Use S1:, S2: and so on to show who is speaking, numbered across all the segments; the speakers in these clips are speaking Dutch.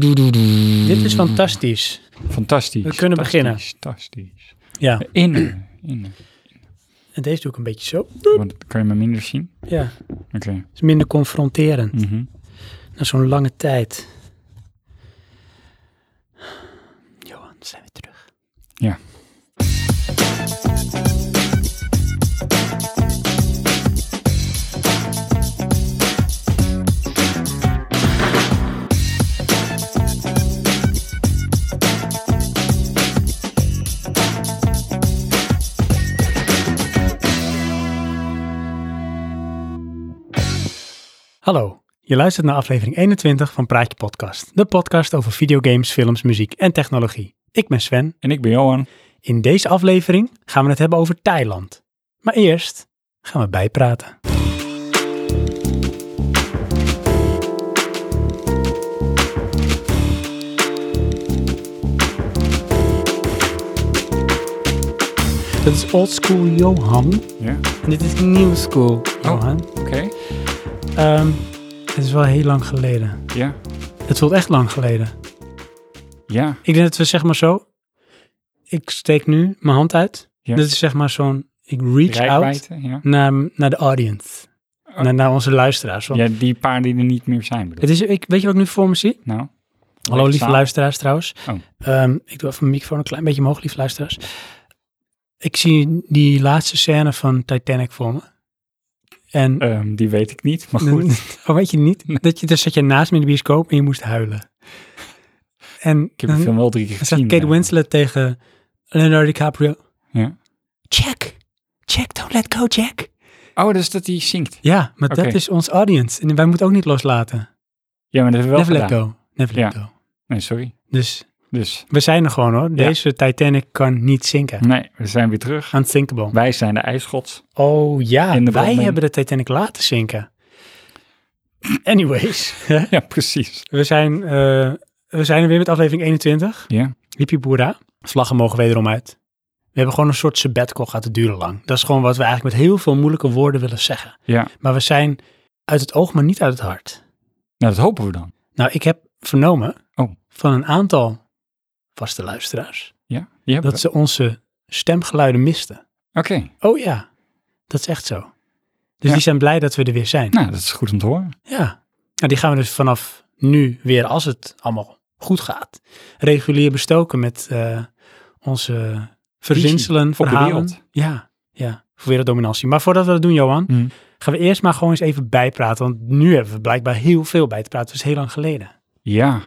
S1: Dit
S2: Mm.
S1: is fantastisch.
S2: Fantastisch.
S1: We kunnen beginnen.
S2: Fantastisch.
S1: Ja,
S2: In. In.
S1: en deze doe ik een beetje zo.
S2: Wat, kan je me minder zien?
S1: Ja,
S2: Oké.
S1: het is minder confronterend
S2: Mhm.
S1: na zo'n lange tijd. Johan, zijn we terug.
S2: Ja.
S1: Hallo, je luistert naar aflevering 21 van Praatje Podcast. De podcast over videogames, films, muziek en technologie. Ik ben Sven.
S2: En ik ben Johan.
S1: In deze aflevering gaan we het hebben over Thailand. Maar eerst gaan we bijpraten. Dat is old school Johan.
S2: Ja.
S1: En dit is new school Johan.
S2: Oké.
S1: Ehm, het is wel heel lang geleden.
S2: Ja.
S1: Het voelt echt lang geleden.
S2: Ja.
S1: Ik denk dat we zeg maar zo. Ik steek nu mijn hand uit.
S2: Ja.
S1: Dat is zeg maar zo'n. Ik reach out
S2: Rijkwijde. Ja.
S1: naar, naar de audience.
S2: Oh.
S1: Naar, naar onze luisteraars. Want
S2: ja, die paar die er niet meer zijn. bedoel
S1: het is, ik, weet je wat ik nu voor me zie?
S2: ik. Nou.
S1: Hallo
S2: Lekker
S1: lieve
S2: samen.
S1: luisteraars trouwens.
S2: Oh.
S1: Ehm, ik doe even mijn microfoon een klein beetje omhoog, lieve luisteraars. Ik zie die laatste scène van Titanic voor me. En
S2: Ehm, die weet ik niet, maar goed.
S1: oh, weet je
S2: Nee.
S1: niet? Dat je, dus zat je naast me in de bioscoop en je moest huilen. En
S2: Ik heb de film wel drie keer
S1: Dan zegt
S2: gezien. eh.
S1: Kate
S2: ja.
S1: Winslet tegen Leonardo DiCaprio.
S2: Ja.
S1: Jack, Jack, don't let go, Jack.
S2: Oh, dus dat die zinkt.
S1: Ja, maar
S2: Oké.
S1: dat is ons audience. En wij moeten ook niet loslaten.
S2: Ja, maar dat hebben we wel
S1: Never
S2: gedaan.
S1: let go. Never let go.
S2: Nee, sorry.
S1: Dus
S2: Dus,
S1: we zijn er gewoon hoor.
S2: Ja.
S1: Deze Titanic kan niet zinken.
S2: nee, we zijn weer terug.
S1: Unthinkable.
S2: Wij zijn de ijsschots.
S1: Oh ja,
S2: In de
S1: wij
S2: branding.
S1: hebben de Titanic laten zinken. Anyways, hè?
S2: Ja, precies.
S1: we zijn, eh, we zijn er weer met aflevering 21.
S2: Ja.
S1: Hippie boera. Vlaggen mogen wederom uit. We hebben gewoon een soort sabbatical gaat het duren lang. Dat is gewoon wat we eigenlijk met heel veel moeilijke woorden willen zeggen.
S2: Ja.
S1: Maar we zijn uit het oog, maar niet uit het hart.
S2: Nou, dat hopen we dan.
S1: Nou, ik heb vernomen
S2: Oh.
S1: van een aantal vaste luisteraars
S2: Ja, die hebben
S1: dat ze onze stemgeluiden misten.
S2: we. Oké.
S1: Oh ja, dat is echt zo. Dus
S2: Ja.
S1: die zijn blij dat we er weer zijn.
S2: Nou, dat is goed om te horen.
S1: Ja. Nou, die gaan we dus vanaf nu weer, als het allemaal goed gaat, regulier bestoken met eh, onze verzinselen,
S2: Visie op de
S1: verhalen.
S2: wereld.
S1: Ja, ja, voor werelddominantie. Maar voordat we dat doen, Johan,
S2: Mhm.
S1: gaan we eerst maar gewoon eens even bijpraten. Want nu hebben we blijkbaar heel veel bij te praten. Dat is heel lang geleden.
S2: Ja.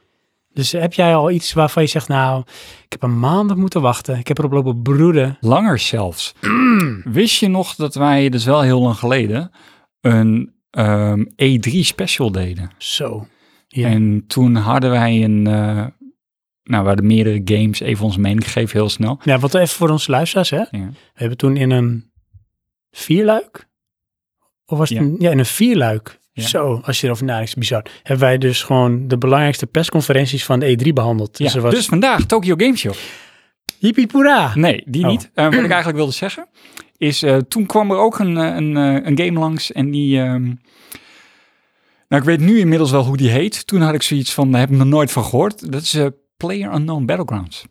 S1: Dus heb jij al iets waarvan je zegt, nou, ik heb een maand op moeten wachten. Ik heb erop lopen broeden.
S2: Langer zelfs. Wist je nog dat wij, dus wel heel lang geleden, een ehm, E3 special deden?
S1: Zo. Ja.
S2: En toen hadden wij een, eh, nou we hadden meerdere games, even onze mening gegeven heel snel.
S1: Ja, wat even voor onze luisteraars, hè.
S2: Ja.
S1: We hebben toen in een vierluik. Of was het
S2: Ja.
S1: een- ja, in een vierluik.
S2: Ja.
S1: Zo, als je erover nadenkt, is het bizar. Hebben wij dus gewoon de belangrijkste persconferenties van de E3 behandeld. Dus
S2: Ja,
S1: er was
S2: Dus vandaag Tokyo Game Show.
S1: hippie poera.
S2: Nee, die
S1: Oh.
S2: niet. Eh, wat ik eigenlijk wilde zeggen is, eh, toen kwam er ook een, eh, een, eh, een game langs en die... ehm, nou, ik weet nu inmiddels wel hoe die heet. Toen had ik zoiets van, daar heb ik nog nooit van gehoord. Dat is eh, Player Unknown Battlegrounds.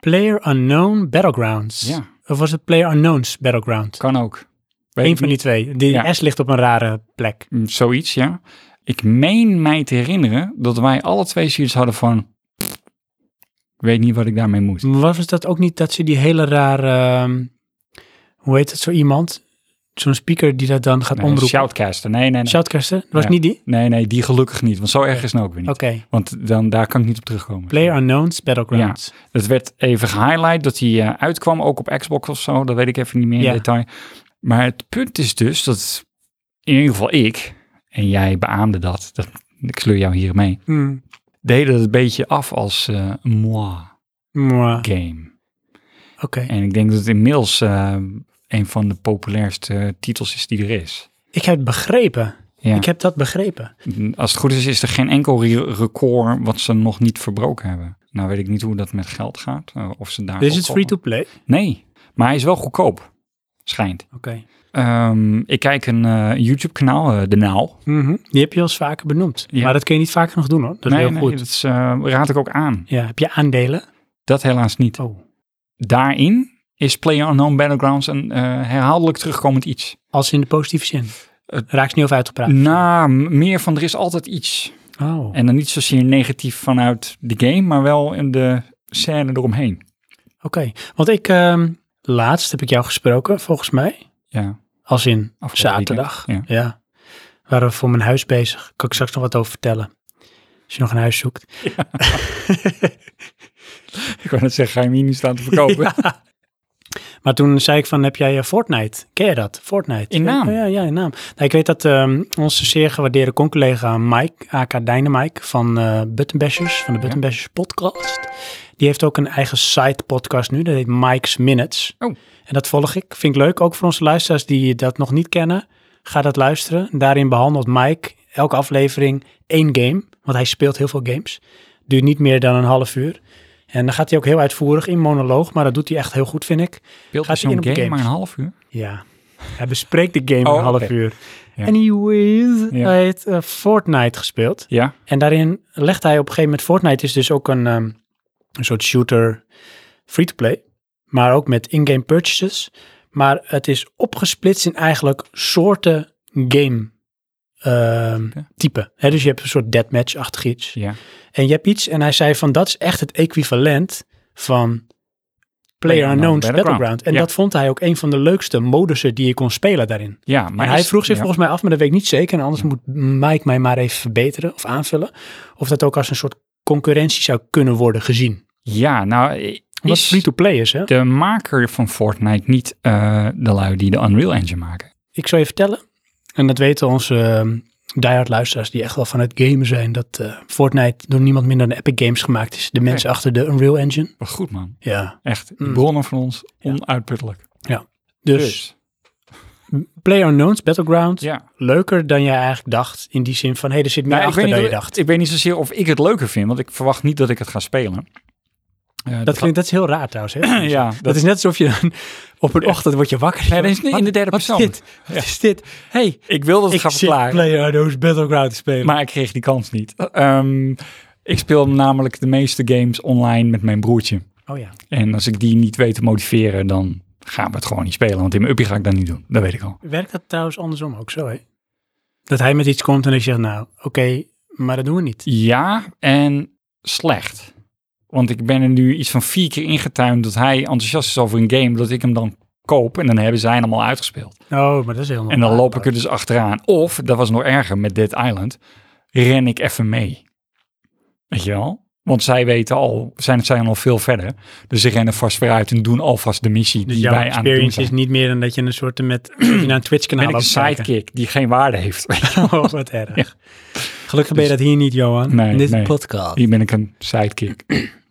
S1: Player Unknown Battlegrounds.
S2: Ja.
S1: Of was het Player Unknowns Battleground?
S2: Kan ook. Weet
S1: Eén
S2: ik
S1: van die twee. Die
S2: Ja.
S1: S ligt op een rare plek.
S2: Mm, Zoiets, ja. Ik meen mij te herinneren dat wij alle twee zoiets hadden van... "Pff, Ik weet niet wat ik daarmee moet.
S1: Maar was dat ook niet dat ze die hele rare... ehm, hoe heet het zo iemand? Zo'n speaker die dat dan gaat
S2: Nee,
S1: omroepen.
S2: shoutcaster. Nee, nee, nee.
S1: Shoutcaster? Dat was
S2: Ja.
S1: niet die?
S2: Nee, nee, die gelukkig niet. Want zo erg is het nou ook weer niet.
S1: Oké.
S2: Want dan, daar kan ik niet op terugkomen.
S1: Player Unknowns Battlegrounds.
S2: Het werd even gehighlight dat hij eh, uitkwam, ook op Xbox of zo. Dat weet ik even niet meer in
S1: Ja.
S2: detail. Maar het punt is dus dat in ieder geval ik, en jij beaamde dat, dat ik sleur jou hier mee,
S1: Hmm.
S2: deden het een beetje af als eh moi
S1: Mwah.
S2: game.
S1: Oké.
S2: En ik denk dat het inmiddels eh, een van de populairste titels is die er is.
S1: Ik heb het begrepen.
S2: Ja.
S1: Ik heb dat begrepen.
S2: Als het goed is, is er geen enkel re- record wat ze nog niet verbroken hebben. Nou weet ik niet hoe dat met geld gaat. eh, Of ze daar
S1: Dus Is
S2: ook
S1: het
S2: al-
S1: free to play? Oké.
S2: Nee, maar hij is wel goedkoop, schijnt. Ehm, ik kijk een eh, YouTube-kanaal, eh, De Naal.
S1: Mhm. Die heb je al eens vaker benoemd.
S2: Ja.
S1: Maar dat kun je niet vaak nog doen hoor. Dat is
S2: nee,
S1: heel
S2: nee,
S1: goed.
S2: dat is, eh, raad ik ook aan.
S1: Ja, heb je aandelen?
S2: Dat helaas niet.
S1: Oh.
S2: Daarin is PlayerUnknown Battlegrounds een eh, herhaaldelijk terugkomend iets.
S1: Als in de positieve zin.
S2: Het- Nou.
S1: Raak je niet over uitgepraat.
S2: Na meer van er is altijd iets.
S1: Oh.
S2: En dan niet zozeer negatief vanuit de game, maar wel in de scène eromheen.
S1: Oké, want ik, ehm, laatst heb ik jou gesproken, volgens mij.
S2: Ja,
S1: Als in
S2: afgelopen
S1: zaterdag.
S2: weekend,
S1: ja. Waren we voor mijn huis bezig. Kan ik straks nog wat over vertellen. Als je nog een huis zoekt.
S2: Ik wou net zeggen, ga je hem hier nu staan te verkopen?
S1: Ja. Maar toen zei ik van, heb jij eh, Fortnite? Ken je dat? Fortnite?
S2: In naam?
S1: Ja, ja, in naam. Nou, ik weet dat ehm, onze zeer gewaardeerde con-collega Mike, AK Dynamike van eh Buttonbashers, van de Buttonbashers podcast. Die heeft ook een eigen side podcast nu, dat heet Mike's Minutes.
S2: Oh.
S1: En dat volg ik, vind ik leuk. Ook voor onze luisteraars die dat nog niet kennen, ga dat luisteren. Daarin behandelt Mike elke aflevering één game, want hij speelt heel veel games. Duurt niet meer dan een half uur. En dan gaat hij ook heel uitvoerig in monoloog, maar dat doet hij echt heel goed, vind ik.
S2: Speelt
S1: Gaat
S2: hij
S1: hij in
S2: zo'n
S1: op
S2: game
S1: games?
S2: maar een half uur?
S1: Ja. Hij bespreekt de game
S2: Oh,
S1: een half
S2: oké.
S1: uur.
S2: Ja.
S1: Anyways,
S2: Ja.
S1: hij heeft eh, Fortnite gespeeld.
S2: Ja,
S1: En daarin legt hij op een gegeven moment... Fortnite is dus ook een, ehm, een soort shooter free-to-play. Maar ook met in-game purchases. Maar het is opgesplitst in eigenlijk soorten game ehm,
S2: Oké.
S1: type. Hè, dus je hebt een soort deathmatch-achtig iets.
S2: ja.
S1: En je hebt iets, en hij zei van dat is echt het equivalent van PlayerUnknown's Battleground.
S2: Battleground.
S1: En
S2: Ja.
S1: dat vond hij ook een van de leukste modussen die je kon spelen daarin.
S2: ja maar
S1: Maar hij
S2: is-
S1: vroeg zich
S2: ja.
S1: volgens mij af, maar dat weet ik niet zeker. En anders moet Mike mij maar even verbeteren of aanvullen. Of dat ook als een soort concurrentie zou kunnen worden gezien.
S2: Ja, nou, i-
S1: Omdat
S2: is
S1: free-to-play is, hè?
S2: de maker van Fortnite niet eh, de lui die de Unreal Engine maken?
S1: Ik zal je vertellen, en dat weten onze ehm, diehard luisteraars die echt wel van het gamen zijn, dat eh, Fortnite door niemand minder dan Epic Games gemaakt is. De mensen achter de Unreal Engine.
S2: Wat goed, man.
S1: Ja,
S2: Echt, die
S1: Mm.
S2: bronnen van ons, onuitputtelijk.
S1: dus... PlayerUnknown's Battleground
S2: ja.
S1: leuker dan jij eigenlijk dacht. In die zin van, hé, hey, er zit meer
S2: Nou, ik,
S1: Nou, achter
S2: weet
S1: dan je
S2: niet,
S1: dacht.
S2: of- ik weet niet zozeer of ik het leuker vind, want ik verwacht niet dat ik het ga spelen. Eh,
S1: Dat, klinkt, dat is heel raar trouwens. Hè?
S2: Ja,
S1: dat,
S2: dat-
S1: is net alsof je dan op een ochtend word je wakker.
S2: Nee, dat is niet
S1: Wat-
S2: in de derde persoon.
S1: Wat is dit? Wat is dit? hey,
S2: Ik wil dat
S1: ik
S2: het gaan
S1: zit
S2: verklaren,
S1: PlayerUnknown's Battleground te spelen.
S2: maar ik kreeg die kans niet. Ehm, ik speel namelijk de meeste games online met mijn broertje.
S1: oh ja,
S2: En als ik die niet weet te motiveren, dan gaan we het gewoon niet spelen. Want in mijn uppie ga ik dat niet doen. Dat weet ik al.
S1: werkt dat trouwens andersom ook zo, hè? Dat hij met iets komt en ik zeg, nou, oké, maar dat doen we niet.
S2: Ja, en slecht. Want ik ben er nu iets van vier keer ingetuind dat hij enthousiast is over een game, dat ik hem dan koop en dan hebben zij hem allemaal uitgespeeld.
S1: Oh, maar dat is helemaal
S2: En dan
S1: waar.
S2: loop ik er dus achteraan. Of, dat was nog erger met Dead Island, ren ik even mee. Weet je wel? Want zij weten al, zijn, zijn al veel verder. Dus ze rennen vast vooruit en doen alvast de missie
S1: Dus
S2: die
S1: jouw
S2: wij aan het doen
S1: experience
S2: zijn.
S1: is niet meer dan dat je een soort met, dat je naar een Twitch
S2: Ben
S1: kanaal
S2: ik een
S1: loopt kijken.
S2: sidekick die geen waarde heeft.
S1: Oh, wat erg. Gelukkig ben je dat hier niet, Johan.
S2: Dus- Nee,
S1: In Dit is
S2: nee.
S1: een podcast.
S2: Hier ben ik een sidekick.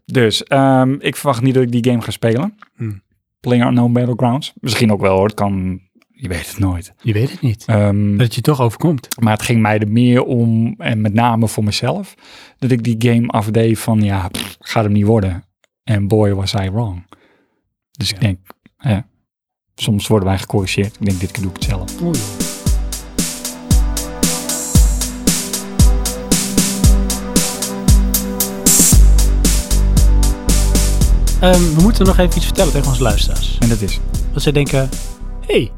S2: dus ehm, ik verwacht niet dat ik die game ga spelen.
S1: Hmm.
S2: PlayerUnknown Battlegrounds. Misschien ook wel hoor, het kan... Je weet het nooit.
S1: Je weet het niet.
S2: Ehm,
S1: Dat het je toch overkomt.
S2: maar het ging mij er meer om, en met name voor mezelf, dat ik die game afdeed van ja, pff, gaat hem niet worden. En boy was I wrong. Dus ik denk, ja, soms worden wij gecorrigeerd. Ik denk, dit keer doe ik het zelf.
S1: Oei. Ehm, we moeten nog even iets vertellen tegen onze luisteraars.
S2: En dat is.
S1: Dat zij denken, hey,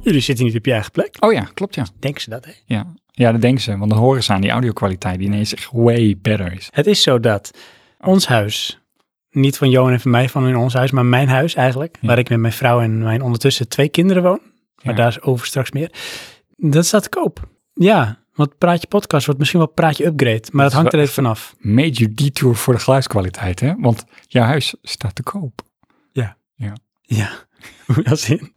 S1: jullie zitten niet op je eigen plek.
S2: Oh ja, klopt ja.
S1: Denken ze dat, hè?
S2: Ja, ja dat denken ze. Want dan horen ze aan die audio-kwaliteit die ineens echt way better is.
S1: Het is zo dat ons huis, niet van Johan en van mij, van in ons huis, maar mijn huis eigenlijk,
S2: Ja.
S1: waar ik met mijn vrouw en mijn ondertussen twee kinderen woon, maar
S2: Ja.
S1: daar is over straks meer, dat staat te koop. Ja, want Praatje Podcast wordt misschien wel Praatje Upgrade, maar dat
S2: is
S1: hangt er
S2: wel
S1: even vanaf.
S2: major detour voor de geluidskwaliteit, hè? Want jouw huis staat te koop.
S1: Ja, hoe zin.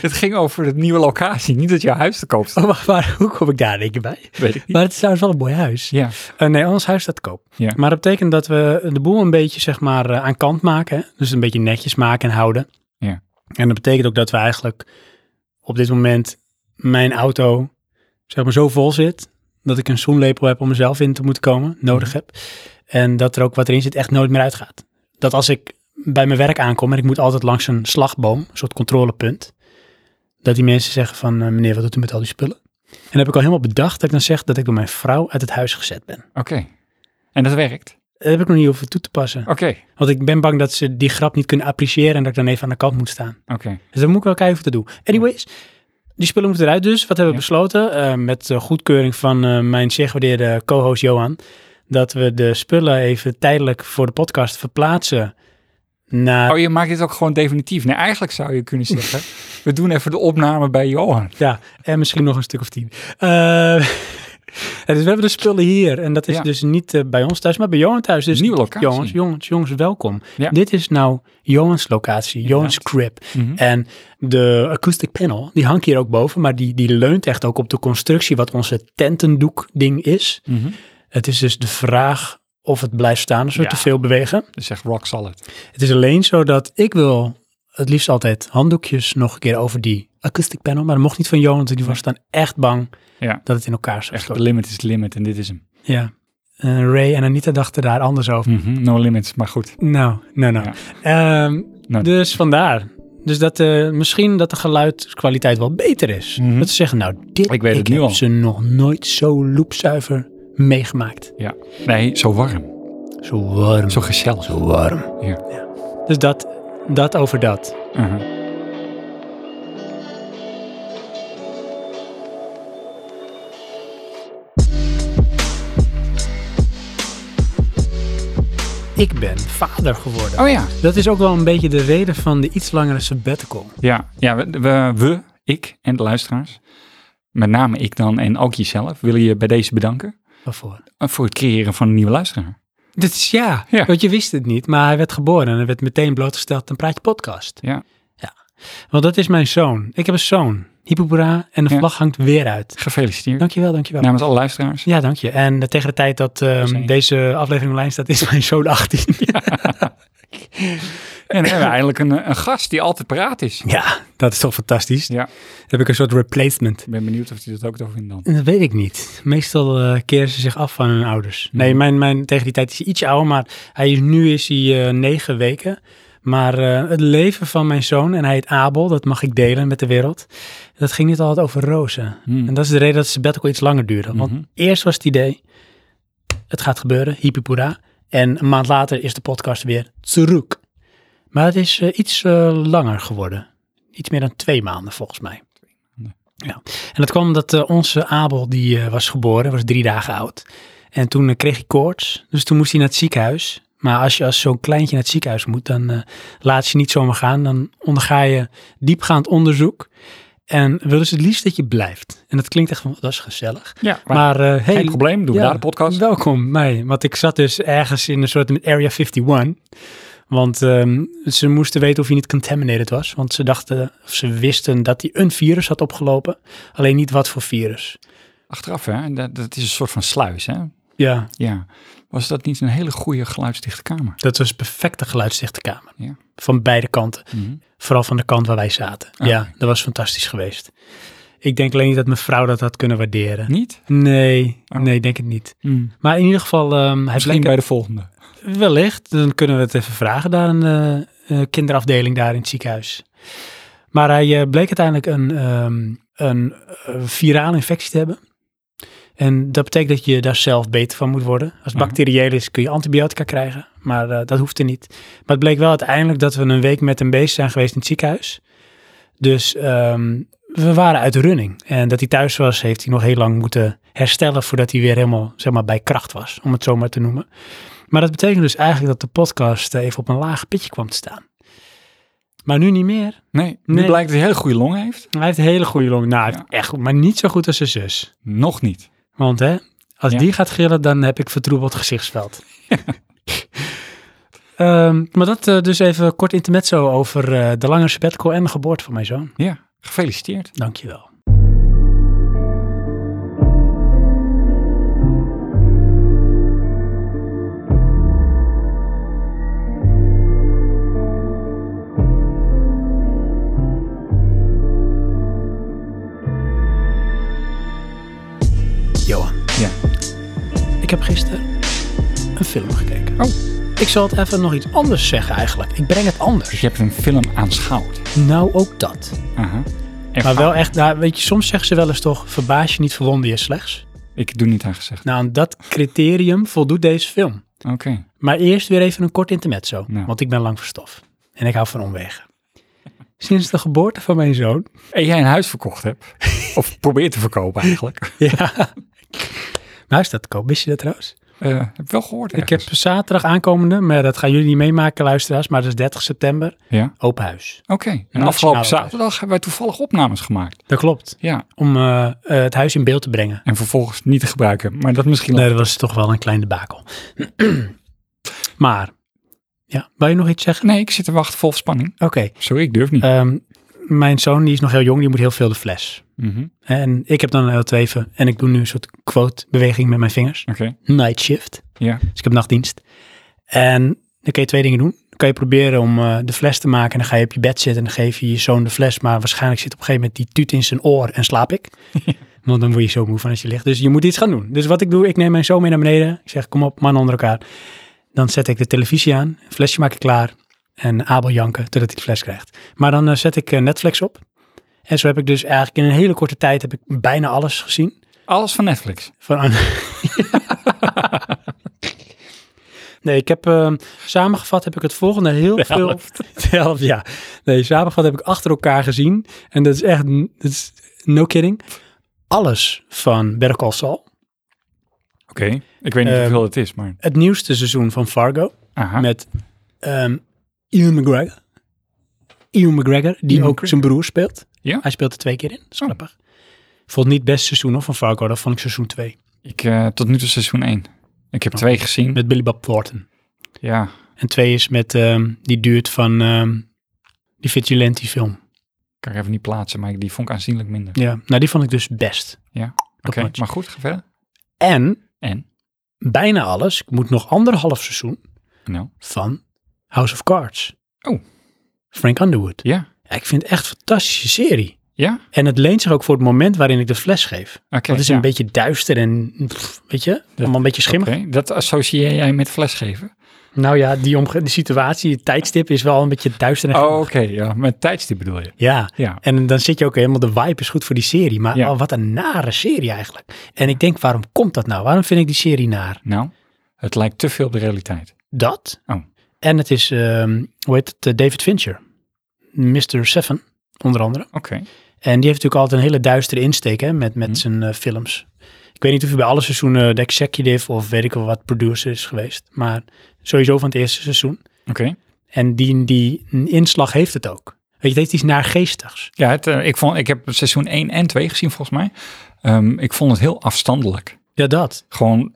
S2: Het ging over het nieuwe locatie, niet dat jouw huis te koop staat.
S1: Oh, maar, maar hoe kom ik daar denk ik bij?
S2: Weet ik niet.
S1: Maar het is trouwens wel een mooi huis.
S2: Ja,
S1: Eh, nee, ons huis staat te koop.
S2: Ja.
S1: Maar dat betekent dat we de boel een beetje zeg maar eh, aan kant maken. Hè? Dus een beetje netjes maken en houden.
S2: Ja.
S1: En dat betekent ook dat we eigenlijk op dit moment mijn auto zeg maar zo vol zit. Dat ik een zoenlepel heb om mezelf in te moeten komen. Nodig
S2: Mhm.
S1: heb. En dat er ook wat erin zit echt nooit meer uitgaat. Dat als ik bij mijn werk aankom en ik moet altijd langs een slagboom. Een soort controlepunt. dat die mensen zeggen van, eh, meneer, wat doet u met al die spullen? En heb ik al helemaal bedacht dat ik dan zeg dat ik door mijn vrouw uit het huis gezet ben.
S2: Oké. En dat werkt?
S1: Dat heb ik nog niet hoeven toe te passen.
S2: Oké.
S1: Want ik ben bang dat ze die grap niet kunnen appreciëren en dat ik dan even aan de kant moet staan.
S2: Oké.
S1: Dus dan moet ik wel kijken of ik dat doe. Anyways, die spullen moeten eruit dus. Wat hebben we
S2: Ja.
S1: besloten? Eh, met eh, goedkeuring van eh, mijn zeer gewaardeerde co-host Johan. Dat we de spullen even tijdelijk voor de podcast verplaatsen naar...
S2: Oh, je maakt dit ook gewoon definitief. Nee, eigenlijk zou je kunnen zeggen, we doen even de opname bij Johan.
S1: Ja, en misschien nog een stuk of tien. Eh, dus we hebben de spullen hier. En dat is
S2: Ja.
S1: dus niet eh, bij ons thuis, maar bij Johan thuis. Dus
S2: Nieuwe locatie.
S1: Jongens, jongens, jongens, welkom.
S2: Ja.
S1: Dit is nou Johans locatie, Johans
S2: Inderdaad.
S1: crib.
S2: Mhm.
S1: En de acoustic panel, die hangt hier ook boven, maar die, die leunt echt ook op de constructie wat onze tentendoek ding is.
S2: Mhm.
S1: Het is dus de vraag of het blijft staan als we
S2: Ja.
S1: te veel bewegen.
S2: Dat is echt Dus rock solid.
S1: Het is alleen zo dat ik wil het liefst altijd handdoekjes nog een keer over die acoustic panel, maar dat mocht niet van Johan, want die was dan echt bang
S2: Ja.
S1: dat het in elkaar zou
S2: Echt,
S1: storten.
S2: de limit is the limit en dit is hem.
S1: Ja. Eh, Ray en Anita dachten daar anders over.
S2: Mhm, No limits, maar goed.
S1: Nou, nou, nou. Ehm,
S2: Nou.
S1: Dus vandaar. Dus dat eh, misschien dat de geluidskwaliteit wel beter is.
S2: Mhm.
S1: Dat ze zeggen, nou, dit
S2: Ik weet het nu
S1: heb
S2: al.
S1: ze nog nooit zo loepzuiver meegemaakt.
S2: Ja. Nee, zo warm.
S1: Zo warm.
S2: Zo gezellig.
S1: Zo warm.
S2: Ja.
S1: Dus dat, dat over dat.
S2: Mhm.
S1: Ik ben vader geworden.
S2: Oh ja.
S1: Dat is ook wel een beetje de reden van de iets langere sabbatical.
S2: Ja, ja we, we, we, ik en de luisteraars, met name ik dan en ook jezelf, willen je bij deze bedanken
S1: Waarvoor?
S2: eh, voor het creëren van een nieuwe luisteraar.
S1: Dit is ja,
S2: Ja.
S1: want je wist het niet, maar hij werd geboren en hij werd meteen blootgesteld aan Praatje Podcast.
S2: Ja.
S1: ja. Want dat is mijn zoon. Ik heb een zoon. Hippopura en de
S2: Ja. Nou.
S1: vlag hangt weer uit.
S2: Gefeliciteerd
S1: Dankjewel, dankjewel.
S2: namens alle luisteraars.
S1: Ja, dank je. En eh, tegen de tijd dat ehm,
S2: Zeker.
S1: deze aflevering online staat, is mijn zoon 18.
S2: En we hebben eindelijk een, eh, een gast die altijd paraat is.
S1: ja, dat is toch fantastisch.
S2: Ja,
S1: Heb ik een soort replacement.
S2: ik ben benieuwd of hij dat ook zo vindt dan.
S1: Dat weet ik niet. Meestal eh, keren ze zich af van hun ouders.
S2: Mhm.
S1: Nee, mijn, mijn, tegen die tijd is hij ietsje ouder, maar hij is, nu is hij eh, negen weken. Maar eh, het leven van mijn zoon, en hij heet Abel, dat mag ik delen met de wereld. Dat ging niet altijd over rozen.
S2: Hmm.
S1: En dat is de reden dat het sabbatical iets langer duurde. Want
S2: Mhm.
S1: eerst was het idee, het gaat gebeuren, hippiepoera. En een maand later is de podcast weer terug. Maar het is eh, iets eh, langer geworden. Iets meer dan twee maanden volgens mij.
S2: maanden.
S1: Ja. En dat kwam omdat eh, onze Abel, die eh, was geboren, was drie dagen oud. En toen eh, kreeg hij koorts, dus toen moest hij naar het ziekenhuis. Maar als je als zo'n kleintje naar het ziekenhuis moet, dan eh, laat je niet zomaar gaan. Dan onderga je diepgaand onderzoek. En willen ze het liefst dat je blijft. En dat klinkt echt van, dat is gezellig.
S2: Ja, maar,
S1: Maar eh
S2: geen
S1: hey,
S2: probleem, doen
S1: ja.
S2: we daar de podcast.
S1: Welkom bij, want ik zat dus ergens in een soort Area 51. Want ehm, ze moesten weten of hij niet contaminated was. Want ze dachten, of ze wisten dat hij een virus had opgelopen. Alleen niet wat voor virus.
S2: Achteraf, hè, dat, dat is een soort van sluis, hè.
S1: Ja,
S2: Ja, was dat niet een hele goede geluidsdichte kamer?
S1: dat was perfecte geluidsdichte kamer.
S2: Ja.
S1: Van beide kanten.
S2: Mhm.
S1: Vooral van de kant waar wij zaten.
S2: Ah,
S1: Ja,
S2: oké.
S1: dat was fantastisch geweest. Ik denk alleen niet dat mijn vrouw dat had kunnen waarderen.
S2: Niet?
S1: Nee,
S2: Oh.
S1: nee, ik denk het niet.
S2: Mm.
S1: Maar in ieder geval, ehm, hij
S2: Misschien
S1: bleek
S2: bij de volgende.
S1: Wellicht, dan kunnen we het even vragen daar een eh, eh, kinderafdeling daar in het ziekenhuis. Maar hij eh, bleek uiteindelijk een, ehm een eh, virale infectie te hebben. En dat betekent dat je daar zelf beter van moet worden. Als het
S2: Mhm.
S1: bacterieel is kun je antibiotica krijgen, maar eh, dat hoeft er niet. Maar het bleek wel uiteindelijk dat we een week met hem bezig zijn geweest in het ziekenhuis. Dus ehm, we waren uit running. En dat hij thuis was, heeft hij nog heel lang moeten herstellen voordat hij weer helemaal zeg maar, bij kracht was, om het zo maar te noemen. Maar dat betekent dus eigenlijk dat de podcast eh, even op een laag pitje kwam te staan. Maar nu niet meer.
S2: Nee, nu
S1: Nee.
S2: blijkt dat hij hele goede longen heeft.
S1: Hij heeft een hele goede long. Nou, hij heeft echt goed, maar niet zo goed als zijn zus.
S2: Nog niet.
S1: Want hè, als
S2: Ja.
S1: die gaat gillen, dan heb ik vertroebeld gezichtsveld. Ehm, maar dat eh, dus even kort intermezzo over eh, de lange sabbatical en de geboorte van mijn zoon.
S2: Ja, gefeliciteerd.
S1: Dankjewel. Johan.
S2: Ja.
S1: Ik heb gisteren een film gekeken.
S2: Oh.
S1: Ik zal het even nog iets anders zeggen eigenlijk. Ik breng het
S2: Ik
S1: anders.
S2: heb een film aanschouwd.
S1: Nou ook dat.
S2: Aha.
S1: Maar wel echt, nou, weet je, soms zeggen ze wel eens toch, verbaas je niet, verwonder je slechts.
S2: Ik doe niet aan gezegd.
S1: Nou, aan dat criterium voldoet deze film.
S2: Oké.
S1: Maar eerst weer even een kort intermezzo,
S2: Nou.
S1: want ik ben lang verstof. En ik hou van omwegen. Sinds de geboorte van mijn zoon
S2: En jij een huis verkocht hebt. of probeert te verkopen eigenlijk.
S1: Ja. Maar is dat te koop? Wist je dat trouwens?
S2: Eh, heb ik wel gehoord
S1: Ik heb
S2: ergens.
S1: zaterdag aankomende, maar dat gaan jullie niet meemaken luisteraars, maar dat is 30 september,
S2: Ja,
S1: open huis.
S2: oké. En
S1: Nationale
S2: afgelopen
S1: huis.
S2: zaterdag hebben wij toevallig opnames gemaakt.
S1: Dat klopt.
S2: Ja,
S1: Om eh, eh, het huis in beeld te brengen.
S2: en vervolgens niet te gebruiken. Maar dat misschien
S1: Nee, dat was toch wel een kleine bakel. maar, ja, wil je nog iets zeggen?
S2: Nee, ik zit te wachten vol spanning.
S1: Oké.
S2: Sorry, ik durf niet.
S1: ehm, mijn zoon die is nog heel jong, die moet heel veel de fles.
S2: Mhm,
S1: En ik heb dan een L2 en ik doe nu een soort quote beweging met mijn vingers.
S2: Oké,
S1: Night shift.
S2: ja.
S1: Dus ik heb nachtdienst. En dan kun je twee dingen doen. Dan kan je proberen om eh, de fles te maken. En dan ga je op je bed zitten en dan geef je je zoon de fles. Maar waarschijnlijk zit op een gegeven moment die tuut in zijn oor en slaap ik. Want dan word je zo moe van als je ligt. Dus je moet iets gaan doen. Dus wat ik doe, ik neem mijn zoon mee naar beneden. Ik zeg, kom op, man onder elkaar. Dan zet ik de televisie aan, een flesje maak ik klaar. En Abel janken totdat hij de fles krijgt. Maar dan eh, zet ik eh, Netflix op. En zo heb ik dus eigenlijk in een hele korte tijd heb ik bijna alles gezien.
S2: Alles van Netflix.
S1: Van... nee, ik heb ehm, samengevat heb ik het volgende heel veel. De helft, ja. Nee, samengevat heb ik achter elkaar gezien. En dat is echt, n- dat is no kidding. Alles van Better Call Saul.
S2: Oké, ik weet niet
S1: Ehm,
S2: hoeveel het is, maar...
S1: Het nieuwste seizoen van Fargo.
S2: Aha.
S1: Met ehm Ian McGregor. Ian McGregor, die
S2: Ewan
S1: ook
S2: McGregor.
S1: zijn broer speelt.
S2: Ja?
S1: Hij speelt er twee keer in. Dat is
S2: Oh.
S1: grappig. Vond niet best seizoen hoor, van Fargo. Dat vond ik seizoen 2.
S2: Ik, eh, tot nu toe seizoen 1. Ik heb twee gezien.
S1: Oh. Met Billy Bob Thornton.
S2: Ja,
S1: En twee is met ehm, die duurt van ehm, die Vigilante film.
S2: kan ik even niet plaatsen, maar die vond ik aanzienlijk minder.
S1: Ja, nou die vond ik dus best.
S2: Oké,
S1: notch.
S2: maar goed, ga verder.
S1: En
S2: En?
S1: bijna alles, ik moet nog anderhalf seizoen
S2: Nou,
S1: van House of Cards.
S2: Oh.
S1: Frank Underwood.
S2: ja.
S1: Ja, ik vind het echt een fantastische serie.
S2: Ja? Oké,
S1: En het leent zich ook voor het moment waarin ik de fles geef. Want het is
S2: ja.
S1: een beetje duister en pff, weet je, allemaal een beetje schimmig.
S2: Oké, Dat associeer jij met flesgeven?
S1: Nou ja, die, omge- die situatie, het tijdstip is wel een beetje duister en
S2: Oh, oké,
S1: schimmig.
S2: ja. Met tijdstip bedoel je?
S1: Ja,
S2: Ja.
S1: En dan zit je ook helemaal, de vibe is goed voor die serie. Maar
S2: Ja.
S1: oh, wat een nare serie eigenlijk. En ik denk, waarom komt dat nou? Waarom vind ik die serie naar?
S2: Nou, het lijkt te veel op de realiteit.
S1: Dat.
S2: Oh.
S1: En het is, ehm, hoe heet het, eh, David Fincher. Mr. Seven, onder andere.
S2: Oké.
S1: En die heeft natuurlijk altijd een hele duistere insteek hè, met, met
S2: Hm.
S1: zijn eh, films. Ik weet niet of hij bij alle seizoenen eh, de executive of weet ik wel wat producer is geweest. Maar sowieso van het eerste seizoen.
S2: Oké.
S1: En die, die inslag heeft het ook. Weet je, het heeft iets naargeestigs.
S2: Ja, het, eh, ik, vond, ik heb seizoen 1 en 2 gezien volgens mij. Ehm, ik vond het heel afstandelijk.
S1: Ja, dat.
S2: Gewoon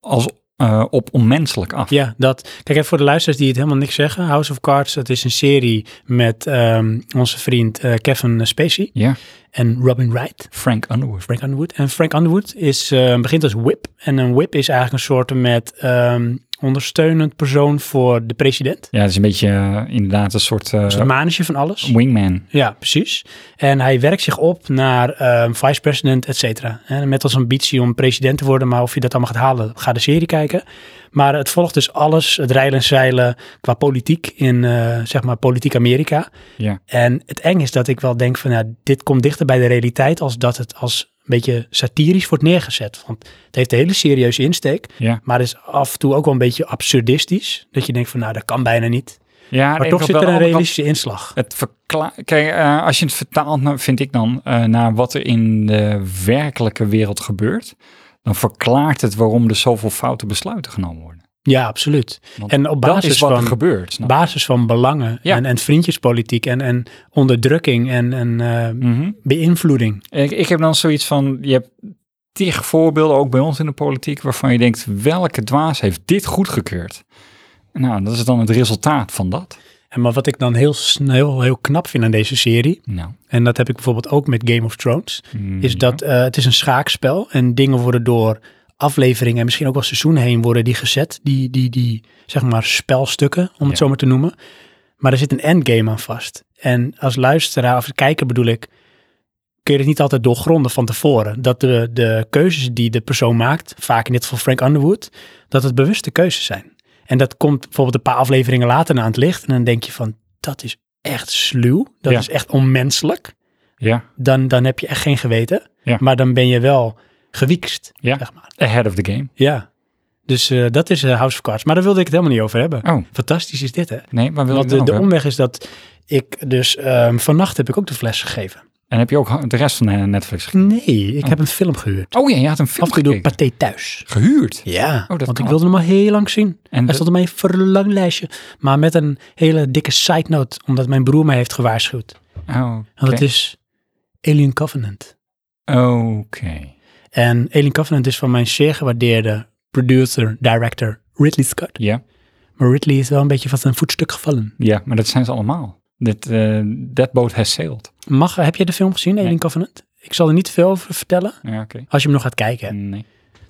S2: als eh, op onmenselijk af.
S1: Ja, dat. Kijk, even voor de luisteraars die het helemaal niks zeggen. House of Cards, dat is een serie met ehm, onze vriend eh, Kevin Spacey
S2: Ja,
S1: en Robin Wright.
S2: Frank Underwood.
S1: Frank Underwood. En Frank Underwood is, eh, begint als whip. En een whip is eigenlijk een soort met ehm, ondersteunend persoon voor de president.
S2: Ja, het is een beetje eh, inderdaad een soort eh,
S1: Dus het manetje van alles.
S2: wingman.
S1: Ja, precies. En hij werkt zich op naar ehm vice-president, et cetera. En Met als ambitie om president te worden, maar of je dat allemaal gaat halen, ga de serie kijken. Maar het volgt dus alles, het rijlen en zeilen qua politiek in, eh, zeg maar, politiek Amerika.
S2: Ja.
S1: En het eng is dat ik wel denk van, nou, dit komt dichter bij de realiteit als dat het als een beetje satirisch wordt neergezet. Want het heeft een hele serieuze insteek,
S2: Ja,
S1: maar het is af en toe ook wel een beetje absurdistisch. Dat je denkt van, nou, dat kan bijna niet.
S2: ja
S1: Maar
S2: nee,
S1: toch
S2: wel
S1: zit
S2: aan
S1: er
S2: de
S1: een
S2: andere kant-
S1: realistische inslag.
S2: Het verkla- Kijk, eh, als je het vertaalt, nou, vind ik dan, eh, naar wat er in de werkelijke wereld gebeurt, dan verklaart het waarom er zoveel foute besluiten genomen worden.
S1: Ja, absoluut.
S2: Want
S1: en op
S2: Dat is
S1: basis
S2: wat er
S1: van...
S2: gebeurt. snap je?
S1: basis van belangen
S2: Ja.
S1: en, en vriendjespolitiek en, en onderdrukking en, en eh,
S2: Mhm.
S1: beïnvloeding.
S2: ik, ik heb dan zoiets van, je hebt tig voorbeelden, ook bij ons in de politiek, waarvan je denkt, welke dwaas heeft dit goedgekeurd? Nou, dat is dan het resultaat van dat.
S1: En maar wat ik dan heel, snel, heel knap vind aan deze serie,
S2: Nou,
S1: en dat heb ik bijvoorbeeld ook met Game of Thrones,
S2: mm,
S1: is dat eh, het is een schaakspel en dingen worden door afleveringen en misschien ook wel seizoenen heen worden die gezet, die, die, die zeg maar spelstukken, om het
S2: Ja.
S1: zo maar te noemen. Maar er zit een endgame aan vast. En als luisteraar of kijker bedoel ik, kun je het niet altijd doorgronden van tevoren. Dat de, de keuzes die de persoon maakt, vaak in dit geval Frank Underwood, dat het bewuste keuzes zijn. En dat komt bijvoorbeeld een paar afleveringen later naar aan het licht en dan denk je van, dat is echt sluw, dat
S2: Ja.
S1: is echt onmenselijk.
S2: Ja,
S1: dan, dan heb je echt geen geweten.
S2: Ja.
S1: Maar dan ben je wel gewiekst,
S2: Ja.
S1: zeg maar.
S2: ahead of the game.
S1: Ja. Dus eh, dat is eh, House of Cards. Maar daar wilde ik het helemaal niet over hebben.
S2: Oh,
S1: Fantastisch is dit, hè?
S2: nee, waar wil je het
S1: Want de,
S2: dan
S1: de
S2: over?
S1: omweg is dat ik dus... ehm, vannacht heb ik ook de fles gegeven.
S2: En heb je ook ha- de rest van eh, Netflix gekeken?
S1: Nee, ik
S2: Oh.
S1: heb een film gehuurd.
S2: Oh ja, je had een film
S1: Afgehuurd door
S2: gekeken.
S1: Pathé Thuis.
S2: Gehuurd.
S1: Ja,
S2: dat
S1: want
S2: kan.
S1: ik wilde hem al heel lang zien.
S2: En
S1: Hij
S2: de-
S1: stond op mijn verlanglijstje. Maar met een hele dikke side note, omdat mijn broer mij heeft gewaarschuwd.
S2: oh,
S1: Want
S2: oké.
S1: het is Alien Covenant.
S2: Oké.
S1: En Alien Covenant is van mijn zeer gewaardeerde producer, director Ridley Scott.
S2: Ja,
S1: Maar Ridley is wel een beetje van zijn voetstuk gevallen.
S2: ja, maar dat zijn ze allemaal. Dit, eh that boat has sailed.
S1: Mag, heb jij de film gezien, Alien
S2: Nee.
S1: Covenant? Ik zal er niet veel over vertellen,
S2: Ja, oké.
S1: als je hem nog gaat kijken.
S2: Nee.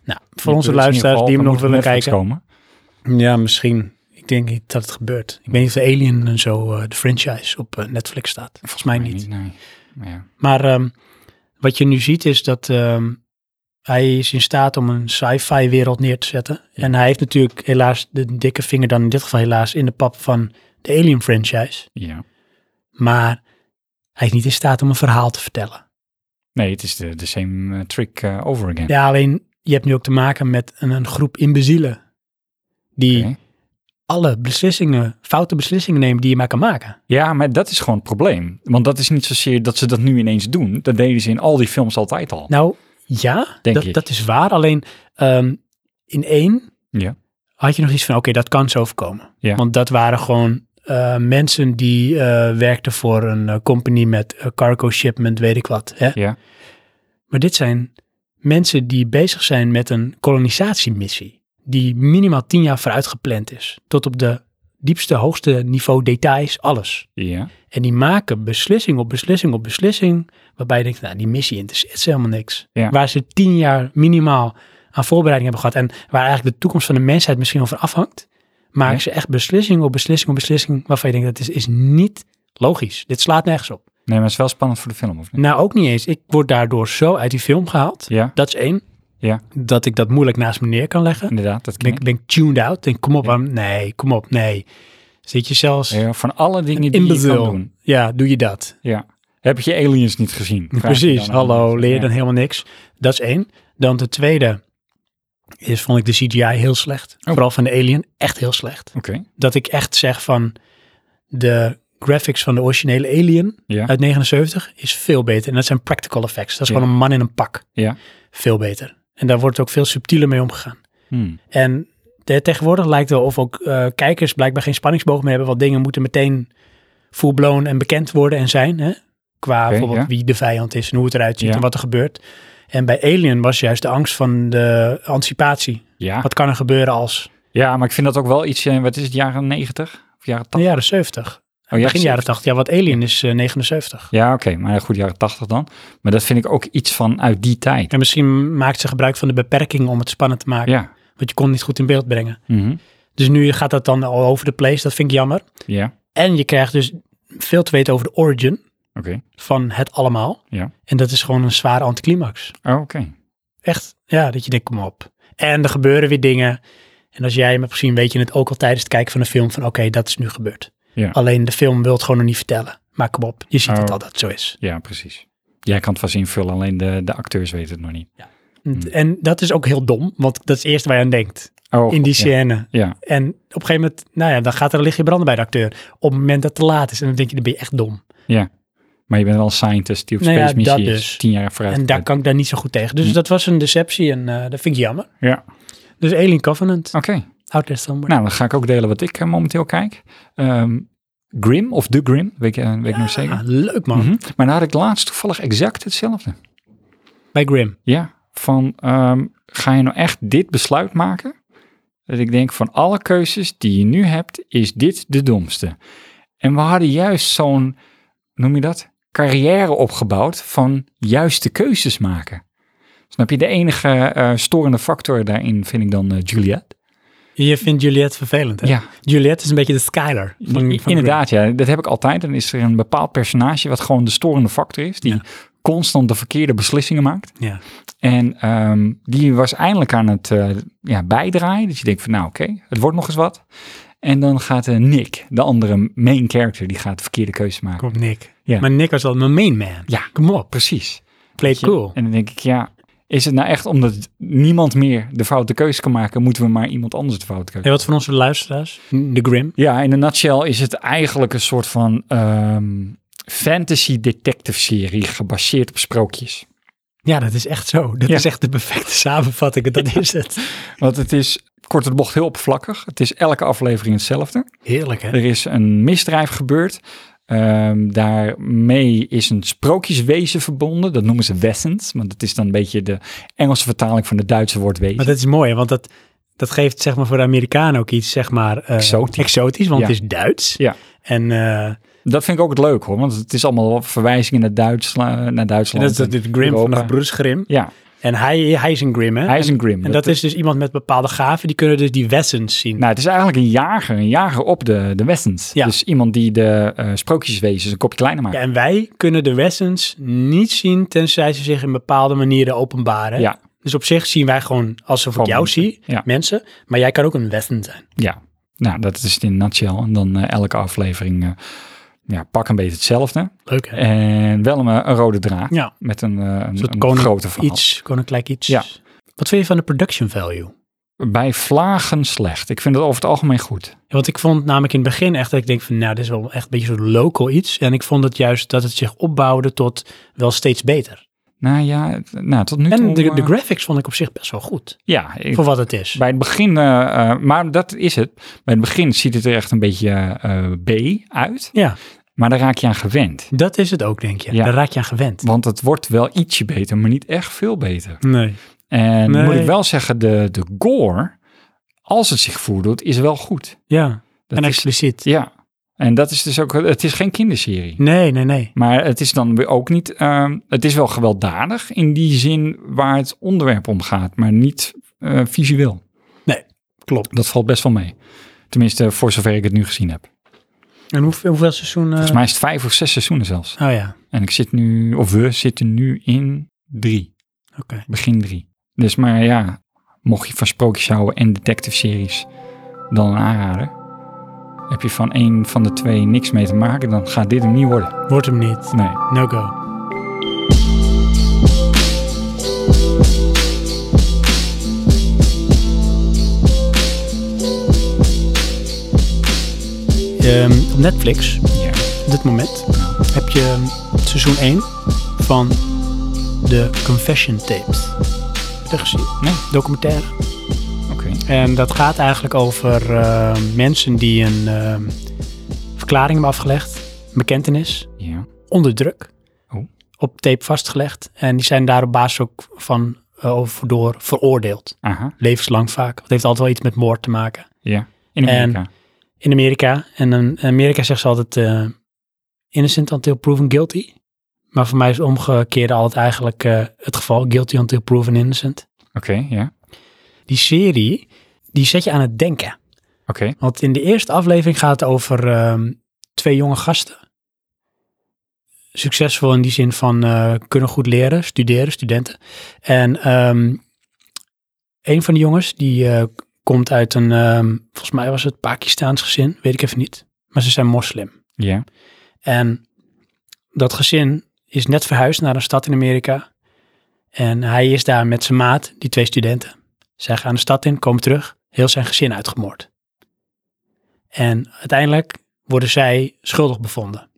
S1: Nou, voor onze luisteraars die hem nog willen kijken.
S2: Komen.
S1: Ja, misschien. Ik denk niet dat het gebeurt. Ik weet niet of de Alien en zo, eh, de franchise, op eh, Netflix staat. Volgens mij niet.
S2: Nee. Maar ja.
S1: Maar ehm, wat je nu ziet is dat ehm, hij is in staat om een sci-fi wereld neer te zetten. En hij heeft natuurlijk helaas de dikke vinger dan in dit geval helaas in de pap van de Alien franchise.
S2: ja.
S1: Maar hij is niet in staat om een verhaal te vertellen.
S2: Nee, het is de, de same eh, trick eh, over again.
S1: Ja, alleen je hebt nu ook te maken met een, een groep imbezielen. Die
S2: Oké.
S1: alle beslissingen, foute beslissingen nemen die je maar kan maken.
S2: Ja, maar dat is gewoon het probleem. Want dat is niet zozeer dat ze dat nu ineens doen. Dat deden ze in al die films altijd al.
S1: Nou ja,
S2: Denk
S1: dat,
S2: ik.
S1: dat is waar. Alleen ehm, in één
S2: Ja.
S1: had je nog iets van, oké, dat kan zo overkomen.
S2: Ja.
S1: Want dat waren gewoon eh, mensen die eh, werkten voor een eh, company met eh, cargo shipment, weet ik wat. Hè?
S2: Ja.
S1: Maar dit zijn mensen die bezig zijn met een kolonisatiemissie, die minimaal tien jaar vooruit gepland is. Tot op de diepste, hoogste niveau details, alles.
S2: Ja.
S1: En die maken beslissing op beslissing op beslissing, waarbij je denkt, nou, die missie interesseert ze helemaal niks.
S2: Ja.
S1: Waar ze tien jaar minimaal aan voorbereiding hebben gehad en waar eigenlijk de toekomst van de mensheid misschien over afhangt, maken
S2: Ja.
S1: ze echt beslissing op beslissing op beslissing, waarvan je denkt, dat is, is niet logisch. Dit slaat nergens op.
S2: Nee, maar het is wel spannend voor de film, of niet?
S1: Nou, ook niet eens. Ik word daardoor zo uit die film gehaald.
S2: Ja,
S1: Dat is één.
S2: Ja.
S1: Dat ik dat moeilijk naast me neer kan leggen.
S2: inderdaad. Dat
S1: Ben
S2: ken
S1: ik
S2: ik.
S1: ben ik tuned out. Denk, kom op,
S2: Ja.
S1: man. nee, kom op, nee. Zit je zelfs
S2: Ja, van alle dingen die je kan
S1: imbecil?
S2: doen.
S1: Ja, doe je dat?
S2: Ja. Heb je Aliens niet gezien? Vraag je
S1: Precies,
S2: dan aan
S1: hallo,
S2: mensen.
S1: leer
S2: Ja.
S1: dan helemaal niks. Dat is één. Dan de tweede is, vond ik de CGI heel slecht.
S2: Oh.
S1: Vooral van de Alien, echt heel slecht.
S2: Oké,
S1: Dat ik echt zeg van, de graphics van de originele Alien
S2: ja.
S1: uit 79 is veel beter. En dat zijn practical effects. Dat is
S2: Ja.
S1: gewoon een man in een pak.
S2: Ja.
S1: Veel beter. En daar wordt ook veel subtieler mee omgegaan.
S2: Hmm.
S1: En de- tegenwoordig lijkt wel of ook eh, kijkers blijkbaar geen spanningsboog meer hebben. Want dingen moeten meteen full-blown en bekend worden en zijn. Hè? Qua
S2: Oké,
S1: bijvoorbeeld
S2: ja.
S1: wie de vijand is en hoe het eruit ziet
S2: Ja.
S1: en wat er gebeurt. En bij Alien was juist de angst van de anticipatie.
S2: Ja.
S1: Wat kan er gebeuren als
S2: ja, maar ik vind dat ook wel iets, eh, wat is het, jaren 90? Of jaren 80?
S1: de jaren 70?
S2: Oh, ja,
S1: Begin jaren 80. Ja, wat Alien is eh, 79.
S2: Ja, oké, maar goed, jaren 80 dan. Maar dat vind ik ook iets van uit die tijd.
S1: En misschien maakt ze gebruik van de beperking om het spannend te maken.
S2: Ja.
S1: Want je kon niet goed in beeld brengen.
S2: Mhm.
S1: Dus nu gaat dat dan al over de place. Dat vind ik jammer.
S2: Ja,
S1: En je krijgt dus veel te weten over de origin.
S2: oké.
S1: van het allemaal.
S2: Ja.
S1: En dat is gewoon een zware anticlimax.
S2: Oh, Oké.
S1: Echt, ja, dat je denkt, kom op. En er gebeuren weer dingen. En als jij hem hebt gezien, weet je het ook al tijdens het kijken van een film van, oké, dat is nu gebeurd.
S2: Ja.
S1: Alleen de film wil het gewoon nog niet vertellen. Maar kom op, je ziet het
S2: Oh.
S1: al dat het zo is.
S2: Ja, precies. Jij kan het vast invullen, alleen de, de acteurs weten het nog niet. Hmm.
S1: En dat is ook heel dom, want dat is het eerste waar je aan denkt.
S2: Oh,
S1: in die
S2: ja.
S1: scène.
S2: Ja,
S1: En op een gegeven moment, nou ja, dan gaat er een lichtje branden bij de acteur. Op het moment dat het te laat is. En dan denk je, dan ben je echt dom.
S2: maar je bent wel een scientist die op
S1: Nou ja,
S2: space missie
S1: dat
S2: is,
S1: dus.
S2: tien jaar vooruit.
S1: En daar kan ik daar niet zo goed tegen. Dus
S2: Hmm.
S1: dat was een deceptie en eh, dat vind ik jammer.
S2: Ja, oké.
S1: Dus Alien Covenant, Out There Somewhere.
S2: Nou, dan ga ik ook delen wat ik eh, momenteel kijk. Ehm, Grim, of The Grim, weet ik, eh, weet ik nog zeker.
S1: Ah, leuk man.
S2: Mhm. Maar daar had ik laatst toevallig exact hetzelfde.
S1: Bij Grim.
S2: Ja, van ehm, ga je nou echt dit besluit maken? Dat ik denk van alle keuzes die je nu hebt, is dit de domste. En we hadden juist zo'n, noem je dat, carrière opgebouwd van juiste keuzes maken. Snap je, de enige eh, storende factor daarin vind ik dan eh, Juliet.
S1: Je vindt Juliet vervelend, hè?
S2: Ja,
S1: Juliet is een beetje de Skyler. van- van Grim.
S2: inderdaad, ja, dat heb ik altijd. Dan is er een bepaald personage wat gewoon de storende factor is, die
S1: Ja.
S2: constant de verkeerde beslissingen maakt.
S1: Ja.
S2: En ehm, die was eindelijk aan het eh, ja, bijdraaien. Dat je denkt van nou oké, het wordt nog eens wat. En dan gaat eh, Nick, de andere main character, die gaat verkeerde keuze maken.
S1: Kom op, Nick.
S2: Ja.
S1: Maar Nick was wel mijn main man.
S2: Ja,
S1: Kom op,
S2: precies.
S1: play
S2: Weet je?
S1: cool.
S2: En dan denk ik, ja, is het nou echt omdat niemand meer de foute keuze kan maken, moeten we maar iemand anders de foute keuze
S1: En wat voor onze luisteraars? De Grim.
S2: Ja, in een nutshell is het eigenlijk een soort van ehm, fantasy detective serie gebaseerd op sprookjes.
S1: Ja, dat is echt zo. Dat
S2: Ja.
S1: is echt de perfecte samenvatting. Dat is het.
S2: Want het is kort de bocht heel oppervlakkig. Het is elke aflevering hetzelfde.
S1: Heerlijk, hè?
S2: Er is een misdrijf gebeurd. Ehm, daarmee is een sprookjeswezen verbonden. Dat noemen ze wessens, want dat is dan een beetje de Engelse vertaling van het Duitse woord wezen.
S1: Maar dat is mooi, hè, want dat, dat geeft zeg maar, voor de Amerikanen ook iets zeg maar, eh,
S2: Exotisch.
S1: exotisch, want
S2: Ja.
S1: het is Duits.
S2: Ja.
S1: En eh,
S2: Dat vind ik ook het leuk hoor, want het is allemaal wel verwijzingen naar, Duitsla- naar Duitsland.
S1: dat is dat dit Grim
S2: Europa.
S1: van de broers Grim.
S2: Ja,
S1: En hij, hij is een Grim, hè?
S2: hij is een grim.
S1: en dat is dus iemand met bepaalde gaven, die kunnen dus die wessens zien.
S2: Nou, het is eigenlijk een jager, een jager op de, de wessens.
S1: Ja.
S2: Dus iemand die de eh, sprookjeswezens een kopje kleiner maakt.
S1: Ja, en wij kunnen de wessens niet zien tenzij ze zich in bepaalde manieren openbaren.
S2: Ja.
S1: Dus op zich zien wij gewoon, alsof ik
S2: Gewoon
S1: jou
S2: mensen.
S1: zie,
S2: Ja.
S1: mensen. Maar jij kan ook een wessen zijn.
S2: Ja, nou, dat is het in een nutshell. En dan eh, elke aflevering eh, ja, pak een beetje hetzelfde.
S1: Leuk hè?
S2: En wel een, een rode draad
S1: Ja.
S2: met een, eh, een,
S1: soort
S2: een
S1: koning-
S2: grote verhaal.
S1: Iets, koninklijk iets.
S2: Ja.
S1: Wat vind je van de production value?
S2: Bij vlagen slecht. Ik vind het over het algemeen goed.
S1: Ja, Want ik vond namelijk in het begin echt dat ik denk van, nou, dit is wel echt een beetje zo'n local iets. En ik vond het juist dat het zich opbouwde tot wel steeds beter.
S2: Nou ja, het- nou, tot nu toe...
S1: En de,
S2: eh,
S1: de graphics vond ik op zich best wel goed,
S2: Ja, ik-
S1: voor wat het is.
S2: bij het begin... eh, eh, maar dat is het. Bij het begin ziet het er echt een beetje eh, B uit.
S1: Ja,
S2: Maar daar raak je aan gewend.
S1: dat is het ook, denk je.
S2: Ja.
S1: Daar raak je aan gewend.
S2: Want het wordt wel ietsje beter, maar niet echt veel beter.
S1: Nee.
S2: En
S1: Nee.
S2: moet ik wel zeggen, de, de gore, als het zich voordoet, is wel goed.
S1: Ja,
S2: Dat
S1: en
S2: is-
S1: expliciet.
S2: ja, en dat is dus ook, het is geen kinderserie.
S1: Nee, nee, nee.
S2: Maar het is dan weer ook niet, ehm, het is wel gewelddadig in die zin waar het onderwerp om gaat, maar niet eh, visueel.
S1: Nee, klopt.
S2: Dat valt best wel mee. Tenminste, voor zover ik het nu gezien heb.
S1: En hoeveel, hoeveel seizoen? eh,
S2: Volgens mij is het vijf of zes seizoenen zelfs.
S1: Oh ja,
S2: En ik zit nu, of we zitten nu in drie.
S1: oké.
S2: begin drie. Dus maar ja, mocht je van sprookjes houden en detective series, dan een aanrader. Heb je van één van de twee niks mee te maken, dan gaat dit hem niet worden.
S1: Wordt hem niet.
S2: Nee.
S1: No go. Ehm, op Netflix,
S2: Ja.
S1: op dit moment, heb je ehm, seizoen 1 van de Confession Tapes. Heb je dat gezien?
S2: Nee,
S1: Documentaire.
S2: oké.
S1: En Ehm, dat gaat eigenlijk over eh, mensen die een ehm, verklaring hebben afgelegd, bekentenis,
S2: Ja.
S1: onder druk,
S2: Oh.
S1: op tape vastgelegd. En die zijn daar op basis ook van eh, over door veroordeeld.
S2: Aha.
S1: Levenslang vaak. Het heeft altijd wel iets met moord te maken.
S2: Ja. In Amerika.
S1: In Amerika, en in Amerika zegt ze altijd eh, innocent until proven guilty. Maar voor mij is het omgekeerde altijd eigenlijk eh, het geval, guilty until proven innocent.
S2: Oké, ja.
S1: Die serie, die zet je aan het denken.
S2: Oké.
S1: Want in de eerste aflevering gaat het over ehm, twee jonge gasten. Succesvol in die zin van eh, kunnen goed leren, studeren, studenten. En ehm, een van de jongens die eh, komt uit een, ehm, volgens mij was het Pakistaans gezin, weet ik even niet. Maar ze zijn moslim.
S2: Ja.
S1: En dat gezin is net verhuisd naar een stad in Amerika. En hij is daar met zijn maat, die twee studenten. Zij gaan de stad in, komen terug, heel zijn gezin uitgemoord. En uiteindelijk worden zij schuldig bevonden.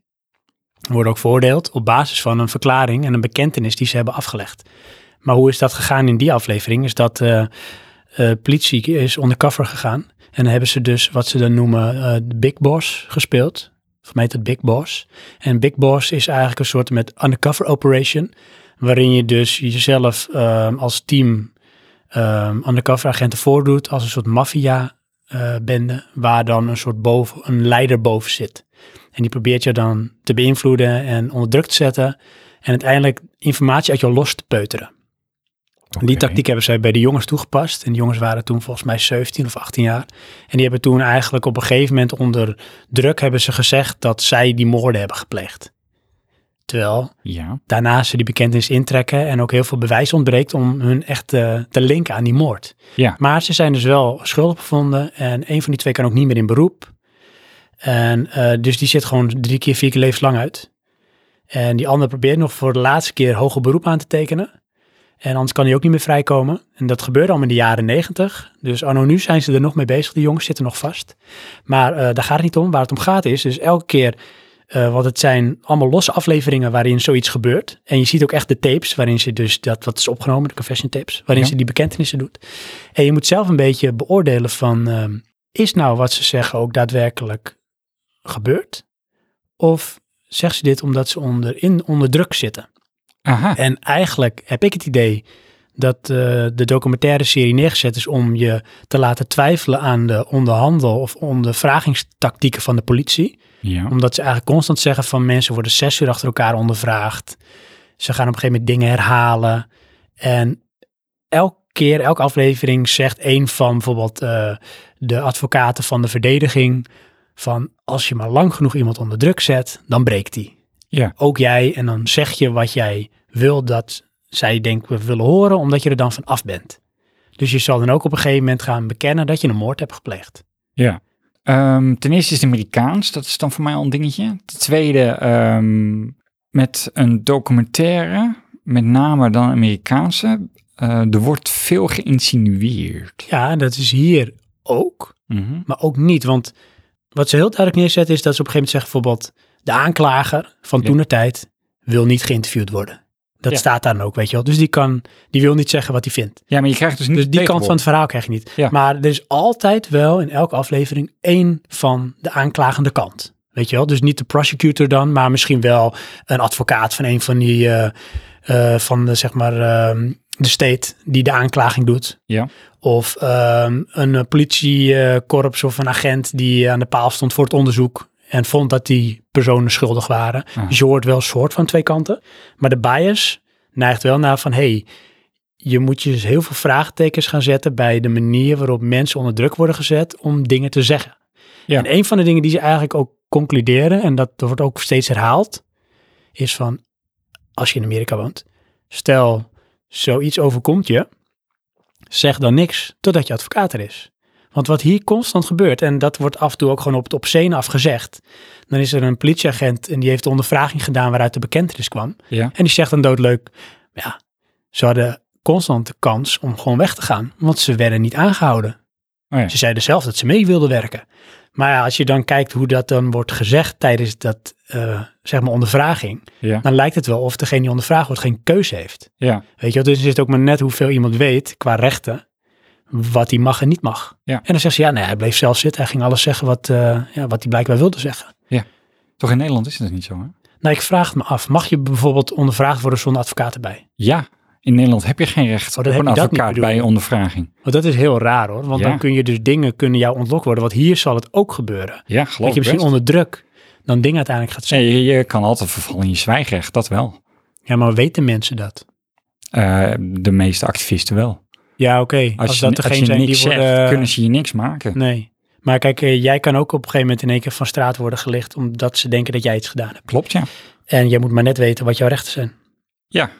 S1: En Worden ook veroordeeld op basis van een verklaring en een bekentenis die ze hebben afgelegd. Maar hoe is dat gegaan in die aflevering? Is dat eh eh, politie is undercover gegaan. En dan hebben ze dus wat ze dan noemen eh, de Big Boss gespeeld. Volgens mij heet het Big Boss. En Big Boss is eigenlijk een soort met undercover operation. Waarin je dus jezelf ehm, als team ehm, undercover agenten voordoet. Als een soort maffia eh, bende. Waar dan een soort boven, een leider boven zit. En die probeert je dan te beïnvloeden en onder druk te zetten. En uiteindelijk informatie uit jou los te peuteren. En Die
S2: Oké.
S1: tactiek hebben zij bij de jongens toegepast. En die jongens waren toen volgens mij 17 of 18 jaar. En die hebben toen eigenlijk op een gegeven moment onder druk hebben ze gezegd dat zij die moorden hebben gepleegd. Terwijl
S2: Ja.
S1: daarna ze die bekentenis intrekken en ook heel veel bewijs ontbreekt om hun echt eh, te linken aan die moord.
S2: Ja.
S1: Maar ze zijn dus wel schuldig bevonden en een van die twee kan ook niet meer in beroep. En eh, dus die zit gewoon drie keer, vier keer levenslang uit. En die ander probeert nog voor de laatste keer hoger beroep aan te tekenen. En anders kan hij ook niet meer vrijkomen. En dat gebeurde allemaal in de jaren negentig. Dus anno nu zijn ze er nog mee bezig. Die jongens zitten nog vast. Maar eh, daar gaat het niet om. Waar het om gaat is, dus elke keer, eh want het zijn allemaal losse afleveringen waarin zoiets gebeurt. En je ziet ook echt de tapes waarin ze dus dat wat is opgenomen, de confession tapes, waarin
S2: Ja.
S1: ze die bekentenissen doet. En je moet zelf een beetje beoordelen van, ehm, is nou wat ze zeggen ook daadwerkelijk gebeurd? Of zegt ze dit omdat ze onder, in, onder druk zitten?
S2: Aha.
S1: En eigenlijk heb ik het idee dat eh, de documentaire serie neergezet is om je te laten twijfelen aan de onderhandel of ondervragingstactieken van de politie.
S2: Ja.
S1: Omdat ze eigenlijk constant zeggen van mensen worden zes uur achter elkaar ondervraagd. Ze gaan op een gegeven moment dingen herhalen. En elke keer, elke aflevering zegt een van bijvoorbeeld eh, de advocaten van de verdediging van als je maar lang genoeg iemand onder druk zet, dan breekt die
S2: Ja.
S1: ook jij. En dan zeg je wat jij wil dat zij denken we willen horen, omdat je er dan van af bent. Dus je zal dan ook op een gegeven moment gaan bekennen dat je een moord hebt gepleegd.
S2: Ja. Ehm, ten eerste is het Amerikaans, dat is dan voor mij al een dingetje. Ten tweede, ehm, met een documentaire, met name dan Amerikaanse, eh, er wordt veel geïnsinueerd.
S1: Ja, en dat is hier ook,
S2: Mhm.
S1: maar ook niet. Want wat ze heel duidelijk neerzetten is dat ze op een gegeven moment zeggen bijvoorbeeld... de aanklager van
S2: Ja.
S1: toen de tijd wil niet geïnterviewd worden. Dat
S2: Ja.
S1: staat daar dan ook, weet je wel. Dus die, kan, die wil niet zeggen wat hij vindt.
S2: Ja, maar je krijgt dus niet
S1: Dus die
S2: het
S1: kant van het verhaal krijg je niet.
S2: Ja.
S1: Maar er is altijd wel in elke aflevering één van de aanklagende kant. Weet je wel? Dus niet de prosecutor dan, maar misschien wel een advocaat van een van die, eh, eh, van de, zeg maar, ehm, de state die de aanklaging doet.
S2: Ja.
S1: Of ehm, een eh, politiekorps of een agent die aan de paal stond voor het onderzoek. En vond dat die personen schuldig waren.
S2: Ah.
S1: Dus je hoort wel een soort van twee kanten. Maar de bias neigt wel naar van... hey, je moet je dus heel veel vraagtekens gaan zetten... bij de manier waarop mensen onder druk worden gezet... om dingen te zeggen.
S2: Ja.
S1: En een van de dingen die ze eigenlijk ook concluderen... en dat wordt ook steeds herhaald... is van, als je in Amerika woont... stel, zoiets overkomt je... zeg dan niks totdat je advocaat er is. Want wat hier constant gebeurt... en dat wordt af en toe ook gewoon op het obscene afgezegd... Dan is er een politieagent en die heeft de ondervraging gedaan waaruit de bekentenis kwam.
S2: Ja.
S1: En die zegt dan doodleuk, ja, ze hadden constant de kans om gewoon weg te gaan, want ze werden niet aangehouden.
S2: Oh ja.
S1: Ze zeiden zelf dat ze mee wilden werken. Maar ja, als je dan kijkt hoe dat dan wordt gezegd tijdens dat, eh, zeg maar, ondervraging,
S2: Ja.
S1: dan lijkt het wel of degene die ondervraagd wordt geen keuze heeft.
S2: Ja.
S1: Weet je wel, dus is het ook maar net hoeveel iemand weet qua rechten, wat hij mag en niet mag.
S2: Ja.
S1: En dan zegt ze, ja, nee, hij bleef zelf zitten, hij ging alles zeggen wat, eh, ja, wat hij blijkbaar wilde zeggen.
S2: Toch in Nederland is dat niet zo, hè?
S1: Nou, ik vraag het me af. Mag je bijvoorbeeld ondervraagd worden zonder advocaat erbij?
S2: Ja, in Nederland heb je geen recht
S1: Oh,
S2: op
S1: dan
S2: een
S1: heb je dat niet,
S2: advocaat
S1: bedoel
S2: bij
S1: je?
S2: ondervraging.
S1: Want dat is heel raar hoor. Want
S2: Ja.
S1: dan kun je dus dingen kunnen jou ontlokt worden. Want hier zal het ook gebeuren.
S2: Ja, geloof
S1: dat je
S2: ik
S1: misschien
S2: best.
S1: onder druk dan dingen uiteindelijk gaat zeggen.
S2: Nee, je, je kan altijd vervallen in je zwijgrecht, dat wel.
S1: Ja, maar weten mensen dat?
S2: Eh, de meeste activisten wel.
S1: Ja, oké. Als,
S2: Als, je,
S1: dat
S2: als
S1: degene
S2: je
S1: zijn die
S2: niks zegt,
S1: worden...
S2: kunnen ze je niks maken.
S1: Nee. Maar kijk, eh, jij kan ook op een gegeven moment in één keer van straat worden gelicht... omdat ze denken dat jij iets gedaan hebt.
S2: Klopt, ja.
S1: En jij moet maar net weten wat jouw rechten zijn.
S2: Ja.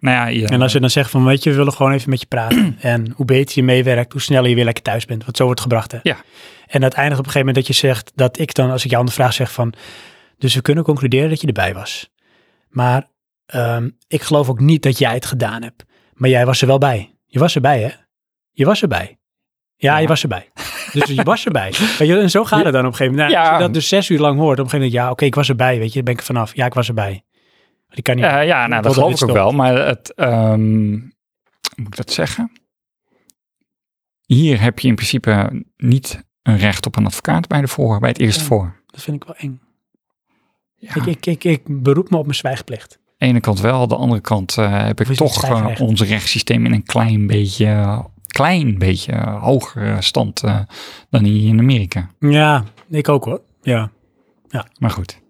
S2: Nou ja, je-
S1: En als ze dan zeggen van, weet je, we willen gewoon even met je praten. en hoe beter je meewerkt, hoe sneller je weer lekker thuis bent. Want zo wordt het gebracht, hè?
S2: Ja.
S1: En dat eindigt op een gegeven moment dat je zegt, dat ik dan, als ik jou aan de vraag zeg van, dus we kunnen concluderen dat je erbij was. Maar ehm, ik geloof ook niet dat jij het gedaan hebt. Maar jij was er wel bij. Je was erbij, hè? Je was erbij. Ja,
S2: Ja.
S1: je was erbij. Dus je was erbij. Weet je, en zo gaat het dan op een gegeven moment. Nou,
S2: Ja.
S1: Als je dat dus zes uur lang hoort, op een gegeven moment, ja, oké, ik was erbij, weet je, dan ben ik er vanaf. Ja, ik was erbij. Maar die kan niet.
S2: ja, ja, nou, dat
S1: Totdat
S2: geloof
S1: dit
S2: ik ook
S1: stopt.
S2: wel. Maar het, ehm, moet ik dat zeggen? Hier heb je in principe niet een recht op een advocaat bij, de voor, bij het eerste
S1: Ja.
S2: voor.
S1: Dat vind ik wel eng.
S2: Ja,
S1: Ik, ik, ik, ik beroep me op mijn zwijgplicht.
S2: de ene kant wel, de andere kant eh, heb ik
S1: Of is het
S2: toch eh,
S1: zwijgrecht?
S2: ons rechtssysteem in een klein beetje, klein beetje hogere stand eh, dan hier in Amerika.
S1: Ja, ik ook hoor. Ja.
S2: Maar goed.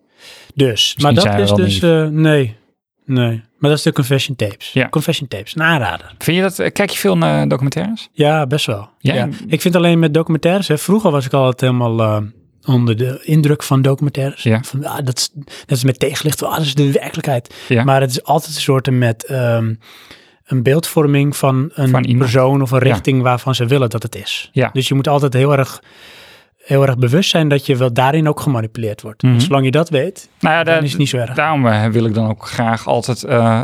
S1: Dus, maar
S2: zijn
S1: dat
S2: we
S1: is
S2: wel
S1: dus, eh, nee, nee. Maar dat is de confession tapes.
S2: Ja.
S1: Confession tapes, een aanrader.
S2: Vind je dat, eh, kijk je veel naar documentaires?
S1: Ja, best wel.
S2: Ja?
S1: Ik vind alleen met documentaires, hè, vroeger was ik altijd helemaal eh, onder de indruk van documentaires.
S2: Ja.
S1: Van, ah, dat, is, dat is met tegenlicht, ah, dat is de werkelijkheid.
S2: Ja.
S1: Maar het is altijd een soort met ehm, een beeldvorming van een
S2: Van iemand.
S1: persoon of een
S2: Ja.
S1: richting waarvan ze willen dat het is.
S2: Ja.
S1: Dus je moet altijd heel erg heel erg bewust zijn dat je wel daarin ook gemanipuleerd wordt.
S2: Mhm.
S1: Want Zolang je dat weet,
S2: Nou ja,
S1: dan
S2: daar-
S1: is het niet zo erg.
S2: daarom eh, wil ik dan ook graag altijd eh,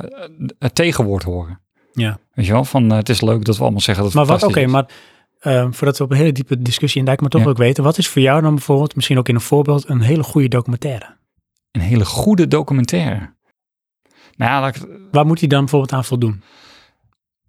S2: het tegenwoord horen.
S1: Ja.
S2: Weet je wel, van eh, het is leuk dat we allemaal zeggen dat het
S1: Maar wat, oké,
S2: fantastisch is.
S1: maar ehm, voordat we op een hele diepe discussie induiken, maar toch
S2: Ja.
S1: wil ik weten, wat is voor jou dan bijvoorbeeld, misschien ook in een voorbeeld, een hele goede documentaire?
S2: Een hele goede documentaire. Nou ja, laat ik het-
S1: Waar moet die dan bijvoorbeeld aan voldoen?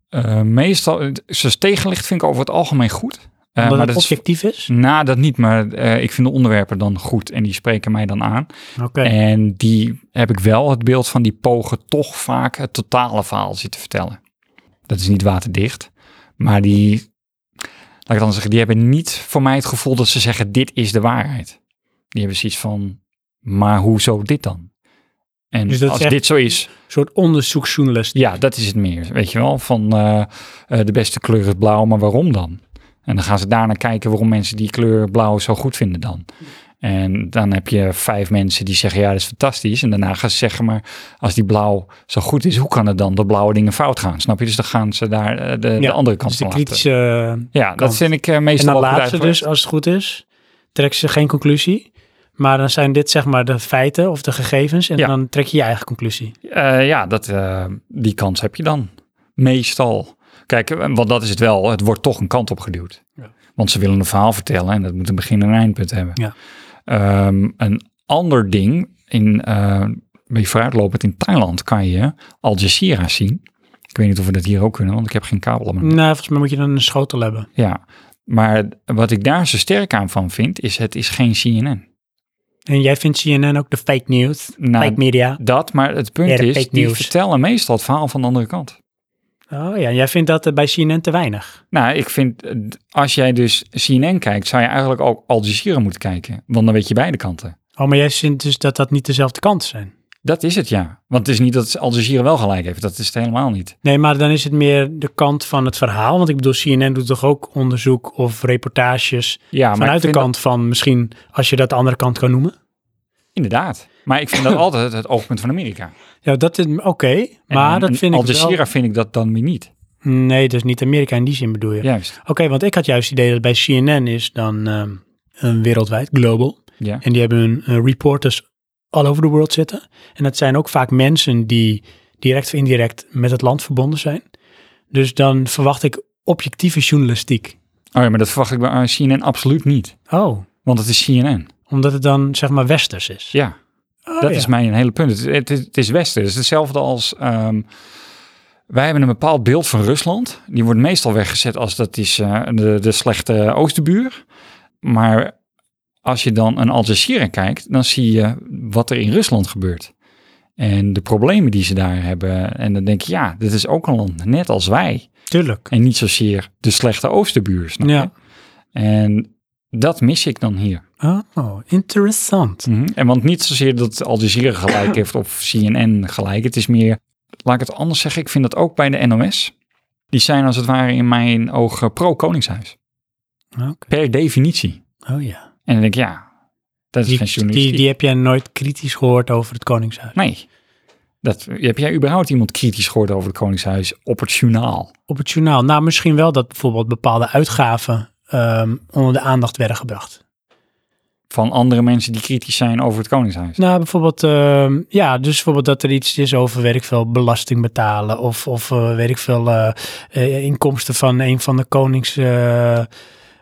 S2: Eh, meestal, zoals tegenlicht vind ik over het algemeen goed. Eh,
S1: Omdat
S2: maar
S1: het
S2: dat is,
S1: objectief is?
S2: nou, dat niet, maar eh, ik vind de onderwerpen dan goed en die spreken mij dan aan.
S1: Oké,
S2: En die heb ik wel het beeld van die pogen toch vaak het totale verhaal zitten vertellen. Dat is niet waterdicht, maar die, laat ik dan zeggen, die hebben niet voor mij het gevoel dat ze zeggen dit is de waarheid. Die hebben zoiets van, maar hoezo dit dan? En
S1: Dus dat is
S2: als
S1: echt-
S2: dit zo is,
S1: een soort onderzoeksjournalist.
S2: ja, dat is het meer. Weet je wel, van eh, eh, de beste kleur is blauw, maar waarom dan? En dan gaan ze daarna kijken waarom mensen die kleur blauw zo goed vinden dan. En dan heb je vijf mensen die zeggen, ja, dat is fantastisch. En daarna gaan ze zeggen, maar als die blauw zo goed is, hoe kan het dan dat blauwe dingen fout gaan? Snap je? Dus dan gaan ze daar eh, de, de
S1: Ja,
S2: andere kant
S1: Dus de
S2: van laten.
S1: kritische...
S2: Ja, dat
S1: kant.
S2: vind ik eh,
S1: En
S2: meestal
S1: dan
S2: wel goed
S1: laat ze
S2: uitgelegd.
S1: dus, als het goed is, trekken ze geen conclusie. Maar dan zijn dit zeg maar de feiten of de gegevens. En
S2: Ja.
S1: dan trek je je eigen conclusie.
S2: Eh, ja, dat, eh, die kans heb je dan. Meestal. Kijk, eh, want dat is het wel. Het wordt toch een kant op geduwd.
S1: Ja.
S2: Want ze willen een verhaal vertellen en dat moet een begin en een eindpunt hebben.
S1: Ja.
S2: Ehm, een ander ding, in, eh bij vooruitlopend in Thailand kan je Al Jazeera zien. Ik weet niet of we dat hier ook kunnen, want ik heb geen kabel. aan mijn-
S1: Nou, volgens mij moet je dan een schotel hebben.
S2: Ja, maar wat ik daar zo sterk aan van vind, is het is geen CNN.
S1: En jij vindt CNN ook de fake news,
S2: Nou,
S1: fake media.
S2: Dat, maar het punt
S1: Ja, de
S2: is,
S1: fake
S2: die
S1: news.
S2: vertellen meestal het verhaal van de andere kant.
S1: Oh ja, en jij vindt dat eh, bij CNN te weinig.
S2: Nou, ik vind, eh, d- als jij dus CNN kijkt, zou je eigenlijk ook Al Jazeera moeten kijken. Want dan weet je beide kanten.
S1: Oh, maar jij vindt dus dat dat niet dezelfde kant zijn.
S2: Dat is het, ja. Want het is niet dat Al Jazeera wel gelijk heeft. Dat is het helemaal niet.
S1: Nee, maar dan is het meer de kant van het verhaal. Want ik bedoel, CNN doet toch ook onderzoek of reportages
S2: Ja, maar ik
S1: vanuit de
S2: vind
S1: kant van misschien, als je dat de andere kant kan noemen.
S2: dat- inderdaad. Maar ik vind dat altijd het oogpunt van Amerika.
S1: Ja, dat is oké,
S2: En
S1: maar
S2: een
S1: dat vind
S2: Al
S1: ik wel...
S2: Jazeera vind ik dat dan weer niet.
S1: Nee, dus niet Amerika in die zin bedoel je.
S2: Juist.
S1: Oké, want ik had juist het idee dat bij CNN is dan ehm, een wereldwijd, global.
S2: Ja.
S1: En die hebben hun eh, reporters all over the world zitten. En dat zijn ook vaak mensen die direct of indirect met het land verbonden zijn. Dus dan verwacht ik objectieve journalistiek.
S2: Oh ja, maar dat verwacht ik bij eh, CNN absoluut niet.
S1: Oh,
S2: Want het is CNN.
S1: omdat het dan zeg maar westers is.
S2: Ja,
S1: Oh,
S2: dat
S1: ja.
S2: is mijn hele punt. Het, het, is- het is Westen. Het is hetzelfde als... ehm, wij hebben een bepaald beeld van Rusland. Die wordt meestal weggezet als dat is eh, de, de slechte oostenbuur. Maar als je dan een Al Jazeera kijkt, dan zie je wat er in Rusland gebeurt. En de problemen die ze daar hebben. En dan denk je, ja, dit is ook een land, net als wij.
S1: Tuurlijk.
S2: En niet zozeer de slechte oostenbuur, snap je?
S1: Ja.
S2: En dat mis ik dan hier.
S1: Oh, interessant.
S2: Mhm. En want niet zozeer dat Al Jazeera gelijk heeft of CNN gelijk. Het is meer, laat ik het anders zeggen, ik vind dat ook bij de NOS. Die zijn als het ware in mijn ogen pro-Koningshuis.
S1: Oké.
S2: Per definitie.
S1: Oh ja.
S2: En dan denk ik, ja, dat is geen
S1: Die,
S2: journalistiek.
S1: die, die heb jij nooit kritisch gehoord over het Koningshuis.
S2: Nee. Dat, heb jij überhaupt iemand kritisch gehoord over het Koningshuis op het journaal?
S1: op het journaal. Nou, misschien wel dat bijvoorbeeld bepaalde uitgaven ehm, onder de aandacht werden gebracht.
S2: Van andere mensen die kritisch zijn over het Koningshuis?
S1: Nou, bijvoorbeeld, ehm, ja, dus bijvoorbeeld dat er iets is over, weet ik veel, belasting betalen of, of eh, weet ik veel, eh, eh, inkomsten van een van de konings, eh,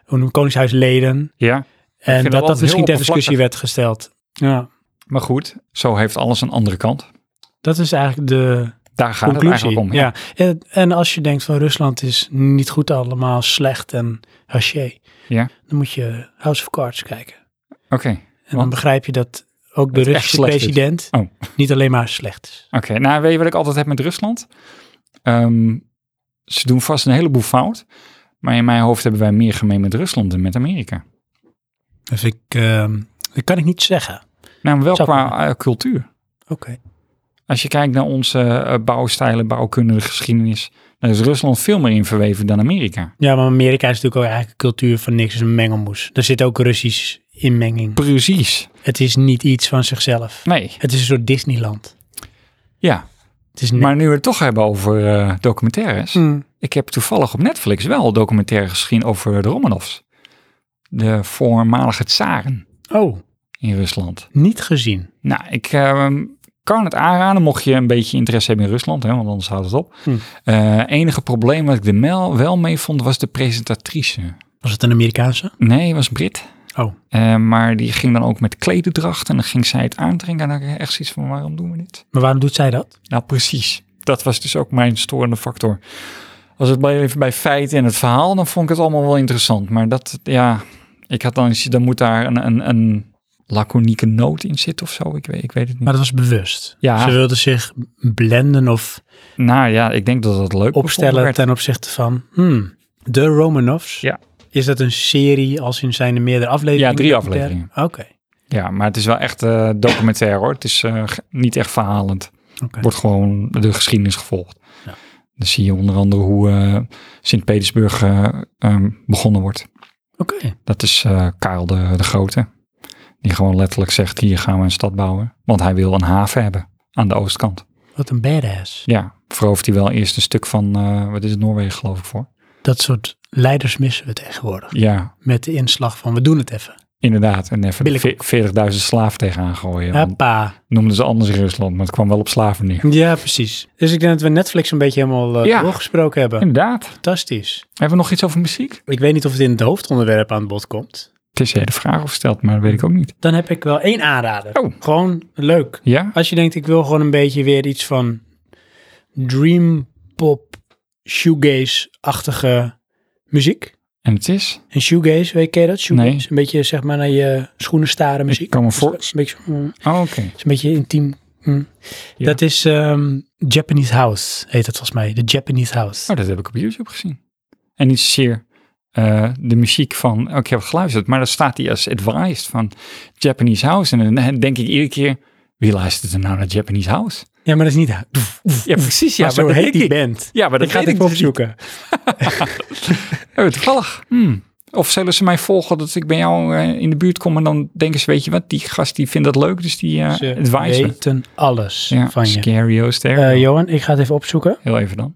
S1: hoe noem- koningshuisleden.
S2: Ja. vind
S1: En
S2: dat altijd
S1: dat dat misschien
S2: heel
S1: ter discussie werd gesteld. Ja,
S2: Maar goed, zo heeft alles een andere kant.
S1: dat is eigenlijk de
S2: Daar gaat het
S1: conclusie.
S2: eigenlijk om.
S1: ja. En, en als je denkt van Rusland is niet goed allemaal, slecht en haché,
S2: Ja.
S1: dan moet je House of Cards kijken.
S2: Oké,
S1: En
S2: Want-
S1: dan begrijp je Oh. dat ook de
S2: het echt
S1: Russische
S2: slecht is.
S1: president
S2: Oh.
S1: niet alleen maar slecht is.
S2: Oké, nou weet je wat ik altijd heb met Rusland? Ehm, ze doen vast een heleboel fout. Maar in mijn hoofd hebben wij meer gemeen met Rusland dan met Amerika.
S1: Dus ik, ehm, dat kan ik niet zeggen.
S2: Nou, wel
S1: Zou
S2: qua eh, cultuur.
S1: Oké.
S2: Als je kijkt naar onze eh, bouwstijlen, bouwkundige geschiedenis, dan is Rusland veel meer in verweven dan Amerika.
S1: Ja, maar Amerika is natuurlijk ook eigenlijk een cultuur van niks, is een mengelmoes. Er zit ook Russisch inmenging.
S2: Precies.
S1: Het is niet iets van zichzelf.
S2: Nee,
S1: Het is een soort Disneyland.
S2: ja.
S1: Het is ni-
S2: Maar nu we het toch hebben over eh, documentaires.
S1: Mm.
S2: Ik heb toevallig op Netflix wel een documentaire gezien over de Romanovs. de voormalige tsaren
S1: Oh,
S2: in Rusland.
S1: niet gezien.
S2: Nou, ik ehm, kan het aanraden, mocht je een beetje interesse hebben in Rusland, hè, want anders houdt het op.
S1: Hm.
S2: Eh, enige probleem wat ik er mel- wel mee vond, was de presentatrice.
S1: Was het een Amerikaanse?
S2: Nee, was Brit.
S1: Oh.
S2: Eh, maar die ging dan ook met klededracht en dan ging zij het aantrekken. En dan had ik echt zoiets van, waarom doen we dit?
S1: Maar waarom doet zij dat?
S2: Nou, precies. Dat was dus ook mijn storende factor. Als het bij, even bij feiten en het verhaal, dan vond ik het allemaal wel interessant. Maar dat, ja, ik had dan, eens- dan moet daar een, een, een laconieke noot in zitten of zo. Ik weet, ik weet het niet.
S1: Maar dat was bewust.
S2: Ja.
S1: Ze wilde zich blenden of
S2: Nou ja, ik denk dat dat leuk bevonden
S1: opstellen
S2: werd.
S1: ten opzichte van hmm, de Romanovs.
S2: Ja.
S1: Is dat een serie als in zijn er meerdere afleveringen?
S2: Ja, drie
S1: documentaire?
S2: afleveringen.
S1: Oké.
S2: Ja, maar het is wel echt eh, documentaire hoor. Het is eh, ge- niet echt verhalend.
S1: Oké.
S2: Het wordt gewoon de geschiedenis gevolgd.
S1: Ja.
S2: Dan zie je onder andere hoe eh, Sint-Petersburg eh, ehm, begonnen wordt.
S1: Oké.
S2: Dat is eh, Karel de, de Grote. Die gewoon letterlijk zegt, hier gaan we een stad bouwen. Want hij wil een haven hebben aan de oostkant.
S1: Wat een badass.
S2: Ja, verovert hij wel eerst een stuk van, eh, wat is het, Noorwegen geloof ik voor.
S1: Dat soort leiders missen we tegenwoordig.
S2: Ja,
S1: Met de inslag van we doen het even.
S2: inderdaad. En even
S1: Billig.
S2: de ve- 40.000 slaaf tegenaan gooien. want
S1: Hoppa.
S2: noemden ze anders in Rusland, maar het kwam wel op slaven neer.
S1: Ja, precies. Dus ik denk dat we Netflix een beetje helemaal eh,
S2: Ja.
S1: doorgesproken hebben.
S2: Inderdaad.
S1: Fantastisch.
S2: Hebben we nog iets over muziek?
S1: Ik weet niet of het in het hoofdonderwerp aan bod komt.
S2: Het is de hele vraag of stelt, maar dat weet ik ook niet.
S1: Dan heb ik wel één aanrader.
S2: Oh.
S1: Gewoon leuk.
S2: Ja?
S1: Als je denkt, ik wil gewoon een beetje weer iets van dream pop, shoegaze-achtige muziek.
S2: En het is?
S1: En shoegaze, weet je dat? Shoegaze,
S2: Nee.
S1: een beetje zeg maar naar je schoenen staren muziek.
S2: Ik kan me voor...
S1: Dat is een beetje, mm, dat
S2: Oh, oké.
S1: is een beetje intiem. mm.
S2: Ja.
S1: Dat is ehm, Japanese House, heet het volgens mij. De Japanese House.
S2: Oh, dat heb ik op YouTube gezien. En niet zozeer eh, de muziek van... Oké, ik heb geluisterd, maar daar staat hij als advised van Japanese House. En dan denk ik iedere keer, wie luistert er nou naar Japanese House?
S1: Ja, maar dat is niet... Ja,
S2: Ja, precies. Ja,
S1: maar zo
S2: dat
S1: heet die
S2: denk ik.
S1: band.
S2: Ja, maar dat
S1: ik ga
S2: weet
S1: het even
S2: dus niet.
S1: opzoeken.
S2: Oh, toevallig. Hmm. Of zullen ze mij volgen dat ik bij jou eh, in de buurt kom en dan denken ze, weet je wat, die gast die vindt dat leuk, dus die eh
S1: Ze
S2: advice me.
S1: weten alles
S2: Ja,
S1: van je.
S2: Scario Stereo.
S1: Eh, Johan, ik ga het even opzoeken.
S2: Heel even dan.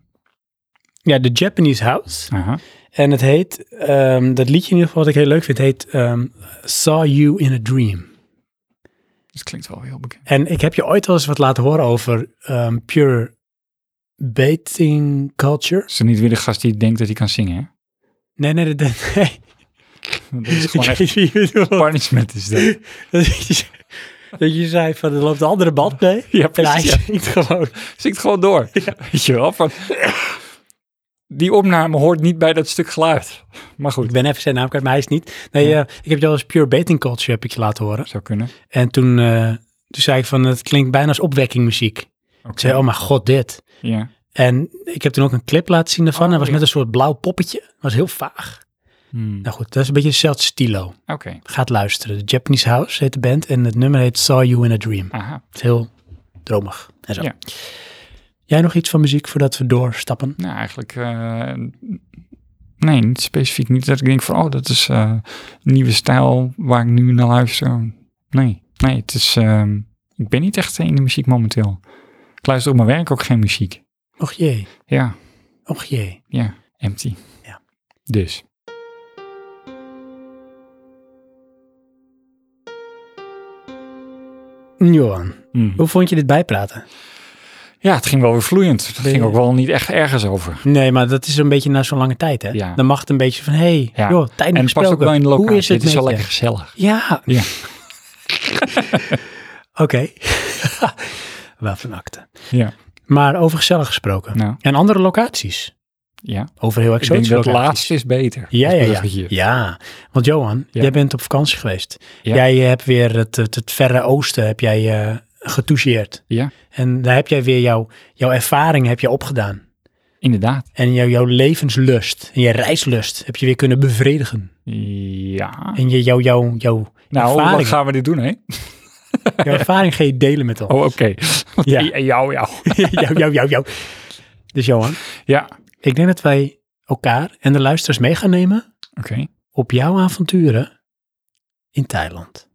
S1: Ja, de Japanese House.
S2: Aha.
S1: En het heet, ehm, dat liedje in ieder geval wat ik heel leuk vind, heet ehm, Saw You in a Dream.
S2: Dat klinkt wel heel bekend.
S1: En ik heb je ooit wel eens wat laten horen over ehm, pure baiting culture.
S2: Is er niet weer de gast die denkt dat hij kan zingen, hè?
S1: Nee, nee, nee. nee, nee.
S2: Dat is
S1: Ik
S2: gewoon echt
S1: weet niet wie je bedoelt.
S2: punishment is dat.
S1: Dat je- Dat je zei van, er loopt een andere band mee.
S2: Ja,
S1: En hij
S2: precies. Ja.
S1: zingt gewoon.
S2: Zingt gewoon door. Weet je wel? Van, die opname hoort niet bij dat stuk geluid. Maar
S1: Ik
S2: goed,
S1: ben even zijn naam kwijt, maar hij is niet. Nee, eh, ik heb je al eens pure baiting culture heb ik je laten horen.
S2: zou kunnen.
S1: En toen, eh, toen zei ik van, het klinkt bijna als opwekkingmuziek. Ik zei, oh mijn god, dit.
S2: Ja.
S1: En ik heb toen ook een clip laten zien daarvan.
S2: Oh,
S1: Hij was
S2: ja.
S1: met een soort blauw poppetje. Was heel vaag.
S2: Hmm.
S1: Nou goed, dat is een beetje hetzelfde stilo.
S2: Oké.
S1: Gaat luisteren. De Japanese House heet de band. En het nummer heet Saw You in a Dream.
S2: Aha.
S1: Het is heel dromig. En zo.
S2: Ja.
S1: Jij nog iets van muziek voordat we doorstappen?
S2: Nou, eigenlijk... eh, nee, niet specifiek. Niet dat ik denk van, oh, dat is eh, nieuwe stijl waar ik nu naar luister. Nee, nee, het is... ehm, ik ben niet echt in de muziek momenteel. Ik luister op mijn werk ook geen muziek.
S1: Och jee.
S2: Ja.
S1: Och jee.
S2: Ja, empty.
S1: Ja.
S2: Dus.
S1: Johan,
S2: Mm.
S1: hoe vond je dit bijpraten?
S2: Ja, het ging wel weer vloeiend. Het
S1: Ben
S2: ging
S1: je-
S2: ook wel niet echt ergens over.
S1: Nee, maar dat is een beetje na zo'n lange tijd, hè?
S2: Ja.
S1: Dan mag het een beetje van, hé, hey,
S2: Ja.
S1: joh, tijd
S2: En
S1: niet
S2: het past ook
S1: gesproken.
S2: wel in de locatie.
S1: Hoe is het
S2: is wel
S1: met eh, je?
S2: lekker gezellig.
S1: Ja.
S2: Ja.
S1: Oké. Wel van akte.
S2: Ja.
S1: Maar over gezellig gesproken.
S2: Nou,
S1: En andere locaties.
S2: ja.
S1: Over heel
S2: Ik denk
S1: exotische
S2: dat het
S1: locaties.
S2: laatste is beter.
S1: Ja,
S2: Als
S1: ja, ja.
S2: bruggetje.
S1: Ja, want Johan,
S2: Ja.
S1: jij bent op vakantie geweest.
S2: Ja.
S1: Jij eh, hebt weer het, het, het verre oosten heb jij eh, getoucheerd.
S2: Ja,
S1: En daar heb jij weer jouw, jouw ervaring heb je opgedaan.
S2: inderdaad.
S1: En jouw, jouw levenslust en je reislust heb je weer kunnen bevredigen.
S2: Ja.
S1: En je, jouw, jouw, jouw,
S2: Nou, hoe lang
S1: ervaring,
S2: gaan we dit doen, hè?
S1: jouw ervaring ga je delen met ons.
S2: Oh, oké. Want
S1: Ja.
S2: i- en jou, jou.
S1: jou, jou, jou, jou. Dus Johan,
S2: Ja, oké.
S1: ik denk dat wij elkaar en de luisteraars mee gaan nemen op jouw avonturen in Thailand.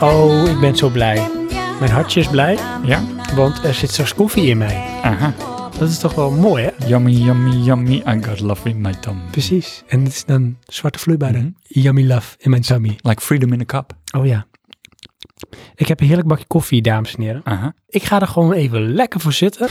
S1: Oh, ik ben zo blij. Mijn hartje is blij,
S2: Ja?
S1: want er zit straks koffie in mij.
S2: Aha.
S1: Dat is toch wel mooi, hè?
S2: Yummy, yummy, yummy. I got love in my tum.
S1: Precies. En het is dan zwarte vloeibare
S2: Mhm.
S1: yummy love in mijn tummy.
S2: Like freedom in a cup.
S1: Oh ja. Ik heb een heerlijk bakje koffie, dames en heren.
S2: Aha.
S1: Ik ga er gewoon even lekker voor zitten.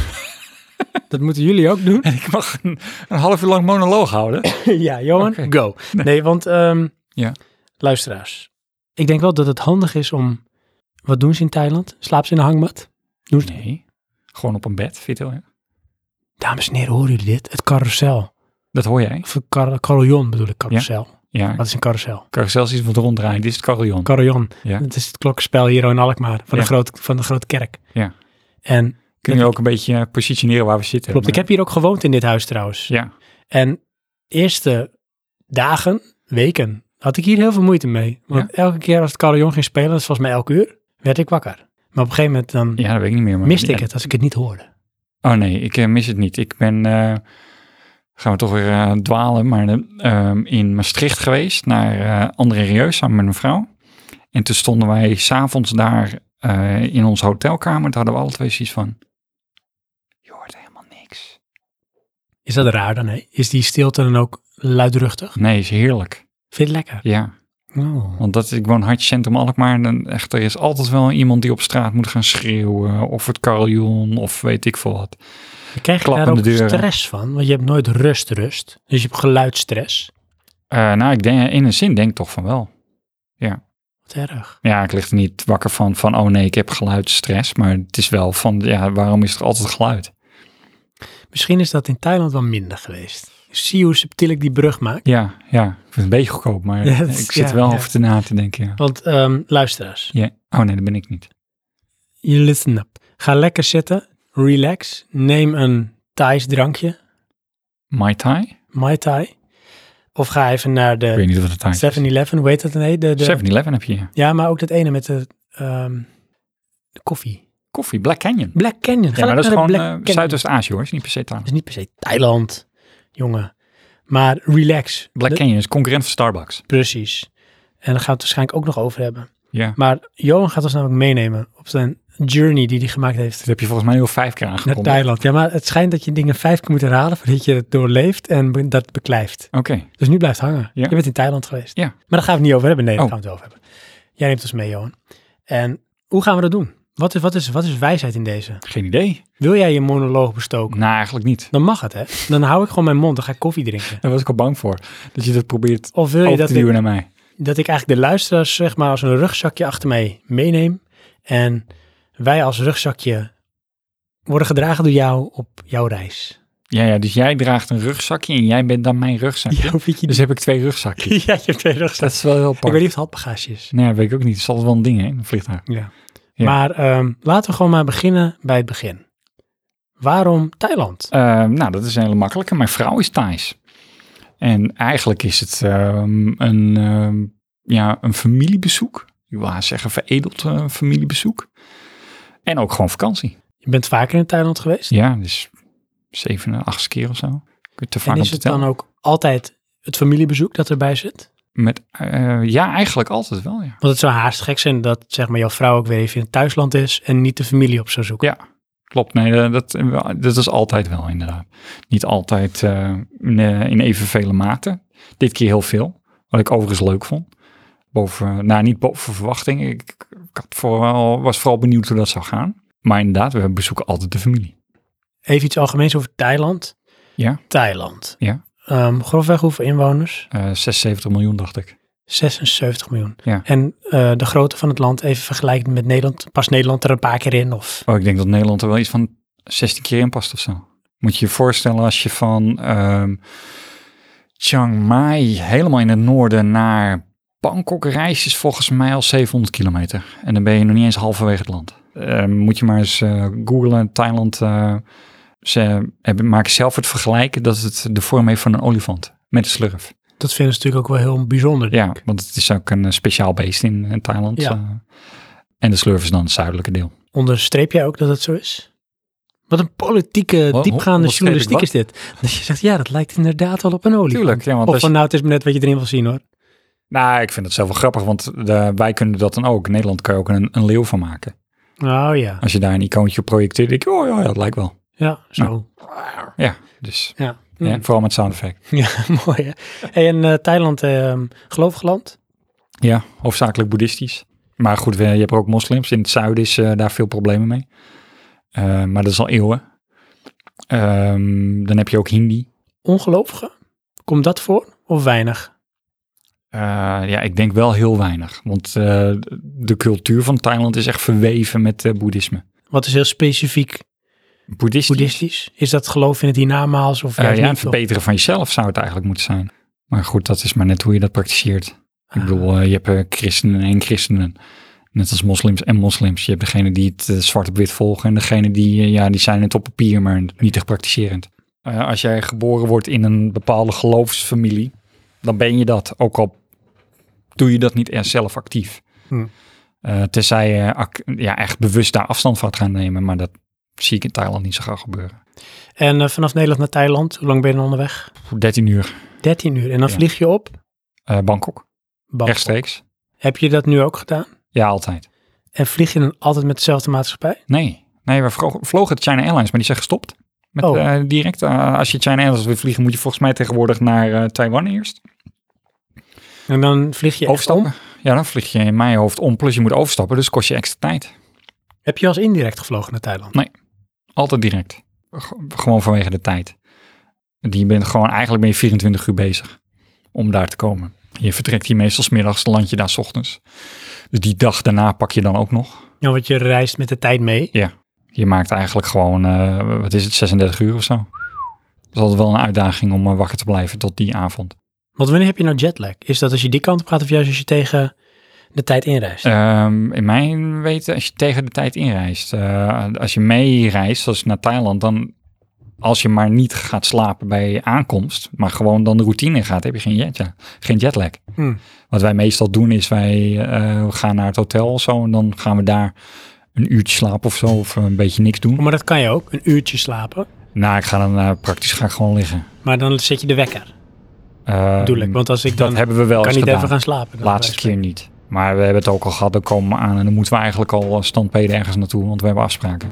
S1: Dat moeten jullie ook doen.
S2: En ik mag een, een half uur lang monoloog houden.
S1: ja, Johan,
S2: Oké.
S1: go. Nee, want ehm,
S2: Ja.
S1: luisteraars. Ik denk wel dat het handig is om... Wat doen ze in Thailand? Slaap ze in een hangmat? Doen ze
S2: Nee. Gewoon op een bed, Vito. Ja.
S1: Dames en heren, horen jullie dit? Het carrousel.
S2: Dat hoor jij.
S1: Of het kar carillon bedoel ik, carrousel.
S2: Ja.
S1: Wat is een carrousel?
S2: Carousel is iets wat ronddraait. Dit is het carillon.
S1: Carillon.
S2: Ja.
S1: Het is het klokkenspel hier in Alkmaar, van,
S2: Ja.
S1: de, groot, van de grote kerk.
S2: Ja.
S1: En
S2: Kun je ook een beetje eh, positioneren waar we zitten.
S1: klopt, ik heb hier ook gewoond in dit huis trouwens.
S2: Ja.
S1: En eerste dagen, weken, had ik hier heel veel moeite mee. Want elke keer als het carillon ging spelen, dat is volgens mij elk uur, werd ik wakker. Maar op een gegeven moment dan
S2: ja, dat weet ik niet meer. Maar
S1: miste ik
S2: ja.
S1: het als ik het niet hoorde.
S2: Oh nee, ik eh, mis het niet. Ik ben, eh, gaan we toch weer eh, dwalen, maar eh, ehm, in Maastricht geweest naar eh André Rieu samen met mijn vrouw. En toen stonden wij s'avonds daar eh, in onze hotelkamer. Daar hadden we alle twee zoiets van, je hoort helemaal niks.
S1: Is dat raar dan, hè? Is die stilte dan ook luidruchtig?
S2: Nee, is heerlijk.
S1: Vind je het lekker?
S2: Ja,
S1: Oh.
S2: want dat, ik woon hartje centrum Alkmaar. En dan echt, er is altijd wel iemand die op straat moet gaan schreeuwen. Of het carillon, of weet ik veel wat.
S1: Krijg je daar ook
S2: Klappende deuren.
S1: stress van? Want je hebt nooit rust, rust. Dus je hebt geluidstress.
S2: Eh, nou, ik denk, in een zin denk ik toch van wel.
S1: Wat erg.
S2: Ja, ik lig er niet wakker van, van oh nee, ik heb geluidsstress. Maar het is wel van, ja, waarom is er altijd geluid?
S1: Misschien is dat in Thailand wel minder geweest. Zie hoe subtiel ik die brug maak.
S2: Ja, ja, ik vind het een beetje goedkoop, maar
S1: Ja, dat
S2: ik
S1: is-
S2: zit
S1: ja,
S2: wel
S1: ja.
S2: over te na te denken. Ja.
S1: Want ehm, luisteraars,
S2: Ja. Oh nee, dat ben ik niet.
S1: je listen up. Ga lekker zitten, relax, neem een Thais drankje,
S2: Mai Tai? Ik
S1: Mai Tai. Of ga even naar de
S2: weet niet of het Thai is.
S1: 7-Eleven, hoe heet dat dan? Nee, de, de,
S2: 7-Eleven heb je ja.
S1: ja, maar ook dat ene met de, ehm, de koffie.
S2: koffie, Black Canyon.
S1: Black Canyon. Ga
S2: Ja, maar dat is gewoon
S1: lekker naar de Black
S2: eh,
S1: Canyon.
S2: Zuidoost-Azië hoor, is niet per se
S1: Dat
S2: Thailand.
S1: is niet per se Thailand, jongen. Maar relax.
S2: Black
S1: De-
S2: Canyon is concurrent van Starbucks.
S1: Precies. En daar gaan we het waarschijnlijk ook nog over hebben.
S2: Ja,
S1: Maar Johan gaat ons namelijk meenemen op zijn journey die hij gemaakt heeft
S2: dat heb je volgens mij al vijf keer
S1: naar
S2: aangekondigd.
S1: Thailand. Ja, maar het schijnt dat je dingen vijf keer moet herhalen voordat je het doorleeft en be- dat beklijft.
S2: Oké,
S1: Dus nu blijft hangen.
S2: Ja.
S1: Je bent in Thailand geweest.
S2: Ja.
S1: Maar daar gaan we het niet over hebben. Nee, daar
S2: Oh.
S1: gaan we het wel over hebben. Jij neemt ons mee, Johan. En hoe gaan we dat doen? Wat is, wat is, wat is wijsheid in deze?
S2: geen idee.
S1: Wil jij je monoloog bestoken?
S2: Nou, eigenlijk niet.
S1: Dan mag het, hè? Dan hou ik gewoon mijn mond. Dan ga ik koffie drinken.
S2: Daar was ik al bang voor. Dat je dat probeert
S1: Of wil je
S2: over
S1: dat
S2: te
S1: ik,
S2: duwen naar mij.
S1: dat ik eigenlijk de luisteraars zeg maar als een rugzakje achter mij meeneem. En wij als rugzakje worden gedragen door jou op jouw reis.
S2: Ja, ja, dus jij draagt een rugzakje en jij bent dan mijn rugzakje.
S1: vind je
S2: Dus heb ik twee rugzakjes.
S1: ja, je hebt twee rugzakken.
S2: Dat is wel heel
S1: Ik
S2: apart.
S1: weet niet of het handbagage is.
S2: Nee, dat weet ik ook niet. Het is altijd wel een ding, hè, een vliegtuig.
S1: Ja.
S2: Ja.
S1: Maar ehm, laten we gewoon maar beginnen bij het begin. Waarom Thailand?
S2: Eh, nou, dat is een hele makkelijke. Mijn vrouw is Thais. En eigenlijk is het ehm, een, ehm, ja, een familiebezoek. Ik wil haar zeggen veredeld eh, familiebezoek. En ook gewoon vakantie.
S1: Je bent vaker in Thailand geweest.
S2: Ja, dus zeven, eh, achtste keer of zo. Ik heb Te vaak
S1: en
S2: om
S1: is
S2: te
S1: het
S2: tellen.
S1: dan ook altijd het familiebezoek dat erbij zit?
S2: Met, eh, ja, eigenlijk altijd wel, ja.
S1: Want het zou haast gek zijn dat zeg maar, jouw vrouw ook weer even in het thuisland is en niet de familie op zou zoeken.
S2: Ja. Klopt, nee, eh, dat, dat is altijd wel inderdaad. Niet altijd eh, in, eh, in evenvele mate. Dit keer heel veel, wat ik overigens leuk vond. Boven, nou, niet boven verwachting. Ik, ik had vooral, was vooral benieuwd hoe dat zou gaan. Maar inderdaad, we bezoeken altijd de familie.
S1: Even iets algemeens over Thailand.
S2: Ja.
S1: Thailand.
S2: Ja.
S1: Ehm, grofweg hoeveel inwoners?
S2: Eh 76 miljoen, dacht ik.
S1: 76 miljoen.
S2: Ja.
S1: En eh, de grootte van het land even vergelijkend met Nederland. Past Nederland er een paar keer in? Of
S2: Oh, ik denk dat Nederland er wel iets van 16 keer in past of zo. Moet je je voorstellen als je van ehm, Chiang Mai helemaal in het noorden naar Bangkok reist, is volgens mij al 700 kilometer. En dan ben je nog niet eens halverwege het land. Ehm, moet je maar eens eh googlen, Thailand. eh, ze hebben, maken zelf het vergelijken dat het de vorm heeft van een olifant met een slurf.
S1: dat vinden ze natuurlijk ook wel heel bijzonder.
S2: Ja, want het is ook een eh, speciaal beest in, eh, Thailand.
S1: Ja.
S2: eh. en de slurf is dan het zuidelijke deel.
S1: Onderstreep jij ook dat het zo is? Wat een politieke,
S2: ho-
S1: diepgaande
S2: onderstreep ik
S1: journalistiek
S2: wat?
S1: is dit. Dat je zegt, ja, dat lijkt inderdaad wel op een olie.
S2: Tuurlijk, ja, want
S1: Of
S2: als
S1: van nou, het is maar net wat je erin wil zien hoor.
S2: Nou, ik vind het zelf wel grappig, want eh, wij kunnen dat dan ook. In Nederland kan je ook een, een leeuw van maken.
S1: Oh ja,
S2: Als je daar een icoontje op projecteert, denk je, oh ja, ja, dat lijkt wel.
S1: ja, zo.
S2: Ja, dus
S1: Ja,
S2: Nou. ja, vooral met sound effect.
S1: ja mooi hè. Hey, en eh, Thailand, ehm gelovig land?
S2: Ja, hoofdzakelijk boeddhistisch. Maar goed, we- je hebt ook moslims. In het zuiden is eh, daar veel problemen mee. Eh, maar dat is al eeuwen. Ehm, dan heb je ook Hindi.
S1: Ongelovigen? Komt dat voor of weinig?
S2: Eh, ja, ik denk wel heel weinig. Want eh, de cultuur van Thailand is echt verweven met eh, boeddhisme.
S1: Wat is heel specifiek
S2: Boeddhistisch.
S1: boeddhistisch? Is dat geloof in het hiernamaals of
S2: Eh,
S1: juist
S2: ja,
S1: niet?
S2: het verbeteren van jezelf zou het eigenlijk moeten zijn. Maar goed, dat is maar net hoe je dat praktiseert.
S1: Ah.
S2: Ik bedoel, eh, je hebt eh, christenen en christenen. Net als moslims en moslims. Je hebt degene die het eh, zwart op wit volgen. En degene die, eh, ja, die zijn het op papier, maar niet echt praktiserend. Eh, als jij geboren wordt in een bepaalde geloofsfamilie, dan ben je dat. Ook al doe je dat niet echt zelf actief.
S1: Hmm.
S2: Eh, tenzij je ac- ja, echt bewust daar afstand van gaat nemen. Maar dat zie ik in Thailand niet zo graag gebeuren.
S1: En eh, vanaf Nederland naar Thailand, hoe lang ben je dan onderweg?
S2: 13 uur,
S1: 13 uur. En dan
S2: Ja.
S1: vlieg je op?
S2: eh, Bangkok,
S1: Bangkok.
S2: rechtstreeks.
S1: Heb je dat nu ook gedaan?
S2: Ja, altijd.
S1: En vlieg je dan altijd met dezelfde maatschappij?
S2: Nee, nee we vro- vlogen de China Airlines, maar die zijn gestopt. Met,
S1: Oh.
S2: eh, direct, eh, als je China Airlines wil vliegen, moet je volgens mij tegenwoordig naar eh, Taiwan eerst.
S1: En dan vlieg je echt om?
S2: overstappen. Ja, dan vlieg je in mijn hoofd om, plus je moet overstappen, dus kost je extra tijd.
S1: Heb je als indirect gevlogen naar Thailand?
S2: Altijd direct. G- gewoon vanwege de tijd. Die bent gewoon, eigenlijk ben je 24 uur bezig om daar te komen. Je vertrekt hier meestal 's middags, dan land je daar 's ochtends. Dus die dag daarna pak je dan ook nog.
S1: Ja, want je reist met de tijd mee.
S2: Je maakt eigenlijk gewoon, eh, wat is het, 36 uur of zo. Dat is altijd wel een uitdaging om eh, wakker te blijven tot die avond.
S1: Want wanneer heb je nou jetlag? Is dat als je die kant op gaat of juist als je tegen de tijd inreist?
S2: Ehm, in mijn weten, als je tegen de tijd inreist, eh, als je meereist, zoals naar Thailand, dan als je maar niet gaat slapen bij aankomst, maar gewoon dan de routine in gaat, heb je geen, jet, ja, geen jetlag.
S1: Hmm.
S2: Wat wij meestal doen is, wij eh, gaan naar het hotel of zo en dan gaan we daar een uurtje slapen of zo, of een beetje niks doen.
S1: Maar dat kan je ook, een uurtje slapen.
S2: Nou, ik ga dan eh, praktisch ga ik gewoon liggen.
S1: Maar dan zet je de wekker,
S2: Ehm,
S1: bedoel ik. Want als ik dan
S2: dat hebben we wel
S1: kan
S2: eens
S1: niet
S2: gedaan.
S1: even gaan slapen. dan
S2: Laatste
S1: bij wijze
S2: keer niet. Maar we hebben het ook al gehad, dan komen we aan en dan moeten we eigenlijk al eh, standpeden ergens naartoe, want we hebben afspraken.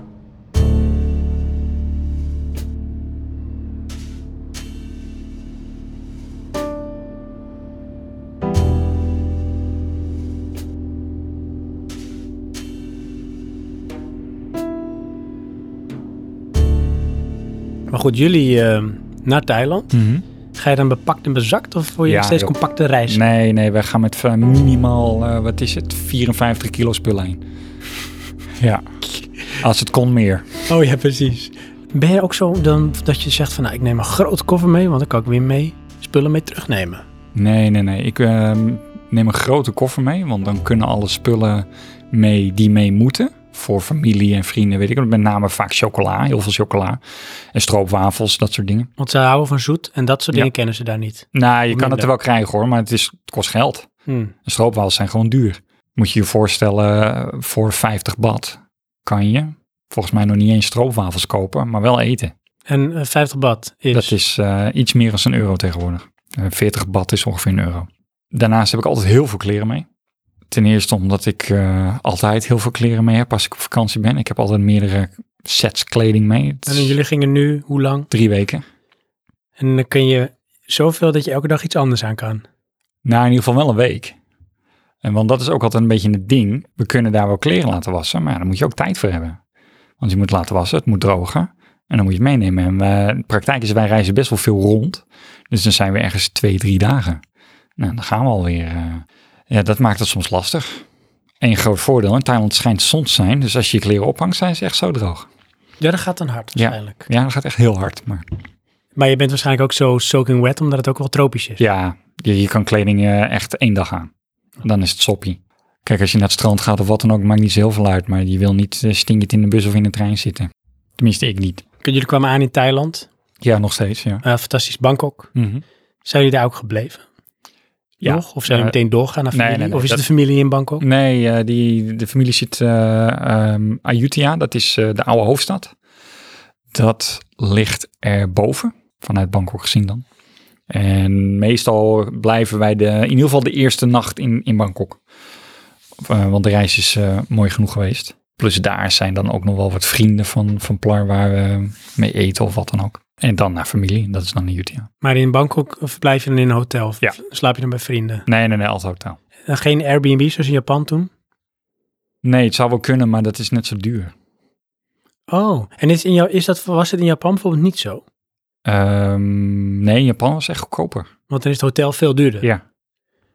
S1: van. Maar goed, jullie eh, naar Thailand. Ga je dan bepakt en bezakt of wil
S2: Mhm.
S1: je
S2: Ja,
S1: nog steeds
S2: joh.
S1: compacte reizen?
S2: Nee, nee, wij gaan met eh, minimaal, eh, wat is het, 54 kilo spullen heen. ja, als het kon meer.
S1: Oh ja, precies. Ben je ook zo dan dat je zegt van nou, ik neem een grote koffer mee, want dan kan ik weer mee spullen mee terugnemen.
S2: Nee, nee, nee. Ik ehm, neem een grote koffer mee, want dan kunnen alle spullen mee die mee moeten. Voor familie en vrienden, weet ik. het. Met name vaak chocola, heel veel chocola. En stroopwafels, dat soort dingen.
S1: Want ze houden van zoet en dat soort
S2: Ja.
S1: dingen kennen ze daar niet.
S2: Nou, je kan het
S1: minder.
S2: er wel krijgen hoor, maar het, is, het kost geld.
S1: Hm.
S2: En stroopwafels zijn gewoon duur. Moet je je voorstellen, eh, voor 50 bad kan je volgens mij nog niet eens stroopwafels kopen, maar wel eten.
S1: En eh, 50 bad is,
S2: Dat is eh, iets meer dan een euro tegenwoordig. Eh, 40 bad is ongeveer een euro. Daarnaast heb ik altijd heel veel kleren mee. Ten eerste omdat ik eh, altijd heel veel kleren mee heb als ik op vakantie ben. Ik heb altijd meerdere sets kleding mee. Het
S1: En
S2: is
S1: jullie gingen nu hoe lang?
S2: Drie weken.
S1: En dan kun je zoveel dat je elke dag iets anders aan kan.
S2: Nou, in ieder geval wel een week. En want dat is ook altijd een beetje het ding. We kunnen daar wel kleren laten wassen, maar daar moet je ook tijd voor hebben. Want je moet laten wassen, het moet drogen. En dan moet je het meenemen. En eh, de praktijk is, wij reizen best wel veel rond. Dus dan zijn we ergens twee, drie dagen. Nou, dan gaan we alweer. eh. Ja, dat maakt het soms lastig. Eén groot voordeel, in Thailand schijnt zon te zijn. Dus als je je kleren ophangt, zijn ze echt zo droog.
S1: Ja, dat gaat dan hard waarschijnlijk.
S2: Ja, dat gaat echt heel hard. Maar
S1: Maar je bent waarschijnlijk ook zo soaking wet, omdat het ook wel tropisch is.
S2: Ja, je, je kan kleding eh, echt één dag aan. Dan is het soppie. Kijk, als je naar het strand gaat of wat dan ook, maakt niet zo heel veel uit. Maar je wil niet eh, stinkend in de bus of in de trein zitten. Tenminste, ik niet.
S1: Jullie kwamen aan in Thailand,
S2: Ja, nog steeds, ja.
S1: eh, fantastisch Bangkok.
S2: Mhm.
S1: Zijn jullie daar ook gebleven?
S2: Ja.
S1: Nog? Of zijn
S2: Eh,
S1: jullie meteen doorgaan naar
S2: nee,
S1: familie?
S2: nee, nee,
S1: of is
S2: dat-
S1: het de familie in Bangkok?
S2: Nee, eh, die, de familie zit eh, ehm, Ayutthaya, dat is eh, de oude hoofdstad. Dat ligt erboven, vanuit Bangkok gezien dan. En meestal blijven wij de, in ieder geval de eerste nacht in, in Bangkok. Eh, want de reis is eh, mooi genoeg geweest. Plus daar zijn dan ook nog wel wat vrienden van, van Plar waar we mee eten of wat dan ook. En dan naar familie, dat is dan in Utah.
S1: Maar in Bangkok verblijf je dan in een hotel of
S2: Ja.
S1: slaap je dan bij vrienden?
S2: Nee, nee, nee, altijd hotel.
S1: En geen Airbnb zoals in Japan toen?
S2: Nee, het zou wel kunnen, maar dat is net zo duur.
S1: Oh, en is in jou, is dat, was het in Japan bijvoorbeeld niet zo?
S2: Ehm, nee, Japan was echt goedkoper.
S1: Want dan is het hotel veel duurder.
S2: Ja.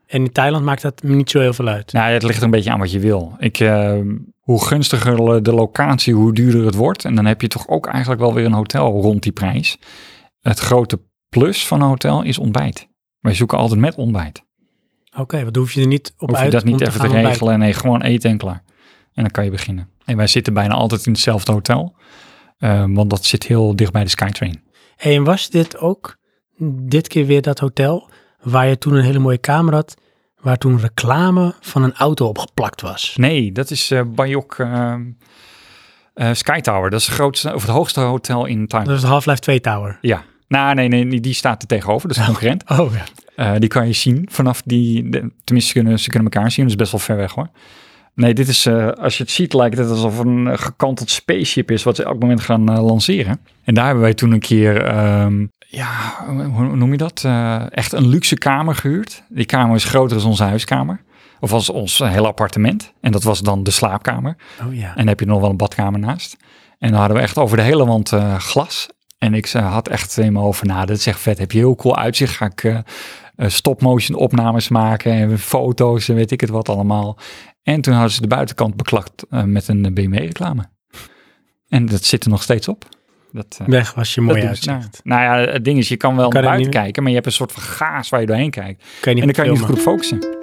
S1: En in Thailand maakt dat niet zo heel veel uit.
S2: Nou, het ligt er een beetje aan wat je wil. Ik, ehm, hoe gunstiger lo- de locatie, hoe duurder het wordt. En dan heb je toch ook eigenlijk wel weer een hotel rond die prijs. Het grote plus van een hotel is ontbijt. Wij zoeken altijd met ontbijt.
S1: Oké, want dan hoef je er niet op
S2: Hoef je
S1: uit
S2: dat niet
S1: om
S2: even te,
S1: gaan ontbijten.
S2: regelen. Nee, gewoon eten en klaar. En dan kan je beginnen. En wij zitten bijna altijd in hetzelfde hotel. ehm, want dat zit heel dicht bij de Skytrain.
S1: Hey, en was dit ook dit keer weer dat hotel waar je toen een hele mooie kamer had, waar toen reclame van een auto op geplakt was?
S2: Nee, dat is eh Bayok ehm, eh, Sky Tower. Dat is het, grootste, of het hoogste hotel in Thailand.
S1: Dat was de Half-Life 2 Tower.
S2: Ja. Nou, nee, nee, die- die staat er tegenover. Dat is een concurrent.
S1: Oh ja.
S2: Eh, die kan je zien vanaf die... de- tenminste, ze kunnen, ze kunnen elkaar zien. Dat is best wel ver weg, hoor. Nee, dit is... eh, als je het ziet, lijkt het alsof het een eh, gekanteld spaceship is... wat ze elk moment gaan eh, lanceren. En daar hebben wij toen een keer... ehm, ja, hoe hoe noem je dat? Eh, echt een luxe kamer gehuurd. Die kamer is groter dan onze huiskamer. Of als ons eh, hele appartement. En dat was dan de slaapkamer.
S1: Oh ja.
S2: En dan heb je nog wel een badkamer naast. En dan hadden we echt over de hele wand eh, glas. En ik eh, had echt in mijn hoofd van, nou, dat is echt vet. Heb je heel cool uitzicht. Ga ik eh, eh, stop-motion opnames maken en foto's en weet ik het wat allemaal. En toen hadden ze de buitenkant beklakt eh, met een BMW-reclame. En dat zit er nog steeds op. Dat, eh,
S1: Weg was je
S2: dat
S1: mooi
S2: doen ze.
S1: uitzicht.
S2: Nou, nou ja, het ding is, je kan wel
S1: Kan
S2: naar
S1: er
S2: buiten
S1: niet-
S2: kijken, maar je hebt een soort van gaas waar je doorheen kijkt.
S1: Kan je
S2: En dan
S1: niet
S2: kan je niet
S1: filmen.
S2: goed op focussen.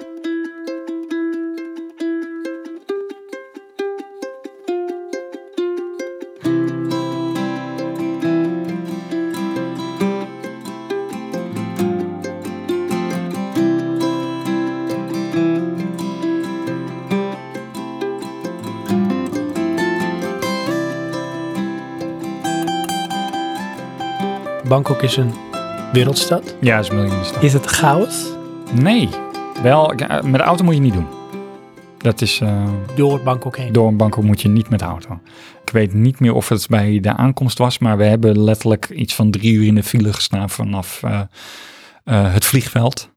S1: Bangkok is een wereldstad.
S2: Ja, dat is miljoenenstad.
S1: Is het chaos?
S2: Nee. Wel, ja, met de auto moet je niet doen. Dat is, eh,
S1: Door Bangkok heen.
S2: door een bank moet je niet met de auto. Ik weet niet meer of het bij de aankomst was, maar we hebben letterlijk iets van drie uur in de file gestaan vanaf eh, eh, het vliegveld.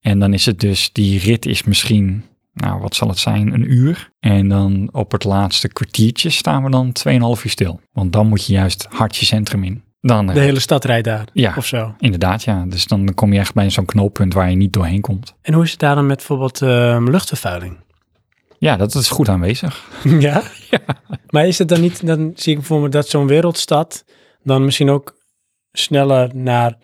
S2: En dan is het dus, die rit is misschien, nou wat zal het zijn, een uur. En dan op het laatste kwartiertje staan we dan 2,5 uur stil. Want dan moet je juist hard je centrum in. Dan, eh,
S1: De hele stad rijdt daar.
S2: ja,
S1: Of zo.
S2: inderdaad ja. Dus dan kom je echt bij zo'n knooppunt waar je niet doorheen komt.
S1: En hoe is het daar dan met bijvoorbeeld ehm, luchtvervuiling?
S2: Ja, dat is goed aanwezig.
S1: ja? Maar is het dan niet, dan zie ik voor me dat zo'n wereldstad dan misschien ook sneller naar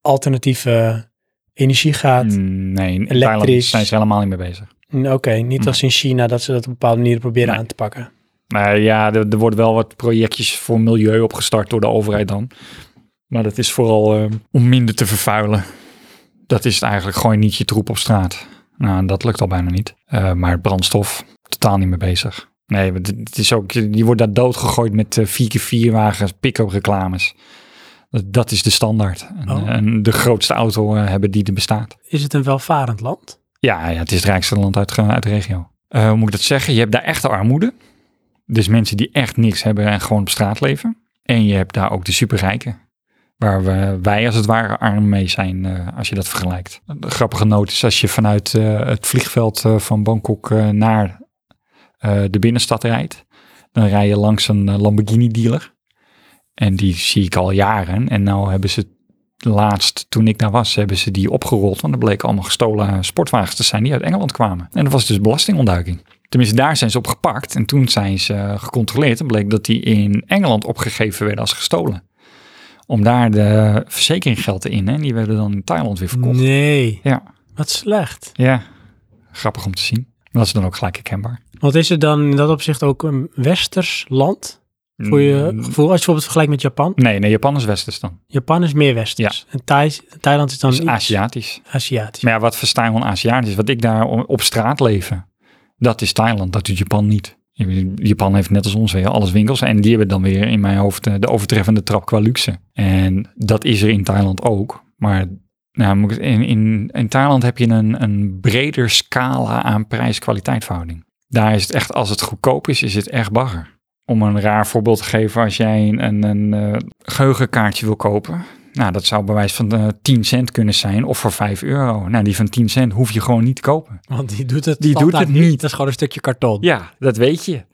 S1: alternatieve energie gaat.
S2: Mm, Nee, in
S1: Elektrisch.
S2: Thailand zijn ze helemaal niet mee bezig.
S1: Mm, Oké, niet als in China dat ze dat op een bepaalde manier proberen
S2: Nee.
S1: aan te pakken.
S2: Maar ja, er, er worden wel wat projectjes voor milieu opgestart door de overheid dan. Maar dat is vooral eh, om minder te vervuilen. Dat is het eigenlijk, gooi niet je troep op straat. Nou, en dat lukt al bijna niet. Eh, maar brandstof, totaal niet mee bezig. Nee, want het het is ook, je je wordt daar doodgegooid met eh, 4x4 wagens, pick-up reclames. Dat- Dat is de standaard. En,
S1: Oh.
S2: eh, en de grootste auto eh, hebben die er bestaat.
S1: Is het een welvarend land?
S2: Ja, ja het is het rijkste land uit, uit de regio. Eh, hoe moet ik dat zeggen? Je hebt daar echte armoede. Dus mensen die echt niks hebben en gewoon op straat leven. En je hebt daar ook de superrijken. Waar we, wij als het ware arm mee zijn eh, als je dat vergelijkt. Een grappige noot is als je vanuit eh, het vliegveld eh, van Bangkok eh, naar eh, de binnenstad rijdt. Dan rij je langs een eh, Lamborghini dealer. En die zie ik al jaren. En nou hebben ze laatst, toen ik daar was, hebben ze die opgerold. Want er bleken allemaal gestolen sportwagens te zijn die uit Engeland kwamen. En dat was dus belastingontduiking. Tenminste, daar zijn ze op gepakt. En toen zijn ze eh, gecontroleerd en bleek dat die in Engeland opgegeven werden als gestolen. Om daar de verzekeringsgeld in. En die werden dan in Thailand weer verkocht.
S1: Nee.
S2: Ja.
S1: Wat slecht.
S2: Ja, grappig om te zien. Dat is dan ook gelijk herkenbaar.
S1: Want is het dan in dat opzicht ook een westers land? Voor je
S2: Mm.
S1: gevoel, als je bijvoorbeeld vergelijkt met Japan.
S2: Nee, nee, Japan is westers dan.
S1: Japan is meer westers. En Thais- Thailand is dan
S2: Dat is
S1: iets
S2: Aziatisch.
S1: Aziatisch.
S2: Maar ja, wat verstaan we onder Aziatisch? Wat ik daar o- op straat leven, dat is Thailand, dat doet Japan niet. Japan heeft net als ons weer alles winkels en die hebben dan weer in mijn hoofd eh, de overtreffende trap qua luxe. En dat is er in Thailand ook, maar Nou, moet ik- in, in, in Thailand heb je een, een breder scala aan prijs-kwaliteitverhouding. Daar is het echt, als het goedkoop is, is het echt bagger. Om een raar voorbeeld te geven, als jij een, een, een eh, geheugenkaartje wil kopen. Nou, dat zou bij wijze van eh, 10 cent kunnen zijn of voor 5 euro. Nou, die van 10 cent hoef je gewoon niet te kopen.
S1: Want die doet het,
S2: Die doet
S1: standaard
S2: het niet.
S1: Dat is gewoon een stukje karton.
S2: Ja, dat weet je.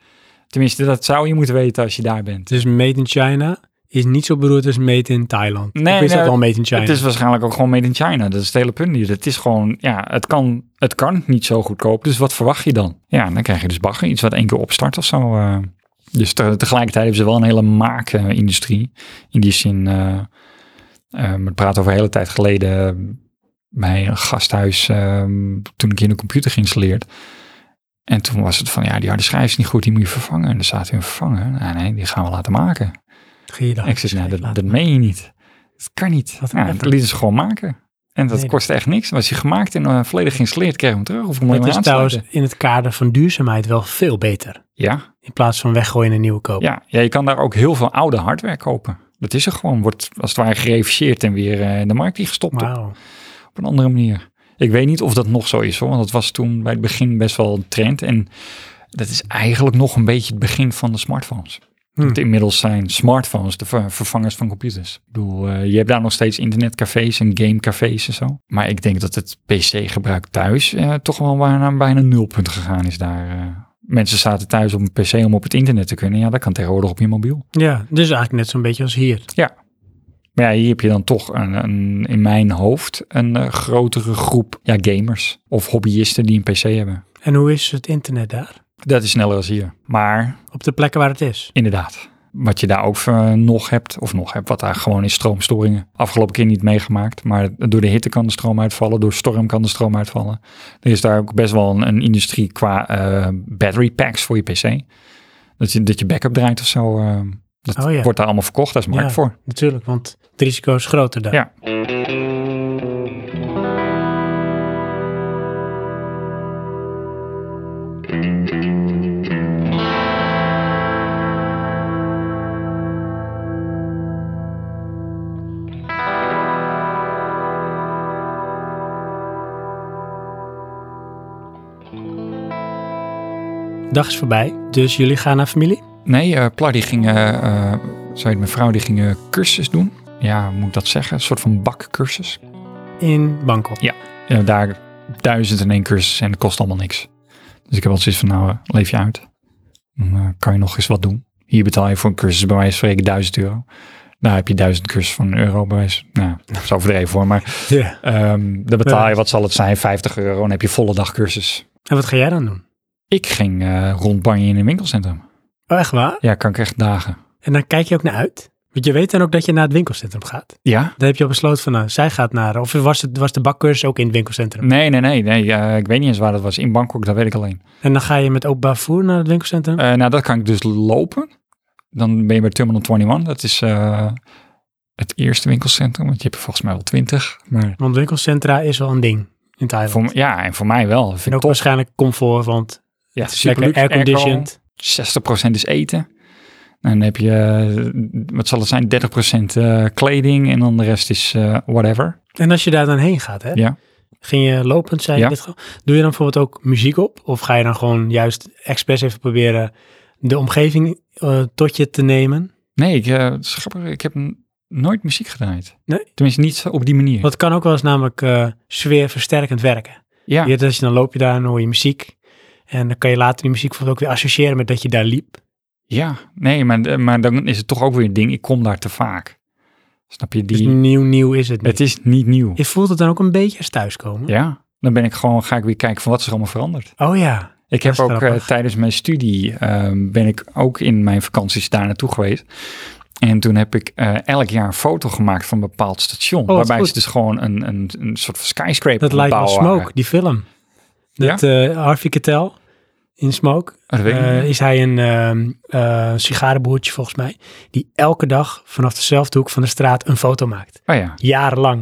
S2: Tenminste, dat zou je moeten weten als je daar bent.
S1: Dus made in China is niet zo beroerd als made in Thailand.
S2: Nee,
S1: of is
S2: nee,
S1: dat wel made in China?
S2: Het is waarschijnlijk ook gewoon made in China. Dat is het hele punt hier. Het is gewoon, ja, het kan, het kan niet zo goedkoop. Dus wat verwacht je dan? Ja, dan krijg je dus bagger. Iets wat één keer opstart of zo. eh. Dus te- tegelijkertijd hebben ze wel een hele maakindustrie. In die zin, eh eh, we praten over een hele tijd geleden eh, bij een gasthuis. eh, toen ik hier een computer geïnstalleerd. En toen was het van, ja, die harde schijf is niet goed, die moet je vervangen. En er staat weer een vervangen. Nou, nee, die gaan we laten maken.
S1: Geen idee.
S2: Ik zeg, nou, dat,
S1: Laat
S2: dat meen je niet. Dat kan niet.
S1: Wat een
S2: Nou, dat
S1: effort.
S2: lieten ze gewoon maken. En dat
S1: Nee.
S2: kostte echt niks. Was hij gemaakt en eh, volledig geïnstalleerd, kreeg je hem terug. Of hem alleen
S1: Dat
S2: maar
S1: is
S2: aan te
S1: trouwens
S2: sluiten.
S1: in het kader van duurzaamheid wel veel beter.
S2: Ja,
S1: In plaats van weggooien en nieuwe kopen.
S2: ja. ja, je kan daar ook heel veel oude hardware kopen. Dat is er gewoon. Wordt als het ware gereviseerd en weer eh, in de markt ingestopt op,
S1: Wauw.
S2: op een andere manier. Ik weet niet of dat nog zo is hoor. Want dat was toen bij het begin best wel een trend. En dat is eigenlijk nog een beetje het begin van de smartphones.
S1: Hmm.
S2: Want inmiddels zijn smartphones de ver- vervangers van computers. Ik bedoel, eh, je hebt daar nog steeds internetcafés en gamecafés en zo. Maar ik denk dat het PC-gebruik thuis eh, toch wel bijna, bijna nulpunt gegaan is daar. eh. Mensen zaten thuis op een PC om op het internet te kunnen. Ja, dat kan tegenwoordig op je mobiel.
S1: Ja, dus eigenlijk net zo'n beetje als hier.
S2: Maar ja, hier heb je dan toch een, een, in mijn hoofd een eh, grotere groep ja, gamers of hobbyisten die een PC hebben.
S1: En hoe is het internet daar?
S2: Dat is sneller als hier. Maar
S1: Op de plekken waar het is.
S2: Inderdaad. Wat je daar ook eh, nog hebt, of nog hebt, wat daar gewoon is stroomstoringen. Afgelopen keer niet meegemaakt, maar door de hitte kan de stroom uitvallen, door storm kan de stroom uitvallen. Er is daar ook best wel een, een industrie qua eh, battery packs voor je PC. Dat je, dat je backup draait of zo. eh, dat
S1: Oh ja.
S2: wordt daar allemaal verkocht, daar is markt
S1: Ja.
S2: voor.
S1: Natuurlijk, want het risico is groter daar.
S2: Ja.
S1: Dag is voorbij, dus jullie gaan naar familie?
S2: Nee, eh Plar die ging, eh eh, zo heet mijn vrouw, die ging eh, cursus doen. Ja, hoe moet ik dat zeggen? Een soort van bakcursus.
S1: In Bangkok.
S2: ja, daar duizend en één cursus en het kost allemaal niks. Dus ik heb al zoiets van, nou, eh, leef je uit. Dan eh, kan je nog eens wat doen. Hier betaal je voor een cursus bij wijze van spreken 1000 euro. Daar heb je duizend cursus van een euro bij wijze. Nou, dat is overdreven hoor, maar
S1: Ja.
S2: ehm dan betaal
S1: Ja.
S2: je, wat zal het zijn, 50 euro. Dan heb je volle dag cursus.
S1: En wat ga jij dan doen?
S2: Ik ging eh rondbanjen in een winkelcentrum.
S1: Oh, echt waar?
S2: Ja, kan ik echt dagen.
S1: En dan kijk je ook naar uit? Want je weet dan ook dat je naar het winkelcentrum gaat.
S2: Ja?
S1: Daar heb je al besloten van, nou, zij gaat naar... Of was, het, was de bakcursus ook in het winkelcentrum?
S2: Nee, nee, nee. nee eh, ik weet niet eens waar dat was. In Bangkok, dat weet ik alleen.
S1: En dan ga je met openbaar vervoer naar het winkelcentrum?
S2: Eh, nou, dat kan ik dus lopen. Dan ben je bij Terminal 21. Dat is eh, het eerste winkelcentrum. Want je hebt er volgens mij wel twintig. Maar
S1: Want winkelcentra is wel een ding in Thailand.
S2: voor, m- ja, en voor mij wel. Dat Vind
S1: en
S2: ik
S1: ook
S2: tof.
S1: waarschijnlijk comfort, want het
S2: Ja,
S1: is lekker
S2: superluxe,
S1: airconditioned.
S2: airco, 60% is eten. En dan heb je, eh, wat zal het zijn, 30% eh, kleding. En dan de rest is eh, whatever.
S1: En als je daar dan heen gaat, hè?
S2: Ja.
S1: Ging je lopend, zei je
S2: Ja.
S1: dit gewoon? Doe je dan bijvoorbeeld ook muziek op? Of ga je dan gewoon juist expres even proberen de omgeving eh, tot je te nemen?
S2: Nee, ik, eh, het is grappig, ik heb n- nooit muziek gedraaid.
S1: Nee?
S2: Tenminste, niet op die manier.
S1: Want het kan ook wel eens namelijk eh, sfeerversterkend werken.
S2: Ja,
S1: Ja. Dus dan loop je daar en hoor je muziek. En dan kan je later die muziek bijvoorbeeld ook weer associëren met dat je daar liep.
S2: ja. nee, maar, eh, maar dan is het toch ook weer een ding. Ik kom daar te vaak. Snap je? Die...
S1: Dus nieuw, nieuw is het niet.
S2: Het is niet nieuw.
S1: Je voelt het dan ook een beetje als thuiskomen?
S2: Ja, dan ben ik gewoon, ga ik weer kijken van wat is er allemaal veranderd.
S1: Oh ja.
S2: Ik heb
S1: Dat is
S2: ook eh,
S1: grappig.
S2: tijdens mijn studie, ehm, ben ik ook in mijn vakanties daar naartoe geweest. En toen heb ik eh, elk jaar een foto gemaakt van een bepaald station.
S1: Oh, wat
S2: waarbij
S1: goed.
S2: ze dus gewoon een, een, een soort van skyscraper
S1: Dat lijkt wel
S2: bouwen
S1: Smoke,
S2: waren.
S1: die film.
S2: Ja?
S1: Met eh Harvey Keitel in Smoke.
S2: Oh, dat weet ik
S1: Eh,
S2: niet.
S1: is hij een ehm eh, sigarenboertje volgens mij, die elke dag vanaf dezelfde hoek van de straat een foto maakt.
S2: Oh ja,
S1: Jarenlang.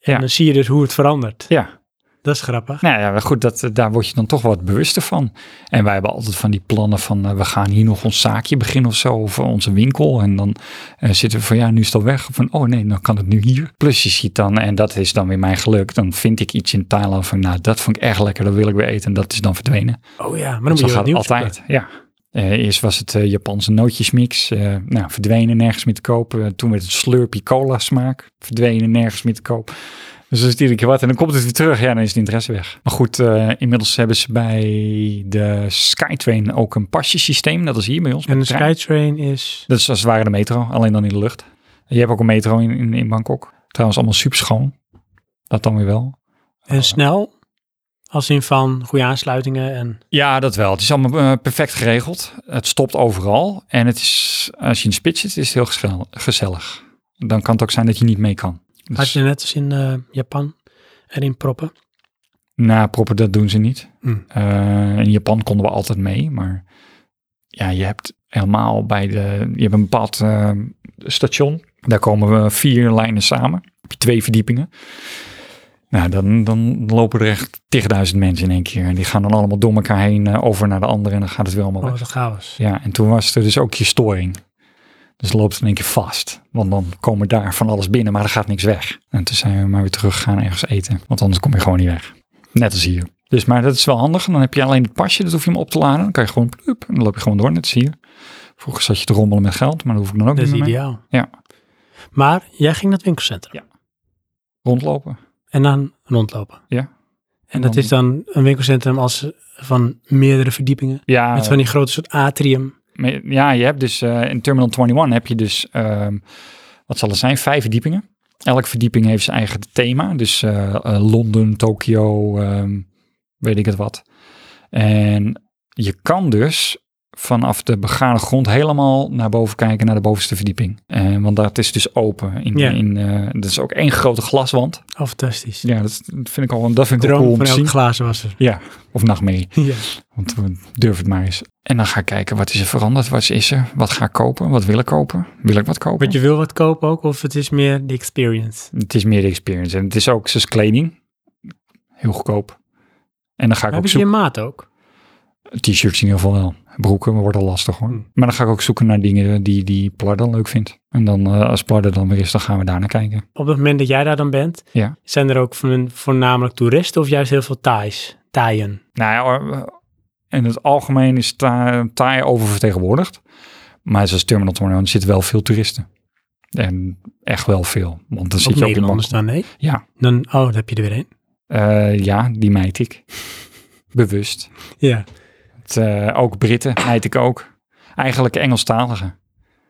S1: En
S2: Ja.
S1: dan zie je dus hoe het verandert.
S2: ja.
S1: Dat is grappig.
S2: Nou ja, maar goed, dat, eh, daar word je dan toch wat bewuster van. En wij hebben altijd van die plannen van eh, we gaan hier nog ons zaakje beginnen of zo, of eh, onze winkel. En dan eh, zitten we van ja, nu is het al weg. Van oh nee, dan kan het nu hier. Plus je ziet dan, en dat is dan weer mijn geluk, dan vind ik iets in Thailand van nou, dat vond ik echt lekker, dat wil ik weer eten. En dat is dan verdwenen.
S1: Oh ja, maar dan moet
S2: Zo
S1: je
S2: gaat het
S1: wat nieuws
S2: altijd,
S1: zoeken.
S2: ja. Eh, eerst was het eh, Japanse nootjesmix, eh, nou, verdwenen nergens meer te koop. Eh, toen werd het slurpie cola smaak, verdwenen nergens meer te koop. Dus dat is iedere keer wat. En dan komt het weer terug, ja, dan is de interesse weg. Maar goed, eh, inmiddels hebben ze bij de Skytrain ook een pasjesysteem. Dat is hier bij ons.
S1: En
S2: met
S1: de
S2: de trein.
S1: Skytrain is...
S2: Dat is als het ware de metro, alleen dan in de lucht. Je hebt ook een metro in, in, in Bangkok. Trouwens allemaal super schoon. Dat dan weer wel. Oh.
S1: En snel, als in van goede aansluitingen en...
S2: Ja, dat wel. Het is allemaal eh, perfect geregeld. Het stopt overal. En het is, als je in de spits zit, is het heel geschel- gezellig. Dan kan het ook zijn dat je niet mee kan. Dus, Oh,
S1: Had je net als in eh, Japan erin proppen.
S2: na proppen, dat doen ze niet.
S1: Hmm.
S2: Eh, in Japan konden we altijd mee, maar ja, je hebt helemaal bij de, je hebt een bepaald eh, station. Daar komen we vier lijnen samen. Heb je twee verdiepingen. Nou, dan, dan lopen er echt tigduizend mensen in één keer. En die gaan dan allemaal door elkaar heen, eh, over naar de andere. En dan gaat het weer allemaal
S1: Oh,
S2: weg.
S1: wat een chaos.
S2: Ja, en toen was er dus ook je storing. Dus loopt het in één keer vast. Want dan komen daar van alles binnen, maar er gaat niks weg. En toen zijn we maar weer terug gaan ergens eten. Want anders kom je gewoon niet weg. Net als hier. Dus, maar dat is wel handig. En dan heb je alleen het pasje, dat hoef je hem op te laden. Dan kan je gewoon plup, en dan loop je gewoon door. Net als hier. Vroeger zat je te rommelen met geld, maar dat hoef ik dan ook
S1: Dat is
S2: niet meer mee.
S1: ideaal.
S2: Ja.
S1: Maar jij ging naar het winkelcentrum
S2: Rondlopen.
S1: en dan rondlopen.
S2: Ja.
S1: En,
S2: En
S1: dat
S2: dan-
S1: is dan een winkelcentrum als van meerdere verdiepingen.
S2: Ja,
S1: met van die grote soort atrium.
S2: Maar Ja, je hebt dus eh, in Terminal 21 heb je dus, ehm, wat zal het zijn, vijf verdiepingen. Elke verdieping heeft zijn eigen thema. Dus eh, eh, Londen, Tokio, ehm, weet ik het wat. En je kan dus vanaf de begane grond helemaal naar boven kijken, naar de bovenste verdieping. Eh, want dat is dus open. In,
S1: Ja.
S2: in, eh, dat is ook één grote glaswand.
S1: Oh, fantastisch.
S2: Ja, dat, is- dat vind ik al dat vind ik wel cool
S1: Droom
S2: om
S1: van
S2: te zien.
S1: elk glazen was er.
S2: Ja, of nachtmerrie.
S1: ja.
S2: Want eh, durf het maar eens. En dan ga ik kijken, wat is er veranderd? Wat is er? Wat ga ik kopen? Wat wil ik kopen? Wil ik wat kopen?
S1: Want je wil wat kopen ook, of het is meer de experience.
S2: Het is meer de experience. En het is ook dus kleding. Heel goedkoop. En dan ga ik
S1: Heb
S2: ook
S1: je je
S2: zoeken.
S1: maat ook?
S2: T-shirts in ieder geval wel. Broeken wordt al lastig hoor.
S1: Hmm.
S2: Maar dan ga ik ook zoeken naar dingen die, die Plar dan leuk vindt. En dan eh, als Plar er dan weer is, dan gaan we daar naar kijken.
S1: Op het moment dat jij daar dan bent,
S2: Ja.
S1: zijn er ook van- voornamelijk toeristen of juist heel veel Thais? Thaien.
S2: Nou ja, eh, in het algemeen is Tha- Thai oververtegenwoordigd. Maar zoals Terminal 21 zitten wel veel toeristen. En echt wel veel. Want dan zit
S1: Ook
S2: je ook in
S1: Nederlanders dan, nee?
S2: Ja.
S1: Dan, oh, daar heb je er weer een.
S2: Eh, ja, die mijt ik. Bewust.
S1: Ja.
S2: Het, eh, ook Britten mijt ik ook. Eigenlijk Engelstaligen.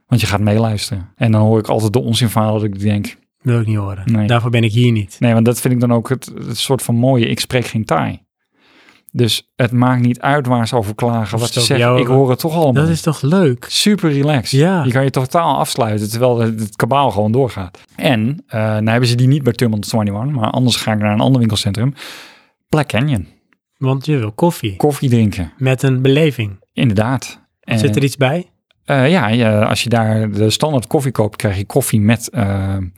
S2: Want je gaat meeluisteren. En dan hoor ik altijd de onzinverhalen dat ik denk...
S1: Wil ik niet horen.
S2: Nee.
S1: Daarvoor ben ik hier niet.
S2: Nee, want dat vind ik dan ook het, het soort van mooie... Ik spreek geen Thai. Dus het maakt niet uit waar ze over klagen, wat
S1: Of het
S2: ze
S1: ook
S2: zeggen.
S1: jou-
S2: Ik hoor het toch allemaal.
S1: Dat is toch leuk?
S2: super relaxed.
S1: Ja.
S2: Je kan je totaal afsluiten, terwijl het, het kabaal gewoon doorgaat. En, eh nou hebben ze die niet bij Terminal 21, maar anders ga ik naar een ander winkelcentrum. Black Canyon.
S1: Want je wil koffie.
S2: Koffie drinken.
S1: Met een beleving.
S2: Inderdaad. En,
S1: Zit er iets bij?
S2: eh, ja, ja, als je daar de standaard koffie koopt, krijg je koffie met, ehm,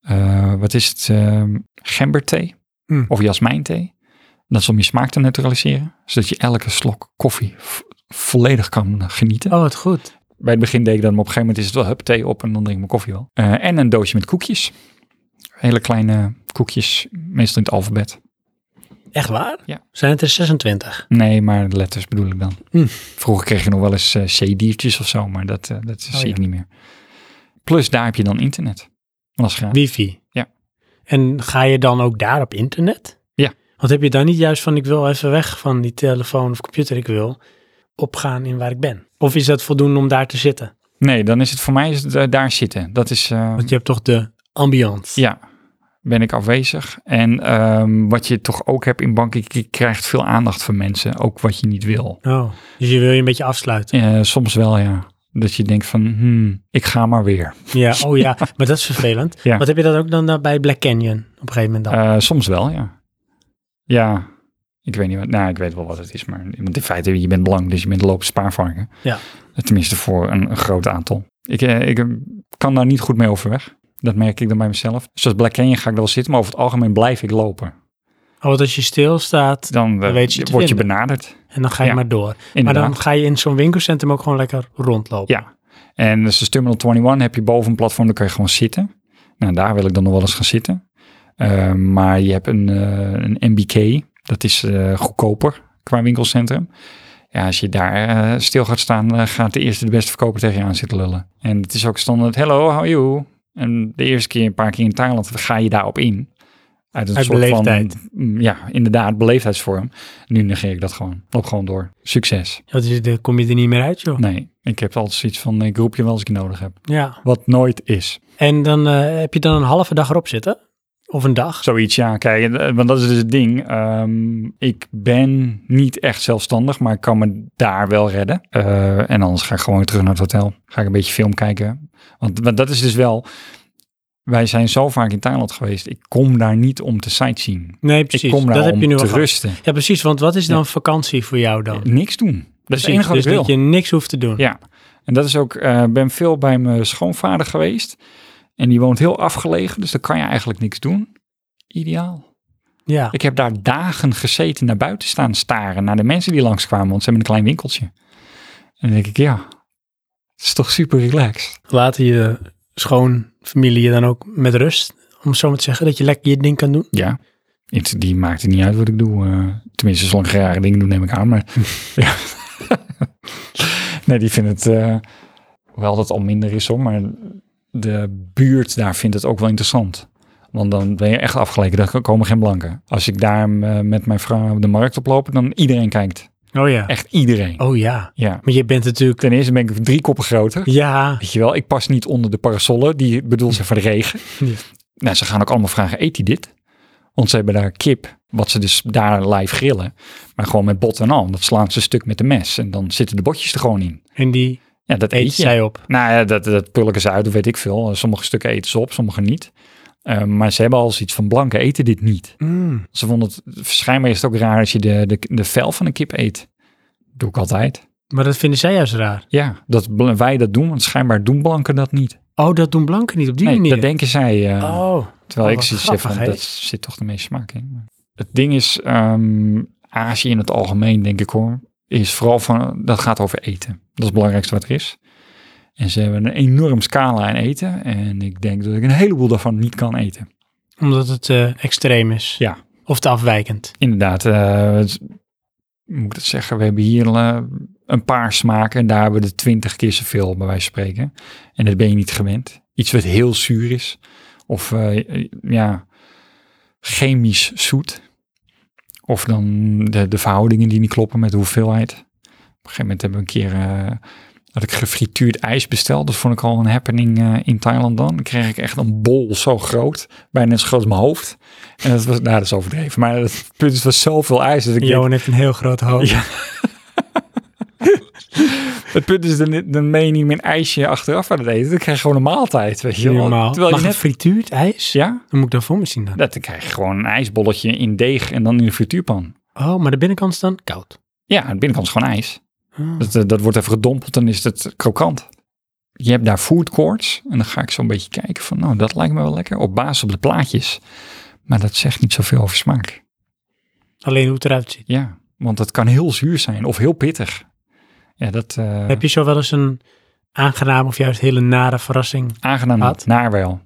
S2: eh, wat is het, ehm, gemberthee
S1: Mm.
S2: of jasmijnthee. Dat is om je smaak te neutraliseren, zodat je elke slok koffie vo- volledig kan genieten.
S1: Oh, wat goed.
S2: Bij het begin deed ik dat, maar op een gegeven moment is het wel hup, thee op en dan drink ik mijn koffie wel. Eh, en een doosje met koekjes. Hele kleine koekjes, meestal in het alfabet.
S1: Echt waar?
S2: Ja.
S1: Zijn het er 26?
S2: Nee, maar letters bedoel ik dan.
S1: Mm.
S2: Vroeger kreeg je nog wel eens eh, C-diertjes of zo, maar dat, eh, dat zie
S1: ja.
S2: ik niet meer. Plus, daar heb je dan internet. Dat is gratis.
S1: Wifi.
S2: Ja.
S1: En ga je dan ook daar op internet?
S2: Ja.
S1: Want heb je dan niet juist van ik wil even weg van die telefoon of computer, ik wil opgaan in waar ik ben? Of is dat voldoende om daar te zitten?
S2: Nee, dan is het voor mij is het, eh, daar zitten. Dat is, eh,
S1: Want je hebt toch de ambiance.
S2: ja, ben ik afwezig. En ehm, wat je toch ook hebt in banken, je krijgt veel aandacht van mensen. Ook wat je niet wil.
S1: Oh, dus je wil je een beetje afsluiten.
S2: Eh, soms wel, ja. Dat je denkt van, hmm, ik ga maar weer.
S1: Ja, oh ja, maar dat is vervelend.
S2: Ja.
S1: Wat heb je dat ook dan eh, bij Black Canyon op een gegeven moment dan?
S2: Eh, soms wel, ja. Ja, ik weet niet wat. Nou, ik weet wel wat het is, maar want in feite, je bent belang, dus je bent lopend spaarvarken.
S1: Ja.
S2: Tenminste, voor een, een groot aantal. Ik, eh, ik eh, kan daar niet goed mee overweg. Dat merk ik dan bij mezelf. Zoals Black Canyon ga ik er wel zitten, maar over het algemeen blijf ik lopen.
S1: Maar want Oh, als je stilstaat
S2: Dan, eh,
S1: Dan weet je te
S2: word je
S1: vinden.
S2: benaderd.
S1: en dan ga je
S2: Ja,
S1: maar door. Maar
S2: Inderdaad.
S1: dan ga je in zo'n winkelcentrum ook gewoon lekker rondlopen.
S2: Ja. En dus de Terminal 21 heb je boven een platform, daar kan je gewoon zitten. Nou, daar wil ik dan nog wel eens gaan zitten. Eh, maar je hebt een, eh, een MBK, dat is eh, goedkoper qua winkelcentrum. Ja, als je daar eh, stil gaat staan, eh, gaat de eerste de beste verkoper tegen je aan zitten lullen. En het is ook standaard, hello, how are you? En de eerste keer, een paar keer in Thailand, ga je daarop in. Uit een
S1: Uit
S2: soort
S1: beleefdheid.
S2: van, mm, ja, inderdaad, beleefdheidsvorm. Nu negeer ik dat gewoon. Loop gewoon door. Succes.
S1: Ja, dus dan kom je er niet meer uit, joh.
S2: Nee, ik heb altijd zoiets van, ik roep je wel als ik je nodig heb.
S1: Ja.
S2: Wat nooit is.
S1: En dan eh, heb je dan een halve dag erop zitten. Of een dag.
S2: Zoiets, ja. Kijk, en, eh, want dat is dus het ding. Ehm, ik ben niet echt zelfstandig, maar ik kan me daar wel redden. Eh, en anders ga ik gewoon weer terug naar het hotel. Ga ik een beetje film kijken. Want, want dat is dus wel... Wij zijn zo vaak in Thailand geweest. Ik kom daar niet om te sightseeing.
S1: Nee,
S2: Ik
S1: precies.
S2: kom daar
S1: dat heb
S2: om
S1: je nu al
S2: te
S1: gehad.
S2: rusten.
S1: Ja, precies. Want wat is dan vakantie voor jou dan?
S2: Niks doen. Dat is het
S1: Precies,
S2: enige wat
S1: dus
S2: ik wil.
S1: dat je niks hoeft te doen.
S2: Ja. En dat is ook, eh ben veel bij mijn schoonvader geweest. En die woont heel afgelegen, dus daar kan je eigenlijk niks doen. Ideaal.
S1: Ja.
S2: Ik heb daar dagen gezeten naar buiten staan staren. Naar de mensen die langskwamen, want ze hebben een klein winkeltje. En dan denk ik, ja, het is toch super relaxed.
S1: Laten je schoonfamilie je dan ook met rust. Om het zo maar te zeggen, dat je lekker je ding kan doen.
S2: Ja, het, die maakt het niet uit wat ik doe. eh, tenminste, zolang ik rare dingen doe, neem ik aan. Maar ja. nee, die vindt het, eh hoewel dat al minder is hoor, maar de buurt daar vindt het ook wel interessant. Want dan ben je echt afgeleken, daar komen geen blanken. Als ik daar eh, met mijn vrouw de markt oploop, dan iedereen kijkt.
S1: Oh ja.
S2: Echt iedereen.
S1: Oh ja.
S2: Ja.
S1: Maar je bent natuurlijk...
S2: Ten eerste ben ik drie koppen groter.
S1: Ja.
S2: Weet je wel, ik pas niet onder de parasollen, die bedoeld zijn voor de regen.
S1: Ja.
S2: Nou, ze gaan ook allemaal vragen, eet hij dit? Want ze hebben daar kip, wat ze dus daar live grillen. Maar gewoon met bot en al, dat slaan ze stuk met de mes. En dan zitten de botjes er gewoon in.
S1: En die
S2: Ja, dat
S1: eet
S2: eet je.
S1: zij op.
S2: Nou ja, dat, dat pulken ze uit, dat weet ik veel. Sommige stukken eten ze op, sommige niet. Eh, maar ze hebben al zoiets van, blanken eten dit niet.
S1: Mm.
S2: Ze vonden het, schijnbaar is het ook raar als je de, de, de vel van een kip eet. Doe ik altijd.
S1: Maar dat vinden zij juist raar.
S2: Ja, dat bl- wij dat doen, want schijnbaar doen blanken dat niet.
S1: Oh, dat doen blanken niet op die
S2: nee,
S1: manier.
S2: dat denken zij. eh,
S1: Oh.
S2: terwijl
S1: oh,
S2: ik
S1: wat
S2: zoiets heb
S1: grappig,
S2: van,
S1: hè?
S2: dat zit toch de meeste smaak in. Het ding is, ehm, Azië in het algemeen, denk ik hoor, is vooral van, dat gaat over eten. Dat is het belangrijkste wat er is. En ze hebben een enorm scala aan eten. En ik denk dat ik een heleboel daarvan niet kan eten.
S1: Omdat het eh, extreem is.
S2: Ja.
S1: Of te afwijkend.
S2: Inderdaad, eh, het- hoe moet ik dat zeggen? We hebben hier eh, een paar smaken en daar hebben we er twintig keer zoveel, bij wijze van spreken. En dat ben je niet gewend. Iets wat heel zuur is of eh, eh, ja, chemisch zoet. Of dan de, de verhoudingen die niet kloppen met de hoeveelheid. Op een gegeven moment hebben we een keer eh, dat ik gefrituurd ijs besteld. Dat vond ik al een happening eh, in Thailand dan. Dan kreeg ik echt een bol zo groot, bijna zo groot als mijn hoofd. En dat was, nou, dat is overdreven. Maar het punt is, het was zoveel ijs. Dat ik denk,
S1: Johan heeft een heel groot hoofd.
S2: Ja. het punt is, dan, dan meen je niet meer een ijsje achteraf aan het eten. Dan krijg je gewoon een maaltijd, weet je wel.
S1: Normaal.
S2: Terwijl
S1: maar
S2: je net...
S1: gefrituurd ijs?
S2: Ja,
S1: Dan moet ik dan voor me zien dan.
S2: dat dan krijg je gewoon een ijsbolletje in deeg en dan in de frituurpan.
S1: Oh, maar de binnenkant is dan koud.
S2: Ja, aan de binnenkant is gewoon ijs.
S1: Oh.
S2: Dat, eh, dat wordt even gedompeld, dan is het krokant. Je hebt daar food courts en dan ga ik zo'n beetje kijken van, nou, dat lijkt me wel lekker. Op basis op de plaatjes. Maar dat zegt niet zoveel over smaak.
S1: Alleen hoe het eruit ziet.
S2: Ja, want dat kan heel zuur zijn of heel pittig. Ja, dat eh
S1: Heb je zo wel eens een aangename of juist hele nare verrassing?
S2: aangenaam
S1: Had?
S2: naar wel.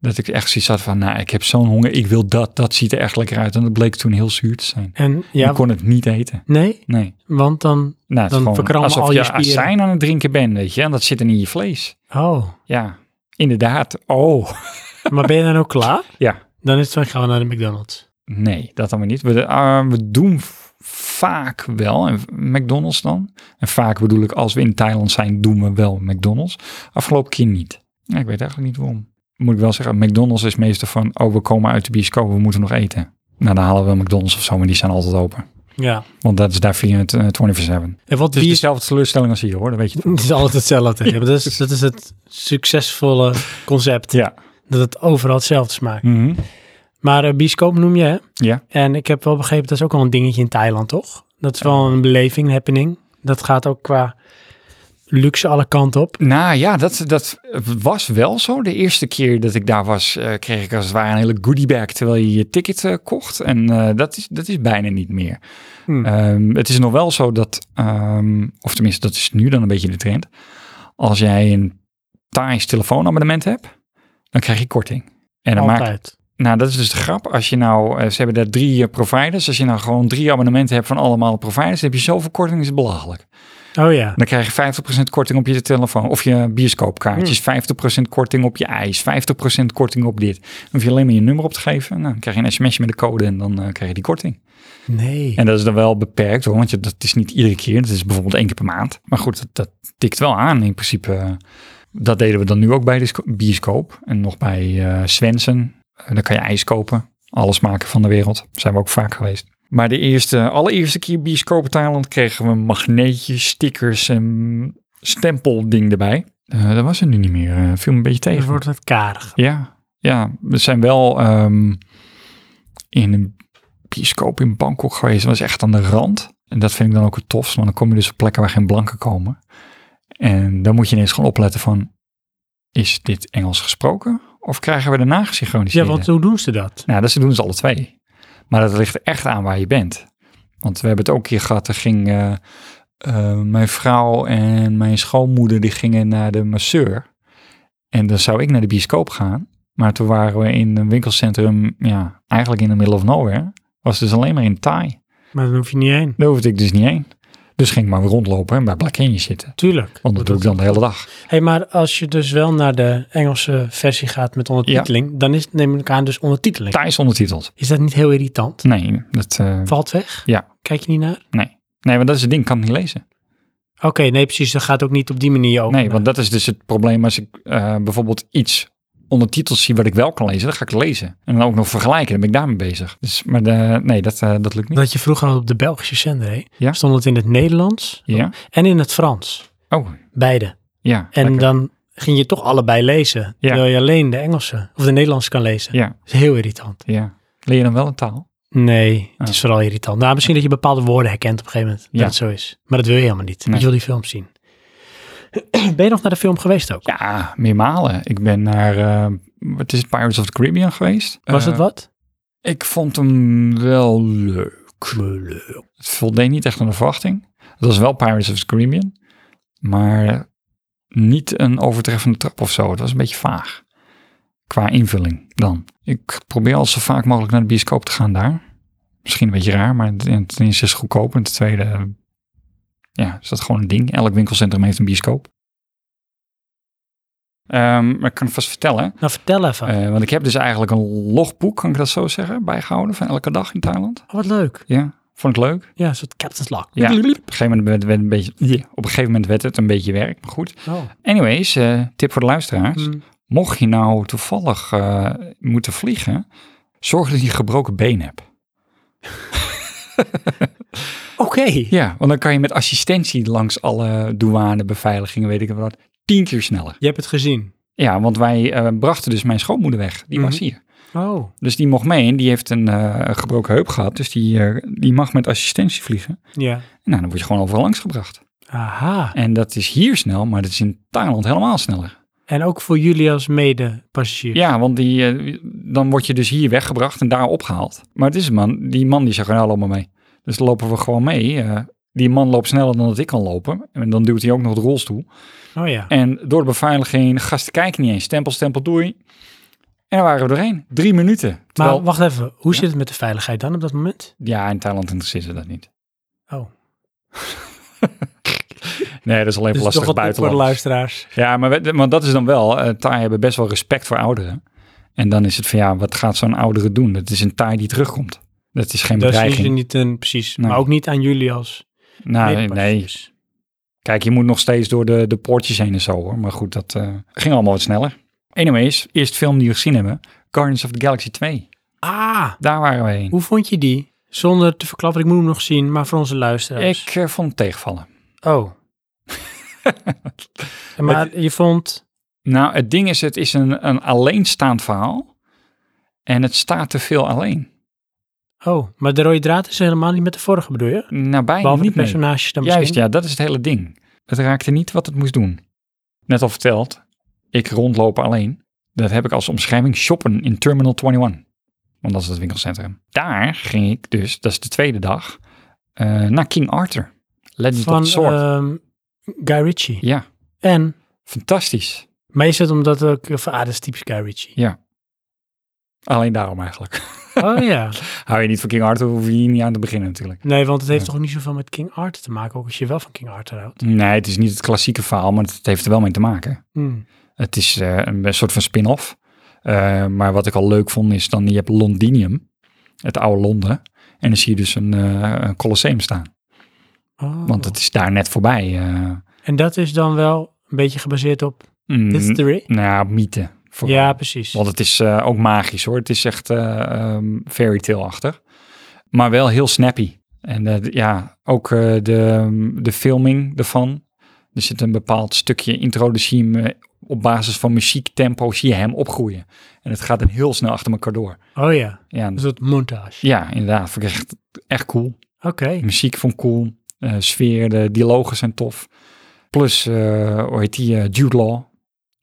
S2: Dat ik echt zoiets had van, nou, ik heb zo'n honger, ik wil dat, dat ziet er echt lekker uit. En dat bleek toen heel zuur te zijn.
S1: En
S2: Ja, ik
S1: ja,
S2: kon het niet eten.
S1: nee,
S2: Nee,
S1: want dan,
S2: nou, het
S1: Dan
S2: is gewoon
S1: verkrammen
S2: alsof
S1: al
S2: je
S1: je spieren.
S2: azijn aan het drinken bent, weet je. En dat zit er niet in je vlees.
S1: oh,
S2: Ja, inderdaad. Oh,
S1: maar ben je dan ook klaar?
S2: ja.
S1: Dan is het van, gaan we naar de McDonald's.
S2: Nee, dat dan weer niet. We, eh, we doen v- vaak wel, en McDonald's dan. En vaak bedoel ik, als we in Thailand zijn, doen we wel McDonald's. Afgelopen keer niet. Ja, ik weet eigenlijk niet waarom. Moet ik wel zeggen, McDonald's is meestal van, oh, we komen uit de bioscoop, we moeten nog eten. Nou, dan halen we een McDonald's of zo, maar die zijn altijd open.
S1: Ja.
S2: Want dat is daar via het eh, 24-7.
S1: En wat
S2: Het is
S1: bier...
S2: dezelfde teleurstelling als hier, hoor, dat weet je.
S1: Het is altijd hetzelfde. Ja, maar dat, is, dat is het succesvolle concept.
S2: Ja.
S1: Dat het overal hetzelfde smaakt.
S2: Mhm.
S1: Maar eh, bioscoop noem je, hè?
S2: Ja.
S1: En ik heb wel begrepen, dat is ook wel een dingetje in Thailand, toch? Dat is wel een beleving, een happening. Dat gaat ook qua luxe alle kanten op.
S2: Nou ja, dat, dat was wel zo. De eerste keer dat ik daar was, eh, kreeg ik als het ware een hele goodie bag terwijl je je ticket eh, kocht. En eh, dat, is, dat is bijna niet meer.
S1: Hmm.
S2: Ehm, het is nog wel zo dat, ehm, of tenminste, dat is nu dan een beetje de trend. Als jij een Thais telefoonabonnement hebt, dan krijg je korting. En dan maakt
S1: Altijd.
S2: nou, dat is dus de grap. Als je nou, eh, ze hebben daar drie eh, providers. Als je nou gewoon drie abonnementen hebt van allemaal providers, dan heb je zoveel korting, is het belachelijk.
S1: Oh ja.
S2: Dan krijg je 50% korting op je telefoon of je bioscoopkaartjes, 50% korting op je ijs, 50% korting op dit. Dan hoef je alleen maar je nummer op te geven. Nou, dan krijg je een smsje met de code en dan eh, krijg je die korting.
S1: Nee.
S2: En dat is dan wel beperkt hoor, want je, dat is niet iedere keer. Dat is bijvoorbeeld één keer per maand. Maar goed, dat, dat tikt wel aan in principe. eh, Dat deden we dan nu ook bij de sco- bioscoop en nog bij eh Swensen. Eh, dan kan je ijs kopen, alles maken van de wereld. Zijn we ook vaak geweest. Maar de eerste, allereerste keer bioscoop in Thailand kregen we magneetjes, stickers en stempelding erbij. Eh, dat was er nu niet meer. Eh, viel me een beetje tegen.
S1: Dus wordt het karig.
S2: Ja, ja, we zijn wel ehm, in een bioscoop in Bangkok geweest. Dat was echt aan de rand. En dat vind ik dan ook het tofst, want dan kom je dus op plekken waar geen blanken komen. En dan moet je ineens gewoon opletten van, is dit Engels gesproken? Of krijgen we daarna
S1: Ja,
S2: gesynchroniseerd?
S1: want hoe doen ze dat?
S2: Nou, dat ze doen ze alle twee. Maar dat ligt er echt aan waar je bent. Want we hebben het ook een keer gehad. Er ging eh, eh, mijn vrouw en mijn schoonmoeder die gingen naar de masseur. En dan zou ik naar de bioscoop gaan. Maar toen waren we in een winkelcentrum, ja, eigenlijk in de middle of nowhere. Was dus alleen maar in Thai.
S1: Maar dan hoef je niet heen.
S2: Daar hoefde ik dus niet heen. Dus ging ik maar weer rondlopen en bij Blakenje zitten.
S1: Tuurlijk.
S2: Want dat doe ik dan de hele dag.
S1: Hey, maar als je dus wel naar de Engelse versie gaat met ondertiteling, dan is het neem ik aan dus ondertiteling.
S2: Thais ondertiteld.
S1: Is dat niet heel irritant?
S2: Nee, dat, eh,
S1: Valt weg?
S2: Ja.
S1: Kijk je niet naar?
S2: nee, want dat is het ding. Ik kan het niet lezen.
S1: Oké, nee precies, dat gaat ook niet op die manier over.
S2: Nee, want dat is dus het probleem als ik eh, bijvoorbeeld iets ondertitels zie wat ik wel kan lezen, dan ga ik lezen. En dan ook nog vergelijken, dan ben ik daarmee bezig. Dus, maar de, nee, dat, eh, dat lukt niet.
S1: Dat je vroeger al op de Belgische zender, hè?
S2: Ja.
S1: stond het in het Nederlands
S2: Ja?
S1: en in het Frans.
S2: Oh,
S1: Beide.
S2: ja.
S1: En
S2: lekker.
S1: dan ging je toch allebei lezen. Terwijl je alleen de Engelse of de Nederlandse kan lezen.
S2: Ja.
S1: Dat is heel irritant.
S2: ja. Leer je dan wel een taal?
S1: Nee, het
S2: Ah.
S1: is vooral irritant. Nou, misschien dat je bepaalde woorden herkent op een gegeven moment.
S2: Ja.
S1: Dat het zo is. Maar dat wil je helemaal niet.
S2: Nee.
S1: Je wil die film zien. ben je nog naar de film geweest ook?
S2: Ja, meermalen. Ik ben naar, eh, wat is het, Pirates of the Caribbean geweest.
S1: Was het
S2: Eh,
S1: wat?
S2: Ik vond hem wel leuk. Het voldeed niet echt aan de verwachting. Het was wel Pirates of the Caribbean, maar niet een overtreffende trap of zo. Het was een beetje vaag qua invulling dan. Ik probeer al zo vaak mogelijk naar de bioscoop te gaan daar. Misschien een beetje raar, maar ten ten eerste is het goedkoop en ten tweede eh, ja, is dat gewoon een ding. Elk winkelcentrum heeft een bioscoop. Ehm, maar ik kan het vast vertellen.
S1: Nou, vertel even.
S2: Eh, want ik heb dus eigenlijk een logboek, kan ik dat zo zeggen, bijgehouden van elke dag in Thailand.
S1: Oh, wat leuk.
S2: Ja, vond ik leuk.
S1: Ja, een soort Captain's Log.
S2: Ja. Op een gegeven moment werd, werd een beetje, op een gegeven moment werd het een beetje werk, maar goed.
S1: Oh.
S2: Anyways, eh, tip voor de luisteraars.
S1: Mm.
S2: Mocht je nou toevallig eh, moeten vliegen, zorg dat je een gebroken been hebt.
S1: Oké.
S2: Ja, want dan kan je met assistentie langs alle douane, beveiligingen, weet ik wat, tien keer sneller.
S1: Je hebt het gezien.
S2: Ja, want wij eh, brachten dus mijn schoonmoeder weg. Die was
S1: Mhm.
S2: hier.
S1: Oh.
S2: Dus die mocht mee en die heeft een eh, gebroken heup gehad. Dus die, eh, die mag met assistentie vliegen.
S1: Ja.
S2: Nou, dan word je gewoon overal langs gebracht.
S1: Aha.
S2: En dat is hier snel, maar dat is in Thailand helemaal sneller.
S1: En ook voor jullie als medepassagier.
S2: Ja, want die, eh, dan word je dus hier weggebracht en daar opgehaald. Maar het is een man, die man die zegt, nou loop maar mee. Dus dan lopen we gewoon mee. eh, die man loopt sneller dan dat ik kan lopen. En dan duwt hij ook nog de rolstoel.
S1: Oh ja.
S2: En door de beveiliging, gasten kijken niet eens. Stempel, stempel, doei. En daar waren we doorheen. Drie minuten. Terwijl,
S1: Maar wacht even. Hoe
S2: Ja?
S1: zit het met de veiligheid dan op dat moment?
S2: ja, in Thailand interesseert ze dat niet.
S1: Oh.
S2: Nee, dat is alleen
S1: Dus
S2: lastig
S1: toch wat tip voor
S2: buitenland.
S1: de luisteraars.
S2: Ja, maar, we- maar dat is dan wel. eh Thai hebben best wel respect voor ouderen. En dan is het van ja, wat gaat zo'n oudere doen? Dat is een Thai die terugkomt. Dat is geen
S1: Daar zien
S2: bedreiging.
S1: ze Dus niet een, precies.
S2: Nee.
S1: Maar ook niet aan jullie als
S2: Nou, nee, nee.
S1: medepassagiers.
S2: Kijk, je moet nog steeds door de, de poortjes heen en zo hoor. Maar goed, dat eh, ging allemaal wat sneller. Anyways, eerst film die we gezien hebben. Guardians of the Galaxy 2.
S1: Ah,
S2: Daar waren we heen.
S1: hoe vond je die? Zonder te verklappen, ik moet hem nog zien, maar voor onze luisteraars.
S2: Ik eh, vond het tegenvallen.
S1: Oh. maar je vond...
S2: Nou, het ding is, het is een, een alleenstaand verhaal. En het staat te veel alleen.
S1: Oh, maar de rode draad is helemaal niet met de vorige, bedoel je?
S2: Nou, bijna
S1: Behalve de
S2: niet meer.
S1: personages dan
S2: Juist,
S1: misschien?
S2: ja, dat is het hele ding. het raakte niet wat het moest doen. Net al verteld, ik rondlopen alleen. Dat heb ik als omschrijving shoppen in Terminal 21. Want dat is het winkelcentrum. Daar ging ik dus, dat is de tweede dag, eh, naar King Arthur. Legend of
S1: Van
S2: the Sword.
S1: ehm, Guy Ritchie.
S2: ja,
S1: En,
S2: fantastisch.
S1: maar is het omdat ook, eh, van, ah, dat is typisch Guy Ritchie.
S2: Alleen daarom eigenlijk.
S1: Oh ja.
S2: Hou je niet van King Arthur, hoef je hier niet aan te beginnen natuurlijk.
S1: Nee, want het heeft
S2: Ja.
S1: toch niet zoveel met King Arthur te maken, ook als je wel van King Arthur houdt.
S2: Nee, het is niet het klassieke verhaal, maar het heeft er wel mee te maken.
S1: Hmm.
S2: Het is eh, een, een soort van spin-off. Eh, maar wat ik al leuk vond is dan, je hebt Londinium, het oude Londen. En dan zie je dus een, eh, een Colosseum staan.
S1: Oh.
S2: Want het is daar net voorbij. eh.
S1: En dat is dan wel een beetje gebaseerd op
S2: Mm,
S1: history.
S2: nou ja, mythe. vooral.
S1: Ja, precies.
S2: Want het is eh, ook magisch hoor. Het is echt eh ehm, fairy tale-achtig. Maar wel heel snappy. En eh, d- ja, ook eh, de, de filming ervan. Er zit een bepaald stukje intro, dus zie je hem eh, op basis van muziektempo zie je hem opgroeien. En het gaat dan heel snel achter elkaar door.
S1: Oh ja,
S2: Ja, en-
S1: een soort montage.
S2: ja inderdaad. Vond ik echt, echt cool.
S1: Oké.
S2: De muziek vond ik cool. eh, sfeer, de dialogen zijn tof. Plus, eh hoe heet die, eh, Jude Law.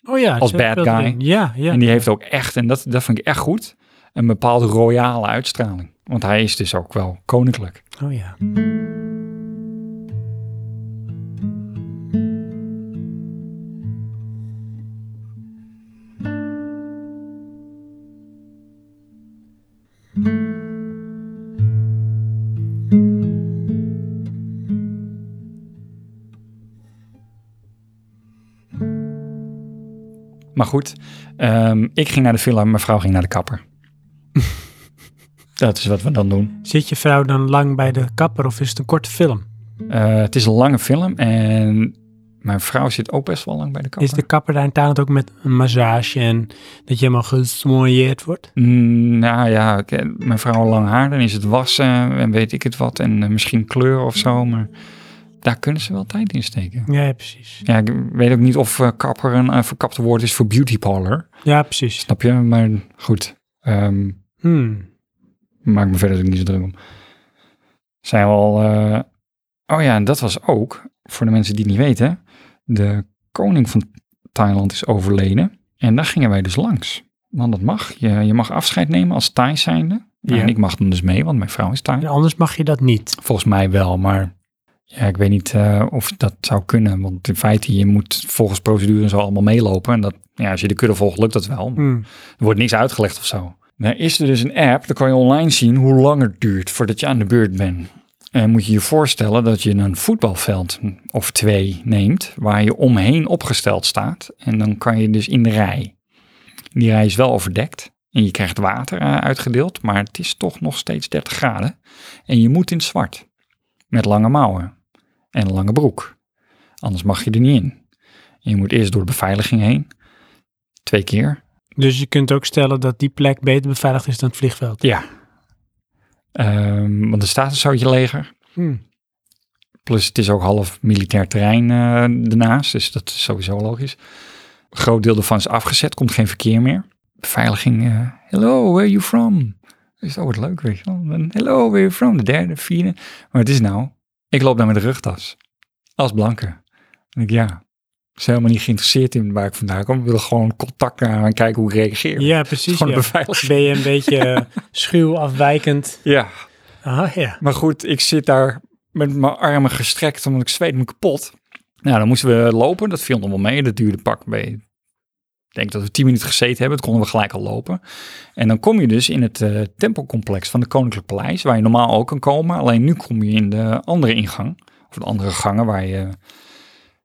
S1: Oh ja.
S2: Als
S1: ze
S2: bad
S1: speelt
S2: guy.
S1: erin. Ja, ja.
S2: En die heeft ook echt, en dat, dat vind ik echt goed, een bepaalde royale uitstraling. Want hij is dus ook wel koninklijk.
S1: Oh ja.
S2: Maar goed, ehm, ik ging naar de villa, mijn vrouw ging naar de kapper. dat is wat we dan doen.
S1: Zit je vrouw dan lang bij de kapper of is het een korte film?
S2: Eh, het is een lange film en mijn vrouw zit ook best wel lang bij de kapper.
S1: Is de kapper daar in Thailand ook met een massage en dat je helemaal gesmoeieerd wordt?
S2: Mm, nou ja, ik- mijn vrouw had lang haar, dan is het wassen en weet ik het wat. En eh, misschien kleur of zo, maar daar kunnen ze wel tijd in steken.
S1: Ja, ja, precies.
S2: Ja, ik weet ook niet of eh, kapper een eh, verkapte woord is voor beauty parlor.
S1: Ja, precies.
S2: Snap je? Maar goed, ehm,
S1: Hmm.
S2: maak me verder ook niet zo druk om. Zijn we al... eh, Oh ja, en dat was ook, voor de mensen die het niet weten, de koning van Thailand is overleden. En daar gingen wij dus langs. Want dat mag. Je, je mag afscheid nemen als Thai zijnde.
S1: Ja.
S2: En ik mag dan dus mee, want mijn vrouw is Thai.
S1: En anders mag je dat niet.
S2: Volgens mij wel, maar ja, ik weet niet eh, of dat zou kunnen. Want in feite, je moet volgens procedure en zo allemaal meelopen. En dat, ja, als je de kudde volgt, lukt dat wel.
S1: Hmm.
S2: Er wordt niks uitgelegd of zo. Nou is er dus een app, dan kan je online zien hoe lang het duurt voordat je aan de beurt bent. En moet je je voorstellen dat je een voetbalveld of twee neemt, waar je omheen opgesteld staat. En dan kan je dus in de rij. Die rij is wel overdekt en je krijgt water eh, uitgedeeld, maar het is toch nog steeds 30 graden. En je moet in het zwart, met lange mouwen en een lange broek. Anders mag je er niet in. En je moet eerst door de beveiliging heen, twee keer.
S1: Dus je kunt ook stellen dat die plek beter beveiligd is dan het vliegveld.
S2: Ja. Ehm, want er staat een zoutje leger.
S1: Hmm.
S2: Plus het is ook half militair terrein eh daarnaast. Dus dat is sowieso logisch. Een groot deel ervan is afgezet. Komt geen verkeer meer. Beveiliging. eh, Hello, where are you from? Dus dat wordt leuk, weet je wel. Dan, Hello, where are you from? De derde, vierde. Maar het is nou, ik loop daar met de rugtas. Als blanke. En ik, ja, ze zijn helemaal niet geïnteresseerd in waar ik vandaan kom. Ik wil gewoon contact naar en kijken hoe ik reageer.
S1: Ja, precies.
S2: gewoon
S1: ja.
S2: een beveiliging.
S1: Ben je een beetje eh, schuw, afwijkend?
S2: Ja.
S1: Ah ja.
S2: Maar goed, ik zit daar met mijn armen gestrekt, omdat ik zweet me kapot. Nou, dan moesten we lopen. Dat viel nog wel mee. Dat duurde pak bij. Ik denk dat we tien minuten gezeten hebben. Dat konden we gelijk al lopen. En dan kom je dus in het eh, tempelcomplex van de Koninklijk Paleis, waar je normaal ook kan komen. Alleen nu kom je in de andere ingang. Of de andere gangen, waar je...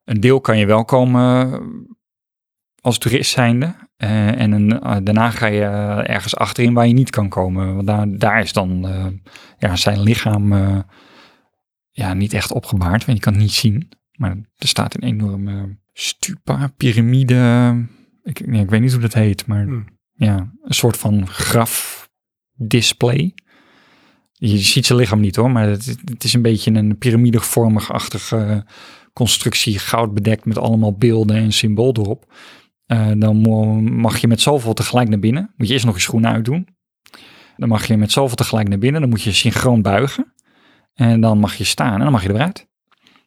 S2: Een deel kan je wel komen eh, als toerist zijnde. Eh, en een, eh, daarna ga je eh, ergens achterin waar je niet kan komen. Want daar, daar is dan eh, ja, zijn lichaam eh, ja, niet echt opgebaard, want je kan het niet zien. Maar er staat een enorme stupa, piramide. Ik, ja, ik weet niet hoe dat heet, maar
S1: Hmm.
S2: ja, een soort van grafdisplay. Je ziet zijn lichaam niet hoor, maar het, het is een beetje een piramidevormig-achtige constructie, goud bedekt met allemaal beelden en symbool erop. Eh, dan mo- mag je met zoveel tegelijk naar binnen. Moet je eerst nog je schoenen uitdoen. Dan mag je met zoveel tegelijk naar binnen. Dan moet je synchroon buigen. En dan mag je staan en dan mag je eruit.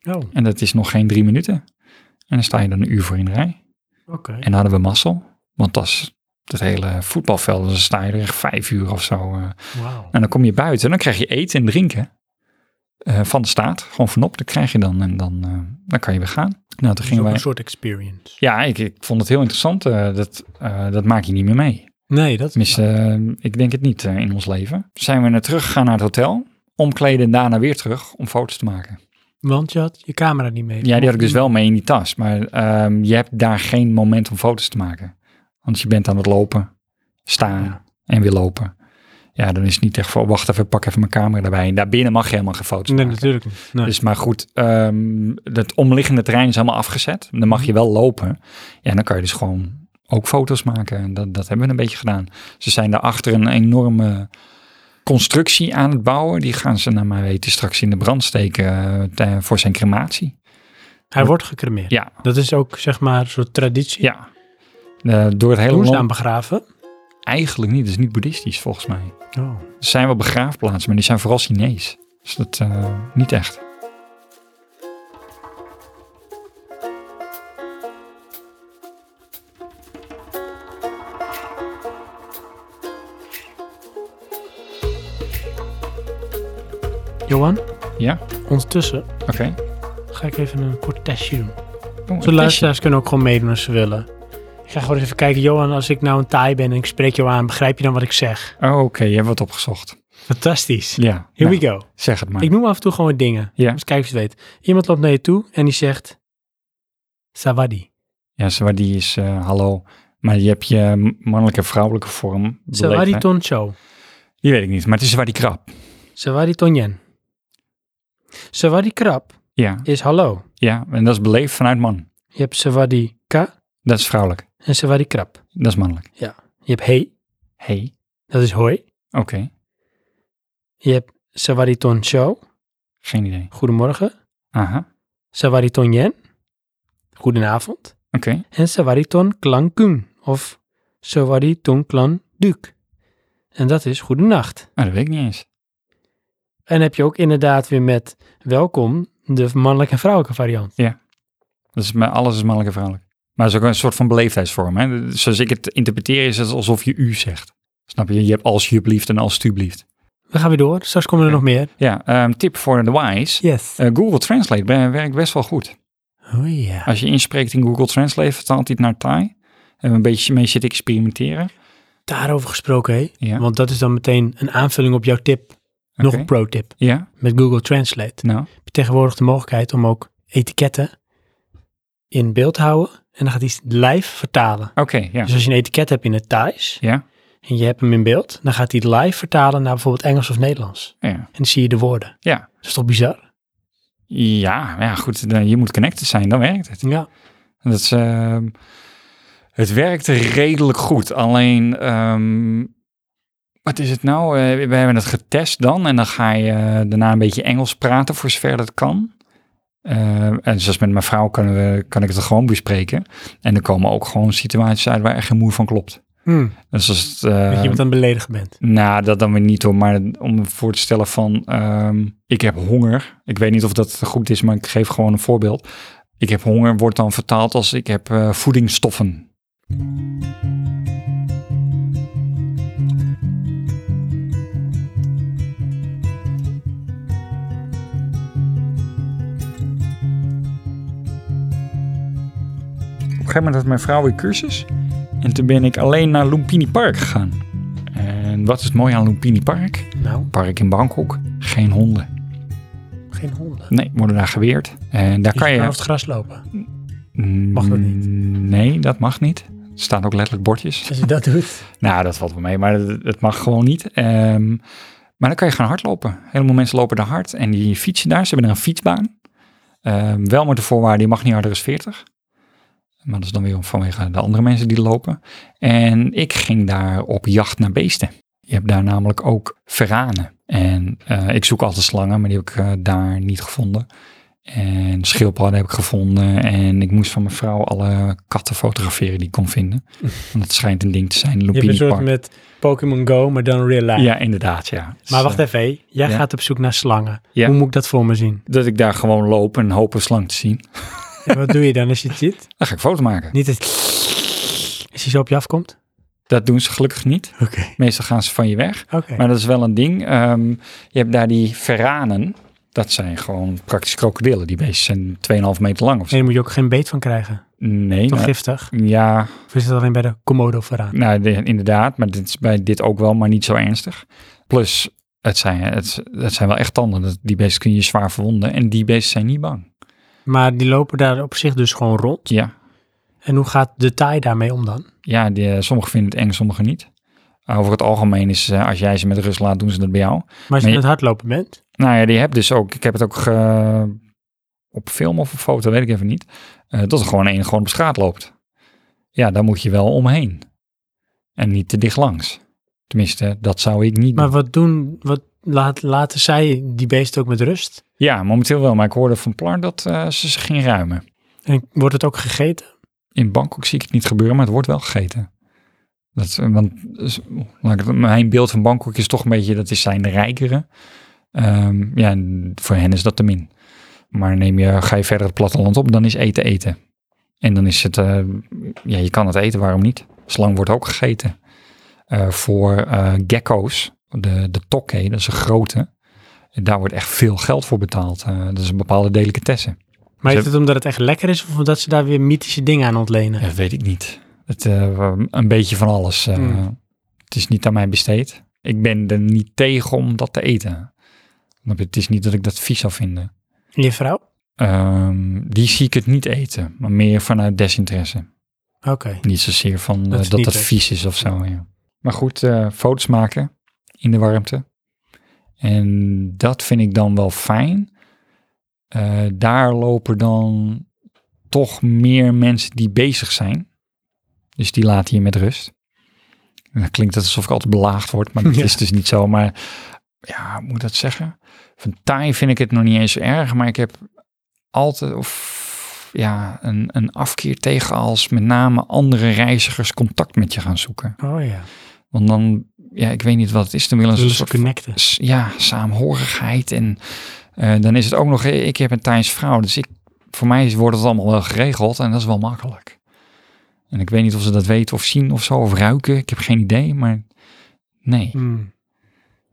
S1: Oh, oké.
S2: En dat is nog geen drie minuten. En dan sta je er een uur voor in de rij. En dan hadden we mazzel. Want dat is het hele voetbalveld. Dan sta je er echt vijf uur of zo. eh.
S1: Wauw.
S2: En dan kom je buiten en dan krijg je eten en drinken. eh, van de staat. Gewoon vanop. Dat krijg je dan. En dan, eh, dan kan je weer gaan. Nou, toen
S1: Dat is
S2: gingen
S1: ook een
S2: wij...
S1: soort experience.
S2: Ja, ik, ik vond het heel interessant. eh, dat, eh, dat maak je niet meer mee.
S1: Nee, dat is...
S2: Tenminste,
S1: Nou.
S2: eh, ik denk het niet eh, in ons leven. Zijn we naar terug gegaan naar het hotel, omkleden en daarna weer terug om foto's te maken.
S1: Want je had je camera niet mee.
S2: Ja, die had ik dus wel mee in die tas, maar ehm, je hebt daar geen moment om foto's te maken. Want je bent aan het lopen, staan
S1: Ja.
S2: en weer lopen. Ja, dan is het niet echt van, wacht even, pak even mijn camera erbij. En daarbinnen mag je helemaal geen foto's
S1: Nee,
S2: maken.
S1: natuurlijk niet. Nee.
S2: Dus maar goed, ehm het omliggende terrein is helemaal afgezet. Dan mag
S1: Mhm.
S2: je wel lopen. Ja, dan kan je dus gewoon ook foto's maken. En dat, dat hebben we een beetje gedaan. Ze zijn daarachter een enorme constructie aan het bouwen. Die gaan ze naar mijn weten straks in de brand steken eh, te- voor zijn crematie.
S1: Hij wordt gecremeerd.
S2: Ja.
S1: Dat is ook, zeg maar, een soort traditie.
S2: Ja. Eh, door het hele
S1: Hoe is
S2: land
S1: dan begraven?
S2: eigenlijk niet. Het is niet boeddhistisch volgens mij.
S1: Oh.
S2: Er zijn wel begraafplaatsen, maar die zijn vooral Chinees. Dus dat eh, niet echt.
S1: Johan,
S2: Ja,
S1: ondertussen
S2: oké.
S1: ga ik even een kort testje doen.
S2: Oh,
S1: Onze luisteraars kunnen ook gewoon meedoen als ze willen. Ik ga gewoon eens even kijken, Johan, als ik nou een taai ben en ik spreek jou aan, begrijp je dan wat ik zeg?
S2: Oh, oké. Je hebt wat opgezocht.
S1: Fantastisch.
S2: Ja.
S1: Here
S2: nou,
S1: we go.
S2: Zeg het maar.
S1: Ik noem af en toe gewoon wat dingen.
S2: Ja.
S1: Dus kijk of je het weet. Iemand loopt naar je toe en die zegt, Sawadi.
S2: Ja, Sawadee is eh, hallo. Maar je hebt je mannelijke en vrouwelijke vorm. beleefd,
S1: Sawadi
S2: hè?
S1: toncho.
S2: Die weet ik niet, maar het is Sawadee krap.
S1: Sawadi tonjen. Sawadi krab
S2: Ja,
S1: is hallo.
S2: ja, en dat is beleefd vanuit man.
S1: Je hebt Sawadi ka
S2: Dat is vrouwelijk.
S1: en Sawadi krab.
S2: Dat is mannelijk.
S1: Je hebt hey,
S2: Hey,
S1: dat is hoi.
S2: oké.
S1: Je hebt Sawadi toncho,
S2: Geen idee.
S1: goedemorgen.
S2: Aha, oké.
S1: Sawadi tonjen, goedenavond. En Sawariton Klan Kun of Sawariton Klan Duk. En dat is goedenacht.
S2: Ah, dat weet ik niet eens.
S1: En heb je ook inderdaad weer met welkom de mannelijke en vrouwelijke variant.
S2: Dat is, maar alles is mannelijk en vrouwelijk. Maar dat is ook een soort van beleefdheidsvorm. Hè? Zoals ik het interpreteer is het alsof je u zegt. Snap je? Je hebt als jublieft en als stublieft.
S1: We gaan weer door, straks komen er
S2: Ja.
S1: nog meer.
S2: Ja, ehm, tip voor de wise.
S1: Yes.
S2: Eh, Google Translate be- werkt best wel goed.
S1: Oh ja.
S2: Als je inspreekt in Google Translate, vertaalt hij het naar Thai. En een beetje mee zit experimenteren.
S1: Daarover gesproken, hé.
S2: Ja.
S1: Want dat is dan meteen een aanvulling op jouw tip. Nog
S2: Oké.
S1: een pro-tip.
S2: Ja,
S1: Met Google Translate
S2: nou,
S1: heb je tegenwoordig de mogelijkheid om ook etiketten in beeld te houden. En dan gaat hij live vertalen.
S2: oké, ja.
S1: Dus als je een etiket hebt in het Thais
S2: Ja.
S1: en je hebt hem in beeld, dan gaat hij het live vertalen naar bijvoorbeeld Engels of Nederlands.
S2: Ja,
S1: En dan zie je de woorden.
S2: ja.
S1: Dat is toch bizar?
S2: ja, ja goed, dan, je moet connected zijn, dan werkt het.
S1: Ja.
S2: Dat is, ehm, het werkte redelijk goed, alleen, ehm, wat is het nou? Eh, we hebben het getest dan en dan ga je eh, daarna een beetje Engels praten voor zover dat kan. Eh, en zoals met mijn vrouw kunnen we, kan ik het gewoon bespreken. En er komen ook gewoon situaties uit waar echt geen moer van klopt. Dus als het, eh,
S1: Hmm. dat je iemand aan het beledigen bent.
S2: Nou, dat dan weer niet hoor. Maar om voor te stellen van, ehm, ik heb honger. Ik weet niet of dat goed is, maar ik geef gewoon een voorbeeld. Ik heb honger wordt dan vertaald als ik heb eh, voedingsstoffen. Op een gegeven moment had mijn vrouw weer cursus. En toen ben ik alleen naar Lumpini Park gegaan. En wat is het mooie aan Lumpini Park?
S1: Nou,
S2: Park in Bangkok. Geen honden.
S1: geen honden.
S2: Nee, worden daar geweerd. En daar
S1: Dus
S2: kan je... Mm,
S1: over het gras lopen. Mag dat niet?
S2: Nee, dat mag niet. Er staan ook letterlijk bordjes.
S1: Als je dat doet.
S2: Nou, dat valt wel mee, maar het het mag gewoon niet. Ehm, maar dan kan je gaan hardlopen. Helemaal mensen lopen daar hard en die fietsen daar. Ze hebben er een fietsbaan. Ehm, wel met de voorwaarde, je mag niet harder dan 40. Maar dat is dan weer vanwege de andere mensen die lopen. En ik ging daar op jacht naar beesten. Je hebt daar namelijk ook verranen. En eh, ik zoek altijd slangen, maar die heb ik eh, daar niet gevonden. En schildpadden heb ik gevonden. En ik moest van mijn vrouw alle katten fotograferen die ik kon vinden. Want het schijnt een ding te zijn.
S1: Je hebt een
S2: Lupini
S1: soort
S2: Park.
S1: met Pokémon Go, maar dan real life.
S2: Ja, inderdaad, ja. Dus,
S1: Maar wacht
S2: eh,
S1: even, hé. jij
S2: ja.
S1: gaat op zoek naar slangen.
S2: Ja.
S1: Hoe moet ik dat voor me zien?
S2: Dat ik daar gewoon loop en hoop een slang te zien.
S1: En wat doe je dan als je het ziet?
S2: Dan ga ik foto maken.
S1: Niet het... Als hij zo op je afkomt?
S2: Dat doen ze gelukkig niet.
S1: Oké.
S2: Meestal gaan ze van je weg.
S1: Oké.
S2: Maar dat is wel een ding. Ehm, je hebt daar die verranen. Dat zijn gewoon praktisch krokodillen. Die beesten zijn 2,5 meter lang of zo.
S1: Nee, daar moet je ook geen beet van krijgen.
S2: Nee,
S1: Toch
S2: nou,
S1: giftig?
S2: ja,
S1: Of is het alleen bij de Komodo vooraan?
S2: nou, de- inderdaad. Maar dit is bij dit ook wel, maar niet zo ernstig. Plus, het zijn, het, het zijn wel echt tanden. Dat- Die beesten kun je zwaar verwonden. En die beesten zijn niet bang.
S1: Maar die lopen daar op zich dus gewoon rond.
S2: Ja,
S1: En hoe gaat de taai daarmee om dan?
S2: ja die, sommigen vinden het eng, sommigen niet. Over het algemeen is, eh, als jij ze met rust laat, doen ze dat bij jou.
S1: Maar als je
S2: Maar
S1: aan
S2: je-
S1: het hardlopen bent,
S2: Nou ja, die heb dus ook. Ik heb het ook ge- op film of op foto, weet ik even niet. eh, dat er gewoon één gewoon op straat loopt. Ja, daar moet je wel omheen. En niet te dicht langs. Tenminste, dat zou ik niet
S1: maar
S2: doen.
S1: wat doen, wat laat, laten zij die beesten ook met rust?
S2: Ja, momenteel wel. Maar ik hoorde van Plar dat eh, ze ze ging ruimen.
S1: En wordt het ook gegeten?
S2: In Bangkok zie ik het niet gebeuren, maar het wordt wel gegeten. Dat, is- want is- laat ik het- mijn beeld van Bangkok is toch een beetje, dat is zijn de rijkere. Ehm, ja, en voor hen is dat te min. Maar neem je, ga je verder het platteland op, dan is eten eten. En dan is het, eh, ja, je kan het eten, waarom niet? Slang wordt ook gegeten. Eh, voor eh, gecko's, de, de tokke, dat is een grote. Daar wordt echt veel geld voor betaald. Eh, dat is een bepaalde delicatesse.
S1: Maar
S2: Ze-
S1: is het omdat het echt lekker is of omdat ze daar weer mythische dingen aan ontlenen?
S2: Ja, weet ik niet. Het, eh, een beetje van alles. eh.
S1: Hmm.
S2: Het is niet aan mij besteed. Ik ben er niet tegen om dat te eten. Want het is niet dat ik dat vies zou vinden.
S1: En Je vrouw?
S2: Ehm, die zie ik het niet eten, maar meer vanuit desinteresse.
S1: Oké.
S2: Niet zozeer van eh,
S1: Dat
S2: dat
S1: is
S2: dat,
S1: niet leuk.
S2: vies is of zo. Ja. Maar goed, eh, foto's maken in de warmte. En dat vind ik dan wel fijn. Eh, daar lopen dan toch meer mensen die bezig zijn. Dus die laten je met rust. En dan klinkt het alsof ik altijd belaagd word, maar dat
S1: Ja.
S2: is dus niet zo. Maar ja, hoe moet ik dat zeggen? Van taai vind ik het nog niet eens zo erg, maar ik heb altijd of, ja, een, een afkeer tegen als met name andere reizigers contact met je gaan zoeken.
S1: Oh ja.
S2: Want dan, ja, ik weet niet wat het is, dan willen ze een
S1: Dus ze
S2: soort
S1: connecten.
S2: s- ja, saamhorigheid. En eh, dan is het ook nog, eh, ik heb een Thaise vrouw, dus ik, voor mij is- wordt het allemaal wel geregeld en dat is wel makkelijk. En ik weet niet of ze dat weten of zien of zo, of ruiken. Ik heb geen idee, maar nee.
S1: Mm.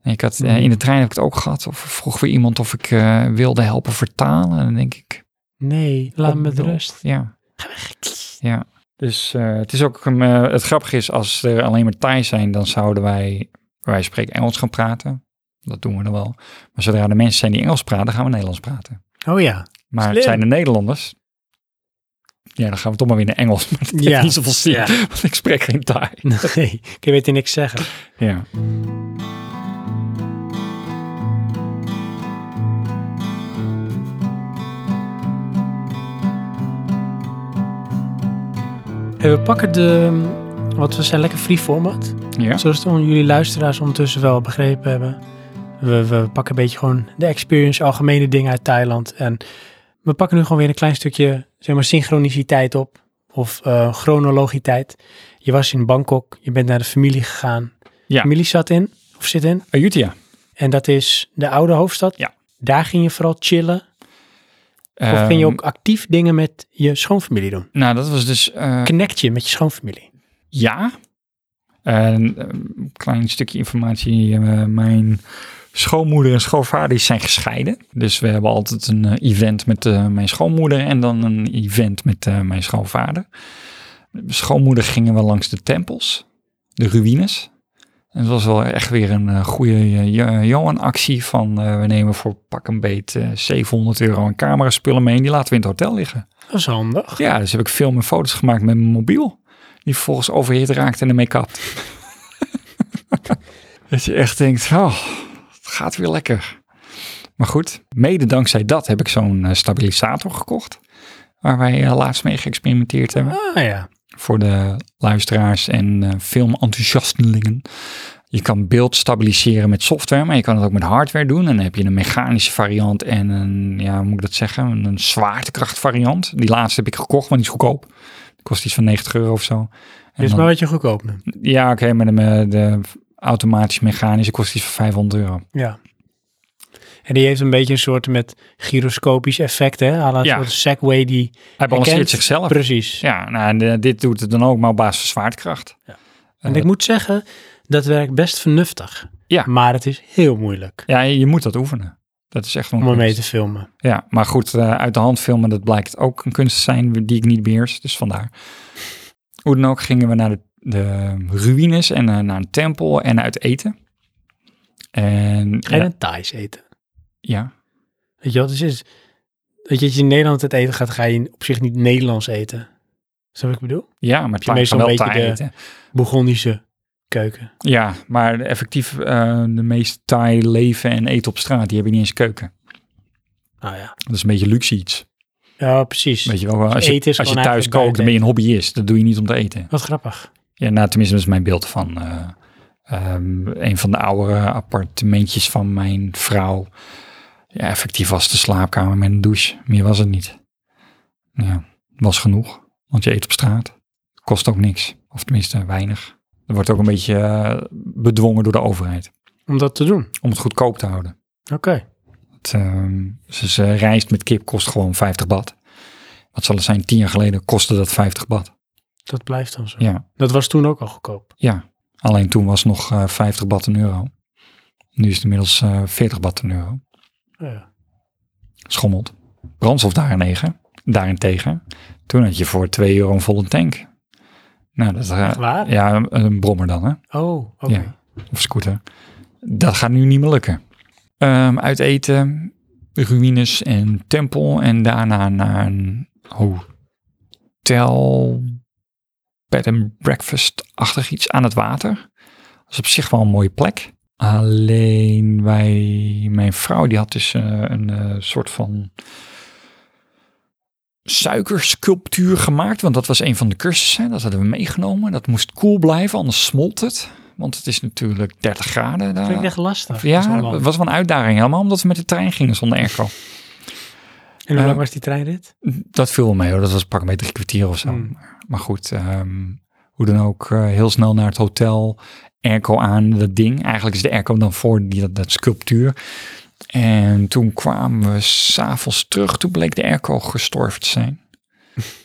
S2: Nee, Ik had, eh, in de trein heb ik het ook gehad. Of vroeg weer iemand of ik eh, wilde helpen vertalen. En dan denk ik,
S1: Nee, laat me met
S2: kom op.
S1: rust.
S2: Ja. Ja. Dus eh, het is ook, een, eh, het grappige is, als er alleen maar Thais zijn, dan zouden wij, wij spreken Engels gaan praten. Dat doen we dan wel. Maar zodra er mensen zijn die Engels praten, gaan we Nederlands praten.
S1: Oh ja.
S2: Maar
S1: Slim.
S2: het zijn de Nederlanders. Ja, dan gaan we toch maar weer naar Engels. Maar dat
S1: Ja.
S2: heeft niet zoveel zin,
S1: Ja.
S2: want ik spreek geen Thai.
S1: Nee, ik kan beter niks zeggen.
S2: Ja.
S1: Hey, we pakken de, wat we zijn, lekker free format.
S2: ja.
S1: Zoals het jullie luisteraars ondertussen wel begrepen hebben. We, we pakken een beetje gewoon de experience, algemene dingen uit Thailand. En we pakken nu gewoon weer een klein stukje, zeg maar, synchroniciteit op. Of eh, chronologiteit. Je was in Bangkok, je bent naar de familie gegaan.
S2: Ja.
S1: Familie zat in, of zit in.
S2: Ayutthaya.
S1: En dat is de oude hoofdstad.
S2: Ja.
S1: Daar ging je vooral chillen. Of ging je ook actief dingen met je schoonfamilie doen?
S2: Ehm, Nou, dat was dus... eh,
S1: Connect je met je schoonfamilie?
S2: Ja. En eh, een klein stukje informatie. eh, mijn schoonmoeder en schoonvader die zijn gescheiden. Dus we hebben altijd een eh, event met eh, mijn schoonmoeder en dan een event met eh, mijn schoonvader. Met Mijn schoonmoeder gingen we langs de tempels, de ruïnes. En het was wel echt weer een eh, goede eh, Jo- Johan-actie van eh, we nemen voor pak een beet eh, 700 euro aan camera-spullen mee en die laten we in het hotel liggen.
S1: Dat is handig.
S2: Ja, dus heb ik film en foto's gemaakt met mijn mobiel. Die vervolgens overhit raakt en ermee kapt. dat je echt denkt, oh, het gaat weer lekker. Maar goed, mede dankzij dat heb ik zo'n eh, stabilisator gekocht. Waar wij eh, laatst mee geëxperimenteerd hebben.
S1: Ah ja.
S2: Voor de luisteraars en eh filmenthousiastelingen. Je kan beeld stabiliseren met software, maar je kan het ook met hardware doen. En dan heb je een mechanische variant en een, ja, hoe moet ik dat zeggen, een zwaartekracht variant. Die laatste heb ik gekocht, want die is goedkoop. Die kost iets van 90 euro of zo. En
S1: Dit is
S2: dan-
S1: maar wat je goedkoop neemt.
S2: ja, oké, maar de, me- de automatische mechanische kost iets van 500 euro.
S1: Ja. En die heeft een beetje een soort met gyroscopisch effect, hè? Aan een
S2: Ja.
S1: soort Segway die...
S2: Hij balanceert
S1: herkent-
S2: zichzelf.
S1: Precies.
S2: Ja, nou, en, eh, dit doet het dan ook, maar op basis van zwaartekracht.
S1: En ik moet zeggen, dat werkt best vernuftig.
S2: Ja.
S1: Maar het is heel moeilijk
S2: Ja, je moet dat oefenen. Dat is echt een
S1: om ermee
S2: kunst.
S1: te filmen.
S2: Ja, maar goed, eh, uit de hand filmen, dat blijkt ook een kunst te zijn die ik niet beheers. Dus vandaar. Hoe dan ook gingen we naar de, de ruïnes en eh, naar een tempel en uit eten. En
S1: En
S2: ja,
S1: een Thais eten.
S2: ja,
S1: Weet je wel, dus is... Weet je, als je in Nederland het eten gaat, ga je op zich niet Nederlands eten. Is dat wat ik bedoel?
S2: ja, maar
S1: je
S2: Thai
S1: meestal
S2: kan
S1: een
S2: wel
S1: beetje
S2: Thai
S1: de-
S2: eten.
S1: Bourgondische keuken.
S2: Ja, maar effectief eh, de meeste Thai leven en eten op straat, die hebben niet eens een keuken.
S1: Nou ja.
S2: Dat is een beetje luxe iets.
S1: Ja, precies.
S2: Ah, Weet je wel, als
S1: eten
S2: je,
S1: is
S2: als je
S1: gewoon
S2: thuis
S1: eigenlijk
S2: kookt, dan ben je een hobbyist. Dat doe je niet om te eten.
S1: Wat grappig.
S2: Ja, nou, tenminste, dat is mijn beeld van eh, ehm, een van de oudere appartementjes van mijn vrouw. Ja, effectief was de slaapkamer met een douche. Meer was het niet. Ja, was genoeg. Want je eet op straat. Kost ook niks. Of tenminste, weinig. Dat wordt ook een beetje eh, bedwongen door de overheid.
S1: Om dat te doen.
S2: Om het goedkoop te houden.
S1: Oké.
S2: Het, ehm, ze, ze rijst met kip kost gewoon 50 bad. Wat zal het zijn? Tien jaar geleden kostte dat 50 bad.
S1: Dat blijft dan zo.
S2: Ja,
S1: Dat was toen ook al goedkoop.
S2: ja. Alleen toen was nog eh 50 bad een euro. Nu is het inmiddels eh 40 bad een euro.
S1: Ja.
S2: Schommelt. Brandstof daarentegen, daarentegen. Toen had je voor 2 euro een volle tank. Nou, dat, eh,
S1: Echt waar?
S2: ja, een, een brommer dan, hè?
S1: Oh, oké.
S2: Ja. Of scooter. Dat gaat nu niet meer lukken. Ehm, uit eten, ruïnes en tempel. En daarna naar een hotel, bed and breakfast-achtig iets aan het water. Dat is op zich wel een mooie plek. Alleen wij, mijn vrouw, die had dus eh, een eh, soort van suikersculptuur gemaakt. Want dat was een van de cursussen. Dat hadden we meegenomen. Dat moest koel blijven, anders smolt het. Want het is natuurlijk 30 graden daar.
S1: Vind ik echt lastig. in zo'n
S2: Ja,
S1: land.
S2: het was wel een uitdaging helemaal, omdat we met de trein gingen zonder airco.
S1: En hoe
S2: eh,
S1: lang was die treinrit?
S2: Dat viel wel mee hoor, dat was pak een beetje drie kwartier of zo.
S1: Hmm.
S2: Maar goed, ehm, hoe dan ook, eh, heel snel naar het hotel, airco aan, dat ding. Eigenlijk is de airco dan voor die, dat, dat sculptuur. En toen kwamen we s'avonds terug, toen bleek de airco gestorven te zijn.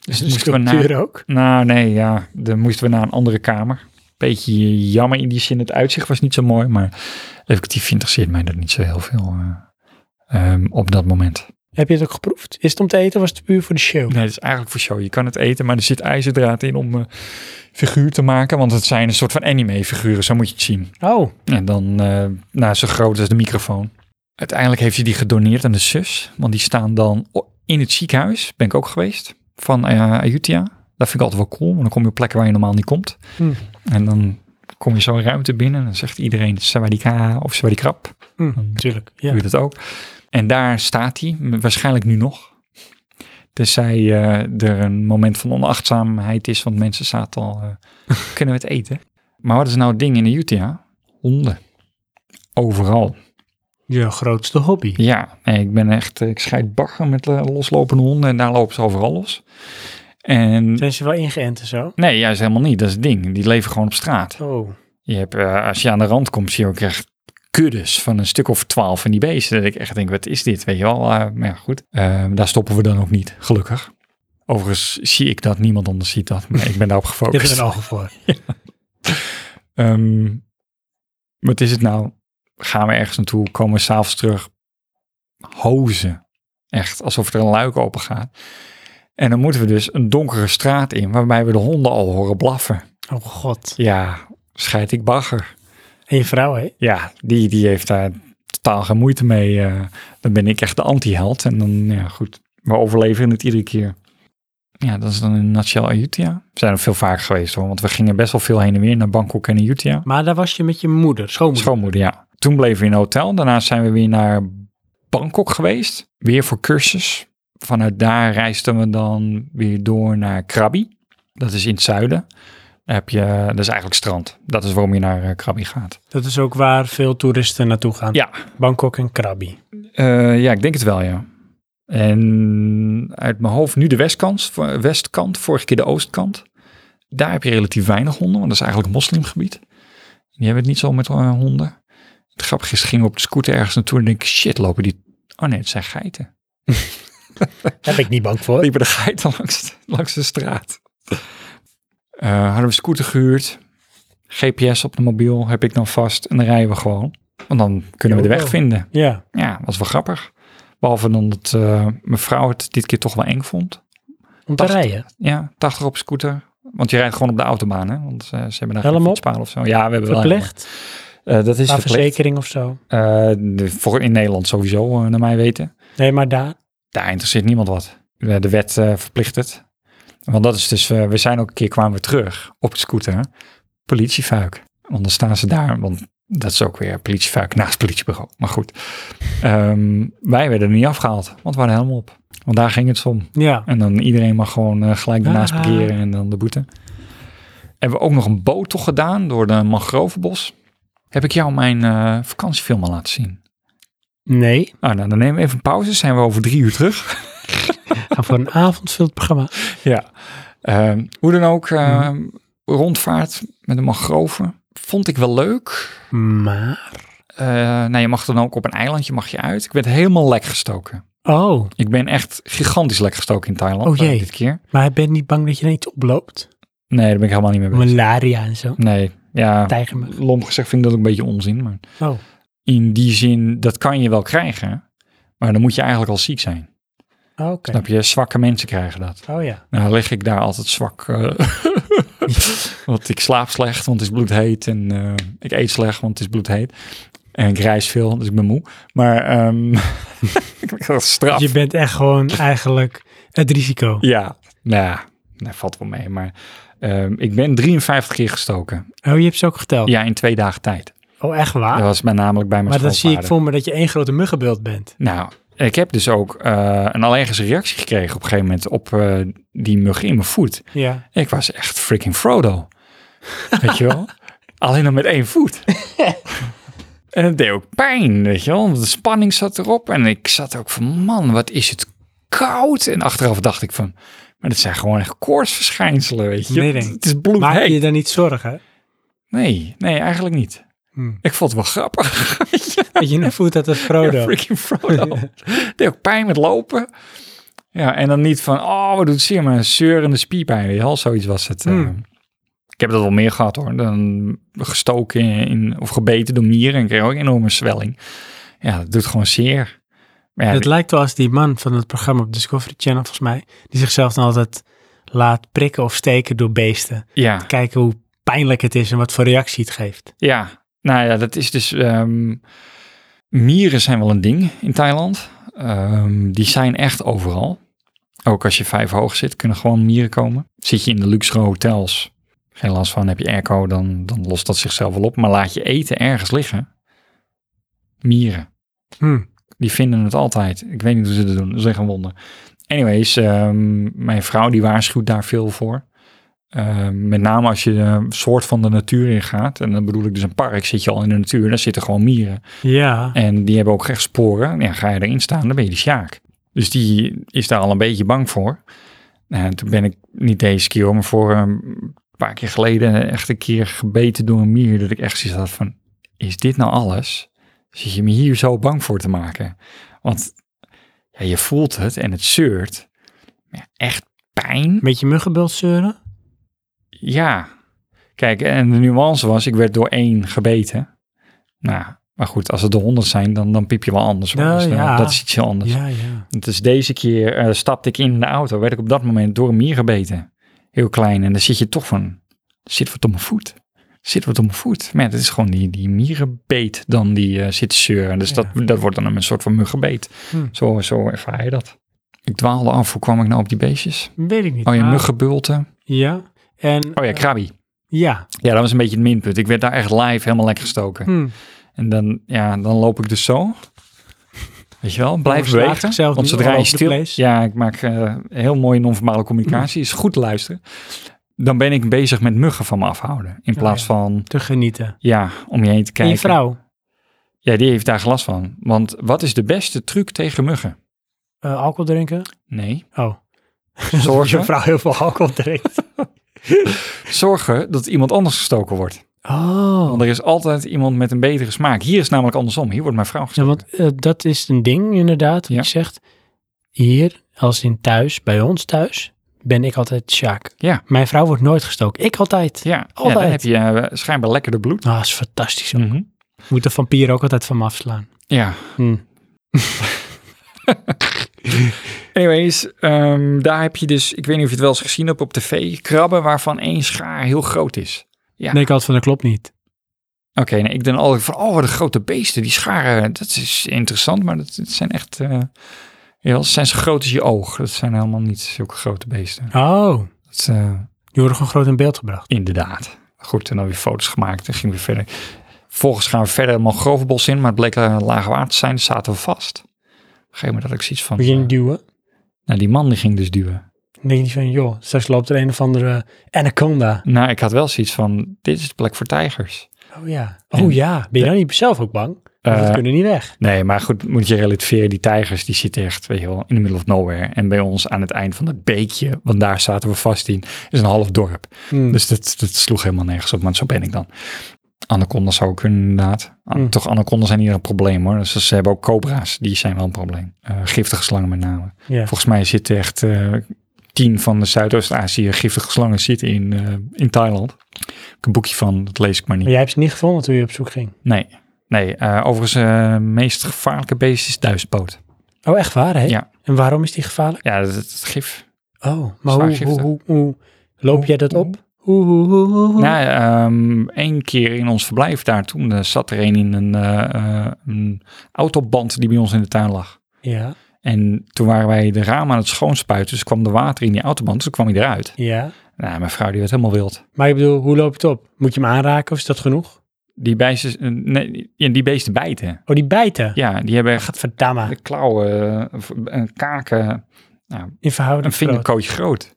S2: Dus
S1: De
S2: moesten we naar
S1: structuur ook.
S2: nou, nee, ja. Dan moesten we naar een andere kamer. Beetje jammer in die zin. Het uitzicht was niet zo mooi, maar effectief interesseert mij dat niet zo heel veel eh, ehm, op dat moment.
S1: Heb je het ook geproefd? Is het om te eten of was het puur voor de show?
S2: Nee, het is eigenlijk voor show. Je kan het eten, maar er zit ijzerdraad in om eh, figuur te maken. Want het zijn een soort van anime-figuren, zo moet je het zien.
S1: Oh,
S2: En dan, eh nou, zo groot als de microfoon. Uiteindelijk heeft hij die gedoneerd aan de zus. Want die staan dan o- in het ziekenhuis, ben ik ook geweest, van eh Ayutthaya. Dat vind ik altijd wel cool, want dan kom je op plekken waar je normaal niet komt.
S1: Hm.
S2: En dan kom je zo'n ruimte binnen en dan zegt iedereen Sawadika of Sawadikap.
S1: hm, natuurlijk. Ja.
S2: Doe je dat ook? En daar staat hij, m- waarschijnlijk nu nog. Tenzij eh, er een moment van onachtzaamheid is, want mensen zaten al, eh, kunnen we het eten? Maar wat is nou het ding in de Utah? Honden. Overal.
S1: Je grootste hobby.
S2: Ja, nee, ik ben echt, eh, ik scheid bakken met eh, loslopende honden en daar lopen ze overal los. En
S1: Zijn ze wel ingeënt en zo?
S2: nee, juist helemaal niet, dat is het ding. Die leven gewoon op straat.
S1: Oh,
S2: Je hebt, eh, als je aan de rand komt, zie je ook echt kuddes van een stuk of twaalf van die beesten. Dat ik echt denk, wat is dit? Weet je wel, Eh, maar ja, goed. Eh, daar stoppen we dan ook niet, gelukkig. Overigens zie ik dat, niemand anders ziet dat, maar ik ben daarop
S1: dit is
S2: gefocust.
S1: een ogen voor.
S2: Ehm, wat is het nou? Gaan we ergens naartoe? Komen we s'avonds terug? Hozen. Echt, alsof er een luik open gaat. En dan moeten we dus een donkere straat in, waarbij we de honden al horen blaffen.
S1: Oh god.
S2: Ja, scheid ik bagger.
S1: En je vrouw, hè?
S2: Ja, die, die heeft daar totaal geen moeite mee. eh. dan ben ik echt de anti-held. En dan, ja goed, we overleven het iedere keer. Ja, dat is dan in Nutshell Ayutthaya. We zijn er veel vaker geweest hoor, want we gingen best wel veel heen en weer naar Bangkok en Ayutthaya.
S1: Maar daar was je met je moeder, schoonmoeder.
S2: Schoonmoeder, ja. Toen bleven we in een hotel. Daarna zijn we weer naar Bangkok geweest. Weer voor cursus. Vanuit daar reisden we dan weer door naar Krabi. Dat is in het zuiden. heb je, dat is eigenlijk strand. Dat is waarom je naar eh, Krabi gaat.
S1: Dat is ook waar veel toeristen naartoe gaan.
S2: Ja.
S1: Bangkok en Krabi.
S2: Eh, ja, ik denk het wel, ja. En uit mijn hoofd nu de westkant, v- westkant vorige keer de oostkant. Daar heb je relatief weinig honden, want dat is eigenlijk een moslimgebied. Die hebben het niet zo met eh, honden. Het grappige is, gingen we op de scooter ergens naartoe en denk ik, shit, lopen die... Oh nee, het zijn geiten.
S1: Daar ben ik niet bang voor.
S2: Liepen de geiten langs, de- langs de straat. Eh, hadden we een scooter gehuurd. GPS op de mobiel heb ik dan vast. En dan rijden we gewoon. Want dan kunnen we de weg
S1: Jawel.
S2: vinden.
S1: Ja,
S2: Ja, was wel grappig. Behalve dan dat eh, mijn vrouw het dit keer toch wel eng vond.
S1: om te
S2: Dacht-
S1: rijden.
S2: Ja, 80 op scooter. Want je rijdt gewoon op de autobaan, hè? Want eh, ze hebben daar
S1: Helm
S2: geen
S1: op?
S2: fietspaal of zo. Ja, we hebben wel helm.
S1: Verplicht, Ah,
S2: Eh, dat is
S1: qua
S2: verplicht.
S1: verzekering of zo.
S2: Eh, de- voor in Nederland sowieso, eh, naar mij weten.
S1: Nee, maar daar.
S2: Daar interesseert niemand wat. Eh, De wet eh, verplicht het. Want dat is dus... eh, we zijn ook een keer kwamen we terug op de scooter. Politiefuik. Want dan staan ze daar. Want dat is ook weer politiefuik naast het politiebureau. Maar goed. Ehm, wij werden er niet afgehaald. Want we hadden helm op. Want daar ging het om.
S1: Ja,
S2: En dan iedereen mag gewoon eh, gelijk daarnaast
S1: Ah.
S2: parkeren en dan de boete. Hebben we ook nog een boottocht gedaan door de mangrovenbos. Heb ik jou mijn eh, vakantiefilm al laten zien?
S1: nee.
S2: Nou, nou, dan nemen we even een pauze. Zijn we over drie uur terug?
S1: Gaan voor een avondvullend programma.
S2: ja. Ehm, hoe dan ook, ehm,
S1: Mhm.
S2: rondvaart met de mangroven vond ik wel leuk.
S1: Maar.
S2: Eh, nou, je mag dan ook op een eilandje mag je uit. Ik werd helemaal lek gestoken.
S1: Oh,
S2: Ik ben echt gigantisch lek gestoken in Thailand
S1: Oh,
S2: eh,
S1: jee.
S2: dit keer.
S1: maar je bent niet bang dat je ineens oploopt?
S2: Nee, daar ben ik helemaal niet mee bezig.
S1: Malaria en zo.
S2: Nee, ja,
S1: Tijgermug.
S2: lomp gezegd vind ik dat ook een beetje onzin. Maar
S1: Oh,
S2: in die zin, dat kan je wel krijgen, maar dan moet je eigenlijk al ziek zijn.
S1: Oh, oké.
S2: Snap je? Zwakke mensen krijgen dat.
S1: Oh ja.
S2: Nou lig ik daar altijd zwak, eh, want ik slaap slecht, want het is bloedheet. En eh, ik eet slecht, want het is bloedheet. En ik reis veel, dus ik ben moe. Maar ehm ik ben echt straf.
S1: Je bent echt gewoon eigenlijk het risico.
S2: Ja, nou ja, dat valt wel mee. Maar ehm, ik ben 53 keer gestoken.
S1: Oh, je hebt ze ook geteld.
S2: Ja, in twee dagen tijd.
S1: Oh, echt waar?
S2: Dat was mij namelijk bij mijn
S1: maar dan zie ik
S2: schoonvader.
S1: voor me dat je één grote muggenbeeld bent.
S2: Nou, ik heb dus ook eh, een allergische reactie gekregen op een gegeven moment op eh, die mug in mijn voet.
S1: Ja.
S2: Ik was echt freaking Frodo. Weet je wel? Alleen nog met één voet. en het deed ook pijn, weet je wel? want De spanning zat erop en ik zat ook van, man, wat is het koud? En achteraf dacht ik van, maar dat zijn gewoon echt koortsverschijnselen, weet je?
S1: Nee, nee.
S2: Het, het is
S1: Maak je
S2: bloedheet.
S1: je dan niet zorgen?
S2: Nee, nee, eigenlijk niet.
S1: Hm.
S2: Ik vond het wel grappig.
S1: Dat je nog voelt dat het Frodo.
S2: Ja, freaking Frodo. Deed ook pijn met lopen. Ja, en dan niet van, oh, wat doet het zeer, maar een zeurende spierpijn. Weet je wel, zoiets was het. eh.
S1: Hmm.
S2: Ik heb dat wel meer gehad hoor. Dan gestoken in, of gebeten door mieren en kreeg ook een enorme zwelling. Ja, dat doet gewoon zeer. Maar ja,
S1: het lijkt wel als die man van het programma op Discovery Channel, volgens mij, die zichzelf dan altijd laat prikken of steken door beesten.
S2: ja.
S1: Kijken hoe pijnlijk het is en wat voor reactie het geeft.
S2: Ja, nou ja, dat is dus. ehm, mieren zijn wel een ding in Thailand. Ehm, die zijn echt overal. Ook als je vijf hoog zit, kunnen gewoon mieren komen. Zit je in de luxere hotels, geen last van, heb je airco, dan, dan lost dat zichzelf wel op. Maar laat je eten ergens liggen. Mieren,
S1: Hm.
S2: die vinden het altijd. Ik weet niet hoe ze dat doen, dat is echt een wonder. Anyways, ehm, mijn vrouw die waarschuwt daar veel voor. Ehm, met name als je een soort van de natuur in gaat. En dan bedoel ik dus een park, zit je al in de natuur. Daar zitten gewoon mieren.
S1: Ja.
S2: En die hebben ook echt sporen. Ja, ga je erin staan, dan ben je de sjaak. Dus die is daar al een beetje bang voor. Nou, en toen ben ik niet deze keer, hoor, maar voor ehm, een paar keer geleden echt een keer gebeten door een mier. Dat ik echt zoiets had van, is dit nou alles? Zit je me hier zo bang voor te maken? Want ja, je voelt het en het zeurt. Maar ja, echt pijn.
S1: Met je muggenbeeld zeuren?
S2: Ja. Kijk, en de nuance was, ik werd door één gebeten. Nou, maar goed, als het de honderd zijn, dan, dan piep je wel anders. hoor.
S1: Nou,
S2: Dus, eh,
S1: ja.
S2: Dat is iets heel anders.
S1: Ja, ja.
S2: Dus deze keer eh, stapte ik in de auto, werd ik op dat moment door een mier gebeten. Heel klein. En dan zit je toch van, er zit wat op mijn voet. Er Zit wat op mijn voet. Maar ja, dat is gewoon die, die mierenbeet dan die eh, zit te zeuren. Dus dat, dat wordt dan een soort van muggenbeet.
S1: Hm.
S2: Zo, zo ervaar je dat. Ik dwaalde af, hoe kwam ik nou op die beestjes?
S1: Weet ik niet.
S2: Oh ja,
S1: maar-
S2: muggenbulten.
S1: Ja. En,
S2: Oh ja, krabi.
S1: ja.
S2: Ja, dat was een beetje het minpunt. Ik werd daar echt live helemaal lek gestoken.
S1: Hm.
S2: En dan, ja, dan loop ik dus zo. Weet je wel, blijf
S1: Overslaat
S2: bewegen.
S1: zichzelf
S2: Want
S1: nu
S2: zodra
S1: all
S2: je
S1: over the
S2: stil...
S1: place.
S2: Ja, ik maak eh, heel mooie non-formale communicatie. Is goed te luisteren. dan ben ik bezig met muggen van me afhouden. In plaats
S1: Oh, ja.
S2: van,
S1: Te genieten.
S2: ja, om je heen te
S1: En
S2: kijken.
S1: je vrouw,
S2: Ja, die heeft daar gelast van. Want wat is de beste truc tegen muggen?
S1: eh, alcohol drinken?
S2: Nee.
S1: Oh, als je
S2: Zorgen,
S1: vrouw heel veel alcohol drinkt.
S2: zorgen dat iemand anders gestoken wordt.
S1: Oh,
S2: Want er is altijd iemand met een betere smaak. Hier is het namelijk andersom. Hier wordt mijn vrouw
S1: ja,
S2: gestoken.
S1: want eh, dat is een ding inderdaad. Wat
S2: Ja.
S1: je zegt, hier, als in thuis, bij ons thuis, ben ik altijd Sjaak.
S2: Ja.
S1: Mijn vrouw wordt nooit gestoken. Ik altijd.
S2: Ja, ja, dan
S1: Altijd.
S2: heb je eh, schijnbaar lekkerder bloed.
S1: Ah, dat is fantastisch. hoor.
S2: Mhm.
S1: Moet de vampier ook altijd van me afslaan.
S2: Ja.
S1: Hm.
S2: Anyways, ehm, daar heb je dus, ik weet niet of je het wel eens gezien hebt op tv, krabben waarvan één schaar heel groot is. Ja.
S1: Nee, ik had van, dat klopt niet.
S2: Oké, nee, ik denk altijd van, oh, de grote beesten, die scharen, dat is interessant, maar dat, dat zijn echt, eh ja, ze zijn zo groot als je oog. Dat zijn helemaal niet zulke grote beesten.
S1: Oh,
S2: Dat is, eh,
S1: die worden gewoon groot in beeld gebracht.
S2: inderdaad. Goed, en dan weer foto's gemaakt en gingen we verder. Vervolgens gaan we verder helemaal Grovenbos in, maar het bleek eh, laagwaarts te zijn, dus zaten we vast. Op een gegeven moment had ik zoiets van,
S1: Moet je
S2: eh,
S1: niet duwen?
S2: nou, die man die ging dus duwen.
S1: Dan denk je niet van, joh, straks loopt er een of andere anaconda.
S2: Nou, ik had wel zoiets van, dit is de plek voor tijgers.
S1: Oh ja.
S2: En-
S1: Oh ja. Ben je dan niet zelf ook bang? Want
S2: Eh,
S1: dat kunnen niet weg.
S2: Nee, maar goed, moet je relativeren. Die tijgers, die zitten echt, weet je wel, in the middle of nowhere. En bij ons aan het eind van het beekje, want daar zaten we vast in, is een half dorp.
S1: Hm.
S2: Dus dat, dat sloeg helemaal nergens op, maar zo ben ik dan. Anacondas zou kunnen, inderdaad. An-
S1: Mm.
S2: Toch, anacondas zijn hier een probleem hoor. Dus ze hebben ook cobra's, die zijn wel een probleem. Eh, giftige slangen met name.
S1: ja.
S2: Volgens mij zitten echt eh, tien van de Zuidoost-Azië giftige slangen zitten in, eh, in Thailand. Daar heb ik een boekje van, dat lees ik maar niet.
S1: Maar jij hebt ze niet gevonden toen je op zoek ging.
S2: Nee, nee. eh, overigens, het meest gevaarlijke beest is duizendpoot.
S1: Oh, echt waar, hè?
S2: Ja.
S1: En waarom is die gevaarlijk?
S2: Ja, dat, dat gif.
S1: Oh, maar
S2: Zwaar
S1: hoe,
S2: giftig.
S1: hoe, hoe, hoe loop jij dat op? Hoe, hoe, hoe, hoe, hoe?
S2: Nou, ehm, één keer in ons verblijf daar toen eh, zat er een in een, eh, eh, een autoband die bij ons in de tuin lag.
S1: Ja,
S2: En toen waren wij de ramen aan het schoonspuiten, dus kwam er water in die autoband, dus kwam hij eruit.
S1: ja.
S2: Nou, mijn vrouw die werd helemaal wild.
S1: Maar ik bedoel, hoe loop je het op? Moet je hem aanraken of is dat genoeg?
S2: Die, beesten, eh, nee, ja, die beesten bijten.
S1: Oh, die bijten.
S2: Ja, die hebben echt de
S1: Gadverdamme.
S2: klauwen, eh, een kaken,
S1: In verhouding
S2: een vingerkootje groot.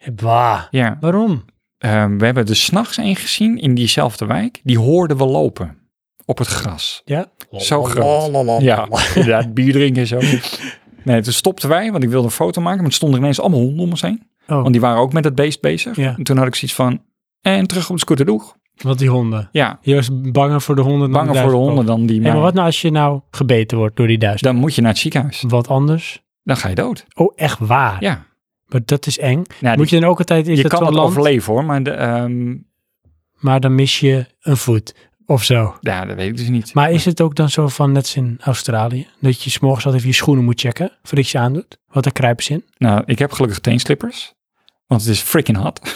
S1: groot. Bah.
S2: Ja,
S1: Waarom?
S2: Ehm, we hebben er s'nachts een gezien in diezelfde wijk. Die hoorden we lopen op het gras.
S1: Ja. Oh,
S2: Zo groot. Ja, inderdaad, bier drinken en zo. Nee, toen stopten wij, want ik wilde een foto maken. Maar toen stonden er ineens allemaal honden om ons heen.
S1: Oh,
S2: Want die waren ook met dat beest bezig.
S1: Ja.
S2: En toen had ik zoiets van, en terug op de scooter doeg.
S1: wat die honden.
S2: Ja,
S1: Je was banger voor de honden dan
S2: banger voor de honden dan die
S1: Hé, maar
S2: mij.
S1: wat Hm. nou als je nou gebeten wordt door die duizend?
S2: Dan moet je naar het ziekenhuis.
S1: Wat anders?
S2: Dan ga je dood.
S1: Oh, echt waar?
S2: Ja.
S1: Maar dat is eng.
S2: Nou,
S1: Moet
S2: die-
S1: je dan ook altijd... Is
S2: je
S1: dat
S2: kan
S1: zo'n
S2: het
S1: land,
S2: overleven hoor, maar de, ehm,
S1: maar dan mis je een voet of zo.
S2: ja, dat weet ik dus niet.
S1: Maar is het ook dan zo van, net als in Australië, dat je 's morgens altijd even je schoenen moet checken voordat je ze aandoet? Wat er kruipen ze in?
S2: Nou, ik heb gelukkig teenslippers, want het is freaking hot.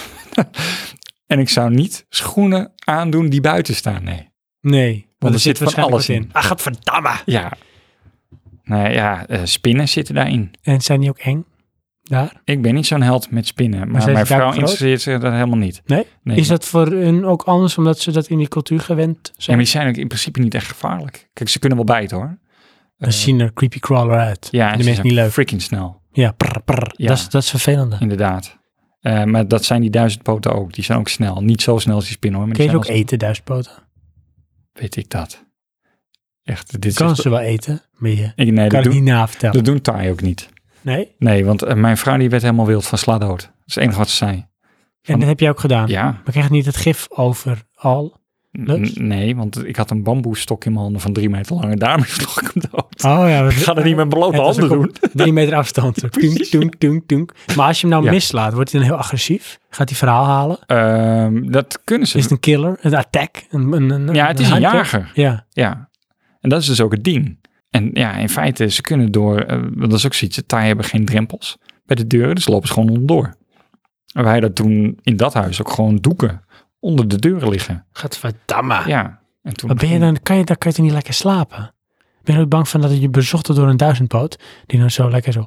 S2: en ik zou niet schoenen aandoen die buiten staan, nee.
S1: Nee, want,
S2: er zit van
S1: waarschijnlijk
S2: alles
S1: wat
S2: in.
S1: Ah, gadverdamme!
S2: Ja. Nou ja, eh, spinnen zitten daarin.
S1: En zijn die ook eng? Daar?
S2: Ik ben niet zo'n held met spinnen, maar,
S1: zijn ze
S2: mijn
S1: daar
S2: vrouw
S1: ook groot?
S2: interesseert zich dat helemaal niet.
S1: Nee?
S2: Nee,
S1: Is dat voor hun ook anders, omdat ze dat in die cultuur gewend
S2: Ja, maar
S1: zijn?
S2: die zijn ook in principe niet echt gevaarlijk. Kijk, ze kunnen wel bijten hoor.
S1: Dan zien er creepy crawler uit.
S2: Ja, en
S1: de
S2: ze
S1: mensen
S2: zijn
S1: niet leuk.
S2: freaking snel,
S1: Ja, prr, prr.
S2: Ja.
S1: Dat, is, dat is vervelend.
S2: inderdaad. Eh, maar dat zijn die duizendpoten ook. Die zijn ook snel. Niet zo snel als die spinnen hoor. Maar
S1: Kun
S2: die
S1: je ze ook
S2: zijn wel
S1: eten, duizendpoten?
S2: snel. Weet ik dat. Echt, dit
S1: Kan
S2: is... echt-
S1: ze wel eten, maar je
S2: Ik, nee,
S1: kan
S2: dat
S1: het
S2: doen,
S1: niet navertellen.
S2: dat doen Thai ook niet.
S1: Nee?
S2: Nee, want eh, mijn vrouw die werd helemaal wild van sla dood. Dat is het enige wat ze zei.
S1: En dat heb je ook gedaan.
S2: Ja,
S1: Maar krijg je niet het gif overal? Leuk.
S2: N- nee, want ik had een bamboestok in mijn handen van drie meter lang en daarmee sloeg ik hem dood.
S1: Oh ja.
S2: Ik ga er niet met beloofde
S1: Het was
S2: handen
S1: ook
S2: doen.
S1: op Drie meter afstand. Zo. Toenk, toenk, toenk, toenk. Maar als je hem nou
S2: Ja.
S1: mislaat, wordt hij dan heel agressief? Gaat hij verhaal halen?
S2: Ehm, dat kunnen ze.
S1: Is het een killer? Een attack? Een, een, een,
S2: ja, het is een
S1: hunter?
S2: jager.
S1: Ja.
S2: Ja. En dat is dus ook het ding. En ja, in feite, ze kunnen door, eh, want dat is ook zoiets, de Thai hebben geen drempels bij de deuren, dus lopen ze gewoon onderdoor. En wij dat toen in dat huis ook gewoon doeken onder de deuren liggen.
S1: Gadverdamme.
S2: Ja. En toen
S1: Maar ben je dan, kan je, dan kan je toch niet lekker slapen? Ben je ook bang van dat je bezocht wordt door een duizendpoot? Die dan zo lekker zo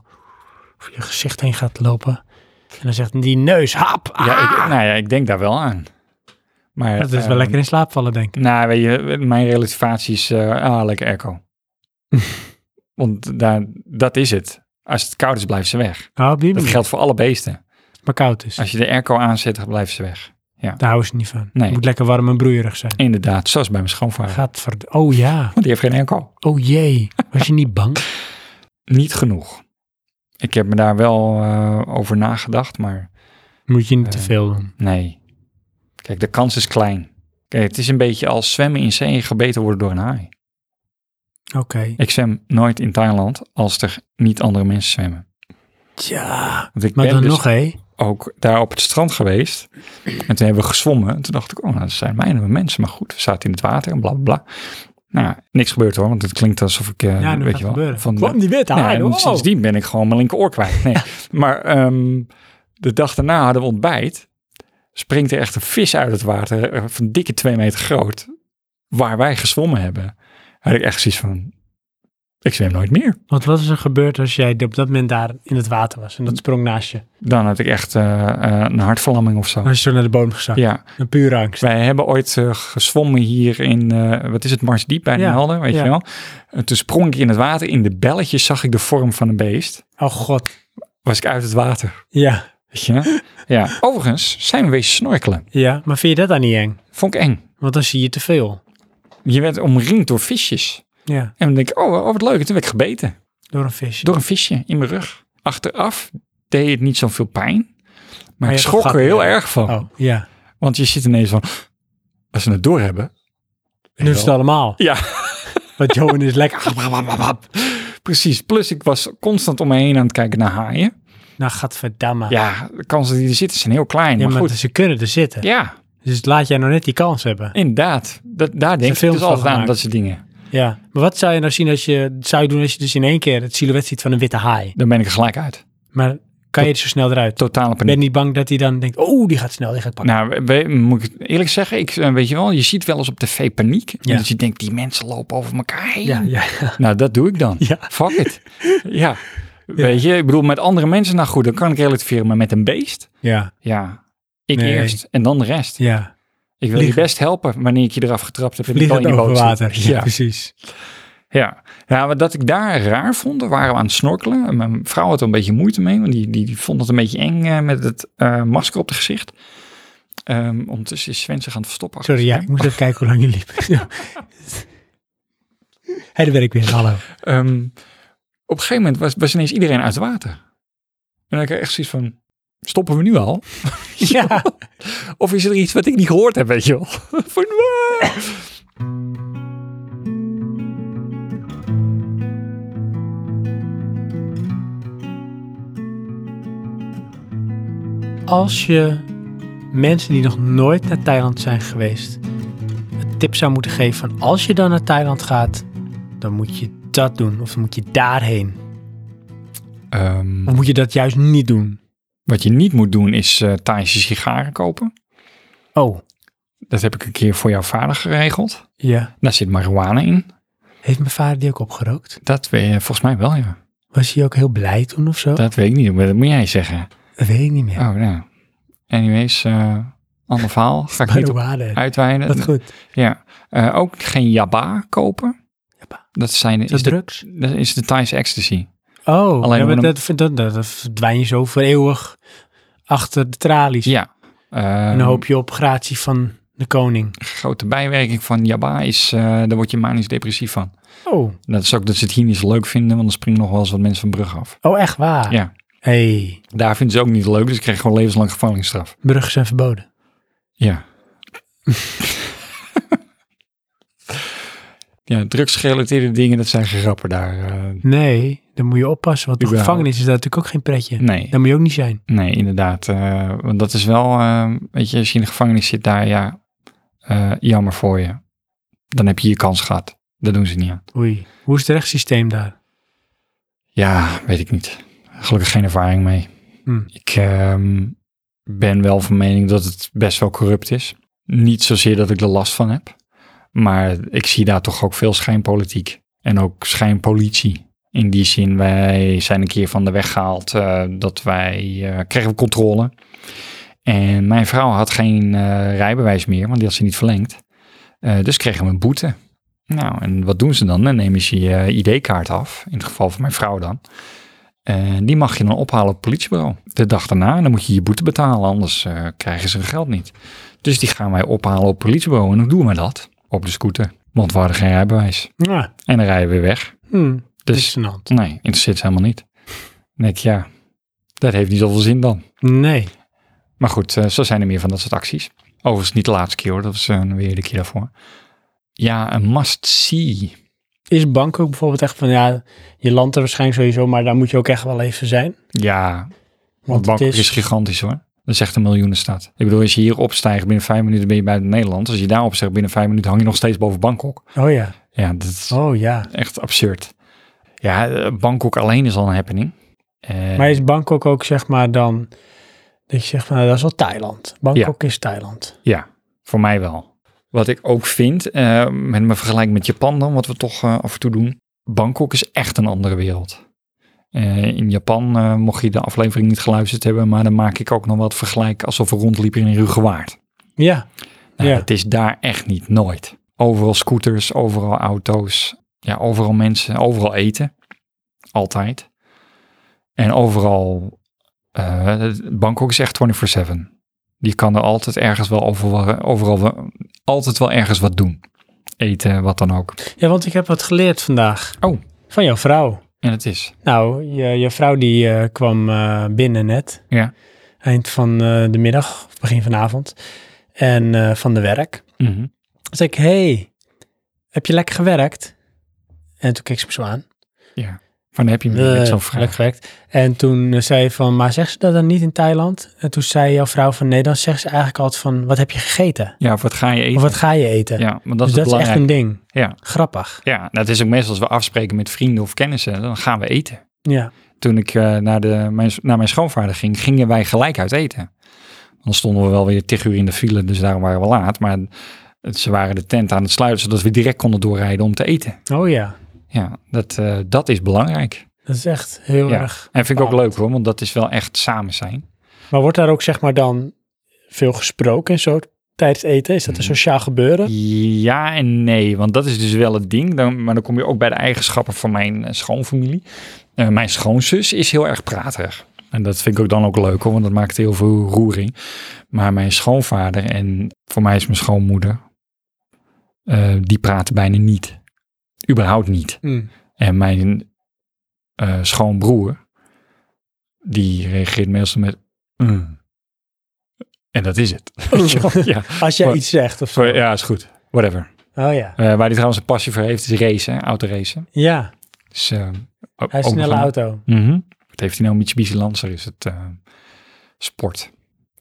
S1: over je gezicht heen gaat lopen. En dan zegt die neus, hap! Ah!
S2: Ja, ik, nou ja, ik denk daar wel aan. Maar,
S1: dat is wel
S2: ehm,
S1: lekker in slaap vallen, denk ik.
S2: Nou, weet je, mijn relativatie is eh, ah, lekker airco. Want daar, dat is het. Als het koud is, blijven ze weg.
S1: Nou, op die
S2: Dat
S1: manier.
S2: geldt voor alle beesten.
S1: maar koud is.
S2: Als je de airco aanzet, dan blijven ze weg.
S1: Daar houden ze niet van.
S2: Nee.
S1: Het moet lekker warm en broeierig zijn.
S2: Inderdaad, zoals bij mijn schoonvader.
S1: Gaat verd- Oh ja.
S2: Want die heeft geen airco.
S1: Oh jee. Was je niet bang?
S2: Niet genoeg. Ik heb me daar wel eh, over nagedacht, maar
S1: Moet je niet te
S2: Eh.
S1: veel doen.
S2: nee. Kijk, de kans is klein. Kijk, het is een beetje als zwemmen in zee en gebeten worden door een haai.
S1: Oké.
S2: Ik zwem nooit in Thailand als er niet andere mensen zwemmen.
S1: Tja.
S2: Want ik
S1: Maar
S2: ben
S1: dan
S2: dus
S1: nog, hé.
S2: ook daar op het strand geweest. En toen hebben we gezwommen. En toen dacht ik, oh, nou, dat zijn mijn mensen. Maar goed, we zaten in het water en bla bla, bla. Nou, ja, niks gebeurd hoor, want het klinkt alsof ik, eh,
S1: Ja, nu
S2: weet
S1: gaat
S2: je
S1: het
S2: wel,
S1: gebeuren.
S2: van
S1: Kwam die witte Oh.
S2: Ja,
S1: haai,
S2: en
S1: hoor.
S2: sindsdien ben ik gewoon mijn linker oor kwijt. Nee. maar ehm, de dag daarna hadden we ontbijt. Springt er echt een vis uit het water, eh, van dikke twee meter groot, waar wij gezwommen hebben. Had ik echt zoiets van, ik zwem nooit meer.
S1: Want wat is er gebeurd als jij op dat moment daar in het water was en dat sprong naast je?
S2: Dan had ik echt eh, eh, een hartverlamming of zo.
S1: Dan is je zo naar de bodem gezakt.
S2: Ja,
S1: Een pure angst.
S2: wij hebben ooit eh, gezwommen hier in, eh, wat is het, Marsdiep bij Den
S1: Ja,
S2: Helder, weet
S1: ja.
S2: je wel. En toen sprong ik in het water, in de belletjes zag ik de vorm van een beest.
S1: Oh god.
S2: Was ik uit het water,
S1: Ja.
S2: weet je. ja, overigens zijn we wezen snorkelen.
S1: Ja. Maar vind je dat dan niet eng?
S2: Vond ik eng.
S1: Want dan zie je te veel.
S2: Je werd omringd door visjes.
S1: Ja.
S2: En dan denk ik, oh, oh, wat leuk. En toen werd ik gebeten
S1: Door een visje.
S2: door een visje in mijn rug. Achteraf deed het niet zoveel pijn. Maar
S1: je
S2: ik
S1: hebt
S2: schrok
S1: het
S2: er
S1: gehad,
S2: heel
S1: ja.
S2: erg van.
S1: Oh ja.
S2: Want je zit ineens van, als ze het doorhebben.
S1: Nu is het allemaal.
S2: Ja.
S1: Want Johan is lekker.
S2: Precies. Plus ik was constant om me heen aan het kijken naar haaien.
S1: Nou, gadverdamme.
S2: Ja, de kansen die er zitten zijn heel klein.
S1: Ja,
S2: maar
S1: maar
S2: goed.
S1: ze kunnen er zitten.
S2: Ja,
S1: Dus laat jij nou net die kans hebben.
S2: inderdaad. Dat, daar denk ik
S1: films
S2: dus altijd
S1: van
S2: aan,
S1: gemaakt.
S2: dat soort dingen.
S1: Ja. Maar wat zou je nou zien als je, zou je doen als je dus in één keer het silhouet ziet van een witte haai?
S2: Dan ben ik er gelijk uit.
S1: Maar kan je er zo snel eruit?
S2: Totale
S1: Ben
S2: paniek.
S1: je niet bang dat hij dan denkt, oh, die gaat snel, die gaat pakken.
S2: Nou, we- we- moet ik eerlijk zeggen, ik, eh, weet je wel, je ziet wel eens op tv paniek.
S1: Ja.
S2: Dus je denkt, die mensen lopen over elkaar heen.
S1: ja,
S2: Nou, dat doe ik dan.
S1: Ja.
S2: Fuck it. ja. Weet je, ik bedoel, met andere mensen, nou goed, dan kan ik relativeren, maar met een beest?
S1: ja,
S2: Ja, ik
S1: Nee.
S2: eerst en dan de rest.
S1: ja.
S2: Ik wil je
S1: Vliegen.
S2: best helpen wanneer ik je eraf getrapt heb. en ik
S1: Vliegt
S2: al in
S1: het
S2: je
S1: over
S2: boot zit.
S1: water. Ja,
S2: Ja.
S1: precies.
S2: Ja. ja, wat dat ik daar raar vond, waren we aan het snorkelen. En Mijn vrouw had er een beetje moeite mee, want die, die, die vond het een beetje eng eh, met het eh, masker op het gezicht. Ehm ondertussen is Sven zich aan het verstoppen. achter
S1: Sorry,
S2: het
S1: ja,
S2: scherm.
S1: ik moest even kijken hoe lang je liep. Ja. Hé, daar ben ik weer. Hallo.
S2: Ehm, op een gegeven moment was, was ineens iedereen uit het water. En dan had ik echt zoiets van, stoppen we nu al?
S1: Ja.
S2: Of is er iets wat ik niet gehoord heb, weet je wel? Van, "Waa!"
S1: Als je mensen die nog nooit naar Thailand zijn geweest, een tip zou moeten geven van als je dan naar Thailand gaat, dan moet je dat doen. Of dan moet je daarheen.
S2: Ehm,
S1: Of moet je dat juist niet doen?
S2: wat je niet moet doen is eh Thaise sigaren kopen.
S1: Oh,
S2: Dat heb ik een keer voor jouw vader geregeld.
S1: ja.
S2: Daar zit marihuana in.
S1: Heeft mijn vader die ook opgerookt?
S2: Dat weet volgens mij wel, ja.
S1: Was hij ook heel blij toen of zo? Dat, Ah,
S2: Dat weet ik niet, maar dat moet jij zeggen.
S1: weet ik niet meer.
S2: Oh, nou. Anyways, eh ander verhaal. Ga ik niet op
S1: Marihuana.
S2: uitweiden.
S1: Wat goed.
S2: Ja. Eh, ook geen jabba kopen.
S1: Jabba.
S2: Dat, zijn,
S1: Is dat
S2: is, de,
S1: drugs?
S2: dat is de Thaise ecstasy.
S1: Oh,
S2: Alleen
S1: ja, maar
S2: maar dan-
S1: dat, dat, dat, dat verdwijn je zo voor eeuwig achter de tralies.
S2: Ja. Eh,
S1: En dan hoop je op gratie van de koning.
S2: Grote bijwerking van jabba is, eh, daar word je manisch depressief van.
S1: Oh,
S2: Dat is ook dat ze het hier niet zo leuk vinden, want dan springen nog wel eens wat mensen van brug af.
S1: oh echt waar?
S2: Ja.
S1: hey,
S2: Daar vinden ze ook niet leuk, dus ik krijg gewoon levenslang gevangenisstraf.
S1: bruggen zijn verboden.
S2: Ja. ja, drugsgerelateerde dingen, dat zijn geen grappen daar. eh.
S1: Nee, dan moet je oppassen, want de
S2: Überhaupt.
S1: gevangenis is daar natuurlijk ook geen pretje.
S2: nee,
S1: Daar moet je ook niet zijn.
S2: nee, inderdaad. eh, want dat is wel, eh, weet je, als je in de gevangenis zit daar, ja, eh, jammer voor je. Dan heb je je kans gehad. Dat doen ze niet aan.
S1: Oei, hoe is het rechtssysteem daar?
S2: Ja, weet ik niet. Gelukkig geen ervaring mee.
S1: Hm.
S2: Ik ehm, ben wel van mening dat het best wel corrupt is. Niet zozeer dat ik er last van heb. Maar ik zie daar toch ook veel schijnpolitiek. En ook schijnpolitie. In die zin, wij zijn een keer van de weg gehaald eh, dat wij eh, kregen controle. En mijn vrouw had geen eh, rijbewijs meer, want die had ze niet verlengd. Eh, dus kregen we een boete. Nou, en wat doen ze dan? Dan nemen ze je eh, ID-kaart af, in het geval van mijn vrouw dan. En die mag je dan ophalen op het politiebureau. De dag daarna. En dan moet je je boete betalen, anders eh, krijgen ze hun geld niet. Dus die gaan wij ophalen op het politiebureau. En hoe doen we dat? Op de scooter. Want we hadden geen rijbewijs.
S1: Ja,
S2: En dan rijden we weer weg.
S1: hm,
S2: Dus
S1: is een hand.
S2: nee, interesseert ze helemaal niet. Dan denk ik, ja, dat heeft niet zoveel zin dan.
S1: Nee.
S2: Maar goed, eh, zo zijn er meer van dat soort acties. Overigens niet de laatste keer hoor, dat was eh, weer de keer daarvoor. Ja, een must see.
S1: Is Bangkok bijvoorbeeld echt van, ja, je landt er waarschijnlijk sowieso, maar daar moet je ook echt wel even zijn.
S2: Ja, want
S1: Want het
S2: Bangkok is...
S1: is,
S2: gigantisch hoor. Dat is echt een miljoenenstad. Ik bedoel, als je hier opstijgt, binnen vijf minuten ben je buiten Nederland. Als je daar opstijgt, binnen vijf minuten hang je nog steeds boven Bangkok.
S1: oh ja,
S2: Ja, dat is
S1: oh ja.
S2: echt absurd. Ja, eh, Bangkok alleen is al een happening. Eh,
S1: Maar is Bangkok ook, zeg maar, dan, dat je zegt van, nou, dat is wel Thailand. Bangkok is Thailand.
S2: Ja, voor mij wel. Wat ik ook vind, eh, met mijn vergelijking met Japan dan, wat we toch eh, af en toe doen. Bangkok is echt een andere wereld. Eh, in Japan, eh, mocht je de aflevering niet geluisterd hebben, maar dan maak ik ook nog wat vergelijk alsof we rondliepen in Rugewaard.
S1: Ja,
S2: Nou,
S1: Ja.
S2: Het is daar echt niet, nooit. Overal scooters, overal auto's, ja, overal mensen, overal eten. Altijd. En overal, eh, Bangkok is echt 24-7. Je kan er altijd ergens wel overal, overal wel- altijd wel ergens wat doen. Eten, wat dan ook.
S1: ja want ik heb wat geleerd vandaag.
S2: Oh.
S1: Van jouw vrouw.
S2: En het is.
S1: Nou, je, je vrouw die eh, kwam eh, binnen net.
S2: Ja.
S1: Eind van eh, de middag, of begin van de avond. En eh, van de werk.
S2: Mhm.
S1: Toen zei ik, hey, heb je lekker gewerkt? En toen keek ze me zo aan.
S2: Ja. Van heb je me
S1: Eh,
S2: net zo'n
S1: lekker
S2: vraag.
S1: gewerkt. En toen eh, zei je van, maar zegt ze dat dan niet in Thailand? En toen zei jouw vrouw van, nee, dan zegt ze eigenlijk altijd van, wat heb je gegeten?
S2: Ja, of wat ga je eten?
S1: Of wat ga je eten?
S2: Ja, want dat
S1: dus
S2: is het
S1: dat is echt
S2: belangrijke.
S1: een ding.
S2: Ja.
S1: Grappig.
S2: Ja, dat is ook meestal als we afspreken met vrienden of kennissen, dan gaan we eten.
S1: Ja.
S2: toen ik eh, naar, de, mijn, naar mijn schoonvader ging, gingen wij gelijk uit eten. Dan stonden we wel weer tig uur in de file, dus daarom waren we laat. Maar het- ze waren de tent aan het sluiten, zodat we direct konden doorrijden om te eten.
S1: Oh ja.
S2: Ja, dat, eh, dat is belangrijk.
S1: Dat is echt heel
S2: Ja.
S1: erg.
S2: En vind ik ook
S1: Bepaald.
S2: leuk hoor, want dat is wel echt samen zijn.
S1: Maar wordt daar ook zeg maar dan veel gesproken en zo tijdens het eten? Is dat een
S2: Mhm.
S1: sociaal gebeuren?
S2: Ja en nee, want dat is dus wel het ding. Dan, maar dan kom je ook bij de eigenschappen van mijn eh, schoonfamilie. Eh, mijn schoonzus is heel erg praterig. En dat vind ik ook dan ook leuk hoor, want dat maakt heel veel roering. Maar mijn schoonvader en voor mij is mijn schoonmoeder, eh, die praten bijna niet. Überhaupt niet. En mijn eh, schoonbroer, die reageert meestal met... "Mm." En dat is het. ja,
S1: Als jij
S2: Maar-
S1: iets zegt of zo.
S2: voor- ja, is goed. Whatever.
S1: Oh ja.
S2: Eh, waar hij trouwens een passie voor heeft, is racen, autoracen.
S1: Ja,
S2: Dus, eh, ook-
S1: hij is
S2: ook
S1: een snelle
S2: nog een-
S1: auto.
S2: Mhm. Wat heeft hij nou? Mitsubishi Lancer is het eh, sport.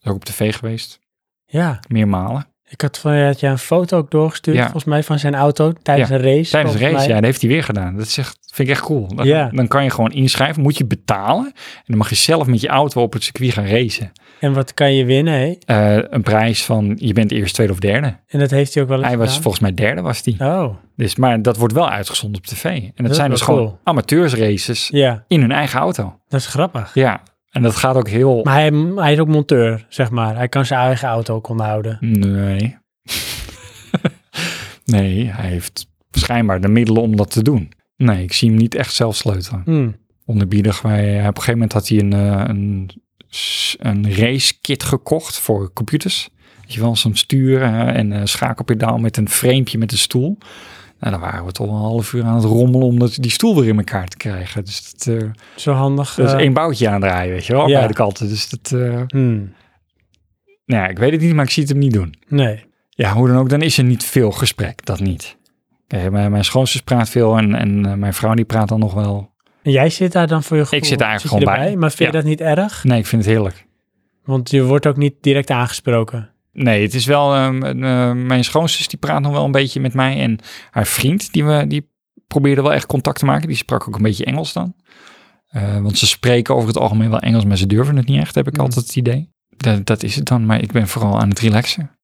S2: Is ook op tv geweest,
S1: Ja,
S2: meermalen.
S1: ik had van had jij een foto ook doorgestuurd,
S2: Ja.
S1: volgens mij, van zijn auto tijdens
S2: Ja,
S1: een race.
S2: Tijdens een
S1: volgens
S2: race, ja,
S1: mij.
S2: dat heeft hij weer gedaan. Dat is echt, vind ik echt cool. Dan,
S1: Ja.
S2: dan kan je gewoon inschrijven, moet je betalen. En dan mag je zelf met je auto op het circuit gaan racen.
S1: En wat kan je winnen, hè?
S2: Eh, een prijs van, je bent eerst tweede of derde.
S1: En dat heeft hij ook wel eens
S2: Hij was
S1: gedaan.
S2: volgens mij derde, was die.
S1: Oh,
S2: Dus, maar dat wordt wel uitgezonden op tv. En dat,
S1: is
S2: zijn
S1: wel
S2: dus gewoon
S1: cool.
S2: amateursraces
S1: ja,
S2: in hun eigen auto.
S1: dat is grappig.
S2: Ja, en dat gaat ook heel...
S1: Maar hij, hij is ook monteur, zeg maar. Hij kan zijn eigen auto ook onderhouden.
S2: Nee. nee, hij heeft schijnbaar de middelen om dat te doen. Nee, ik zie hem niet echt zelf sleutelen.
S1: Hm.
S2: Onderbiedig, wij, op een gegeven moment had hij een, eh, een, s- een race kit gekocht voor computers. Weet je wel, zo'n stuur eh, en eh, schakelpedaal met een framepje met een stoel. Nou, dan waren we toch wel een half uur aan het rommelen om dat, die stoel weer in elkaar te krijgen. Dus dat, eh,
S1: Zo handig.
S2: dat is
S1: eh,
S2: één boutje aandraaien, weet je wel, aan
S1: Ja.
S2: beide kanten. Dus dat, eh,
S1: hm.
S2: nou ja, ik weet het niet, maar ik zie het hem niet doen.
S1: Nee,
S2: Ja, hoe dan ook, dan is er niet veel gesprek, dat niet. Oké, mijn, mijn schoonzus praat veel en, en eh, mijn vrouw die praat dan nog wel.
S1: En jij zit daar dan voor je gevoel?
S2: Ik zit daar eigenlijk
S1: je
S2: gewoon bij.
S1: erbij? Maar vind je
S2: Ja.
S1: dat niet erg?
S2: Nee, ik vind het heerlijk.
S1: Want je wordt ook niet direct aangesproken.
S2: Nee, het is wel, ehm, eh, mijn schoonzus die praat nog wel een beetje met mij en haar vriend, die, we, die probeerde wel echt contact te maken. Die sprak ook een beetje Engels dan. Eh, want ze spreken over het algemeen wel Engels, maar ze durven het niet echt, heb ik
S1: Mm.
S2: altijd het idee. Dat, dat is het dan, maar ik ben vooral aan het relaxen.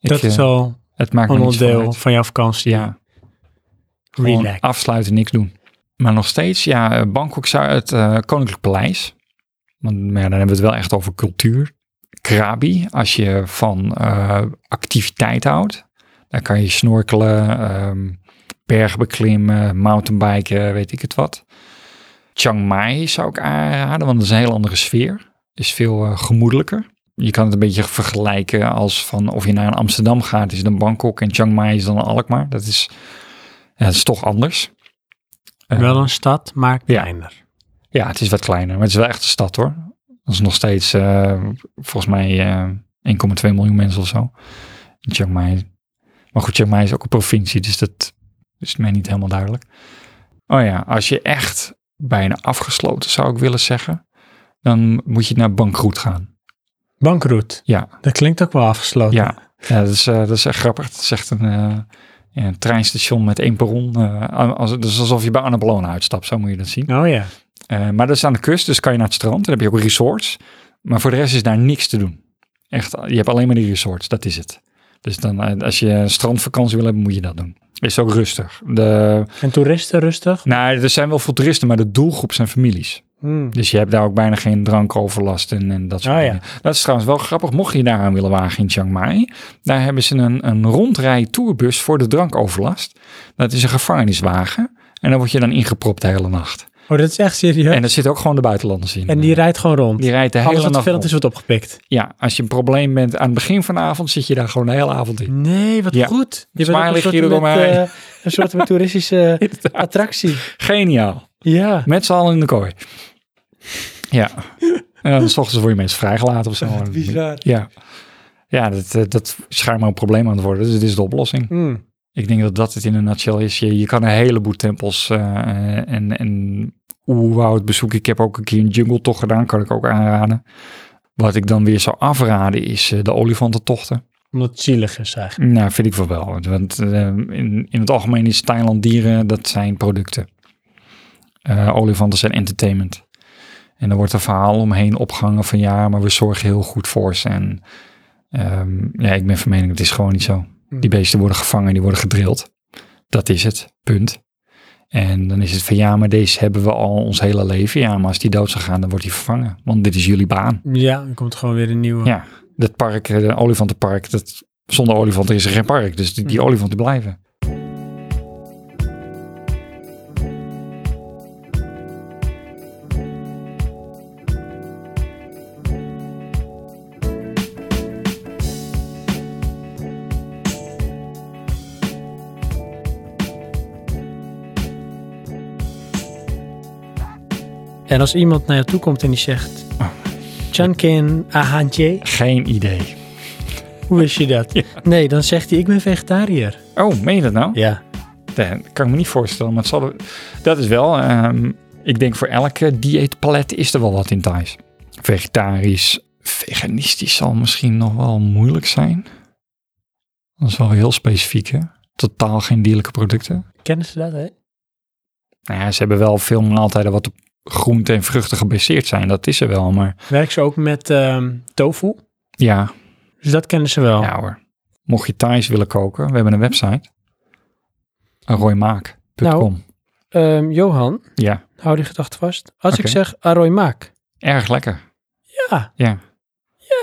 S2: Ik,
S1: dat is
S2: eh,
S1: al
S2: het maakt me
S1: een
S2: niet veel
S1: onderdeel
S2: uit.
S1: van jouw vakantie.
S2: Ja. Gewoon ah,
S1: Relax.
S2: afsluiten, niks doen. Maar nog steeds, ja, eh, Bangkok zou het eh, Koninklijk Paleis. Want maar ja, dan hebben we het wel echt over cultuur. Krabi, als je van eh, activiteit houdt, dan kan je snorkelen, ehm bergen beklimmen, mountainbiken, weet ik het wat. Chiang Mai zou ik aanraden, want dat is een hele andere sfeer. Is veel eh, gemoedelijker. Je kan het een beetje vergelijken als van of je naar Amsterdam gaat, is dan Bangkok en Chiang Mai is dan Alkmaar. Dat is, ja, dat is toch anders. Eh,
S1: Wel een stad, maar kleiner.
S2: ja, het is wat kleiner, maar het is wel echt een stad hoor. Dat is nog steeds eh, volgens mij eh, 1,2 miljoen mensen of zo. In Chiang Mai. Maar goed, Chiang Mai is ook een provincie, dus dat is mij niet helemaal duidelijk. Oh ja, als je echt bijna afgesloten zou ik willen zeggen, dan moet je naar bankroet gaan.
S1: Bankroet.
S2: Ja.
S1: Dat klinkt ook wel afgesloten.
S2: Ja, ja dat, is, eh, dat is echt grappig. Het is echt een, eh, ja, een treinstation met één perron. eh, als, dus alsof je bij Annapolona uitstapt, zo moet je dat zien.
S1: Oh ja.
S2: Eh, maar dat is aan de kust, dus kan je naar het strand. Dan heb je ook resorts. Maar voor de rest is daar niks te doen. Echt, je hebt alleen maar die resorts, dat is het. Dus dan, eh, als je een strandvakantie wil hebben, moet je dat doen. Is ook rustig. De,
S1: En toeristen rustig?
S2: nou, er zijn wel veel toeristen, maar de doelgroep zijn families.
S1: Hmm.
S2: Dus je hebt daar ook bijna geen drankoverlast en, en dat soort
S1: Oh ja.
S2: dingen. Dat is trouwens wel grappig. Mocht je je daaraan willen wagen in Chiang Mai, daar hebben ze een, een rondrij tourbus voor de drankoverlast. Dat is een gevangeniswagen. En daar word je dan ingepropt de hele nacht.
S1: Oh, dat is echt serieus.
S2: En
S1: En,
S2: daar zitten ook gewoon de buitenlanders in.
S1: die rijdt gewoon rond.
S2: Die rijdt de hele
S1: Alles wat
S2: nacht
S1: vervelend is,
S2: rond.
S1: wordt opgepikt.
S2: Ja, als je een probleem bent aan het begin van de avond, zit je daar gewoon de hele avond in.
S1: Nee, wat
S2: Ja.
S1: goed. Je
S2: Smiley
S1: ook een soort
S2: gier
S1: met,
S2: eromheen.
S1: eh, een soort van toeristische eh, attractie.
S2: Geniaal.
S1: Ja.
S2: Met z'n allen in de kooi. Ja. En dan 's ochtends word je mensen vrijgelaten of zo.
S1: Bizar.
S2: Ja. Ja, dat, eh, dat schijnt maar een probleem aan te worden. Dus dit is de oplossing.
S1: Hmm.
S2: Ik denk dat dat het in een nutshell is. Je, je kan een heleboel tempels eh, en, en oerwoud bezoeken. Ik heb ook een keer een jungle tocht gedaan, kan ik ook aanraden. Wat ik dan weer zou afraden is eh, de olifantentochten.
S1: Omdat het zielig is eigenlijk.
S2: Nou, vind ik wel wel. Want eh, in, in het algemeen is Thailand dieren, dat zijn producten. Eh, olifanten zijn entertainment. En er wordt een verhaal omheen opgehangen van ja, maar we zorgen heel goed voor ze. En ehm, ja, ik ben van mening, het is gewoon niet zo.
S1: Hmm.
S2: Die beesten worden gevangen, die worden gedrild. Dat is het, punt. En dan is het van ja, maar deze hebben we al ons hele leven. Ja, maar als die dood zou gaan, dan wordt die vervangen. Want dit is jullie baan.
S1: Ja, er komt gewoon weer een nieuwe.
S2: Ja. Dat park, eh, de olifantenpark, dat, zonder olifanten is er geen park. Dus die, die olifanten blijven.
S1: En als iemand naar je toe komt en die zegt...
S2: Oh.
S1: Chankin ahantje,
S2: Geen idee.
S1: hoe wist je dat?
S2: Ja.
S1: Nee, dan zegt hij, ik ben vegetariër.
S2: Oh, meen je dat nou?
S1: Ja.
S2: Dat kan ik me niet voorstellen. Maar het zal, dat is wel, ehm, ik denk voor elke dieetpalet is er wel wat in Thais. Vegetarisch, veganistisch zal misschien nog wel moeilijk zijn. Dat is wel weer heel specifiek, hè? Totaal geen dierlijke producten.
S1: Kennen ze dat, hè?
S2: Nou ja, ze hebben wel veel maaltijden wat op groente en vruchten gebaseerd zijn. Dat is er wel, maar
S1: Werken ze ook met ehm, tofu?
S2: ja,
S1: Dus dat kennen ze wel.
S2: Ja hoor. Mocht je Thais willen koken, we hebben een website. Roymaak.com.
S1: Ehm, Johan,
S2: Ja,
S1: hou die gedachte vast. Als ik
S2: Oké.
S1: zeg Aroy Maak.
S2: erg lekker.
S1: Ja,
S2: Ja.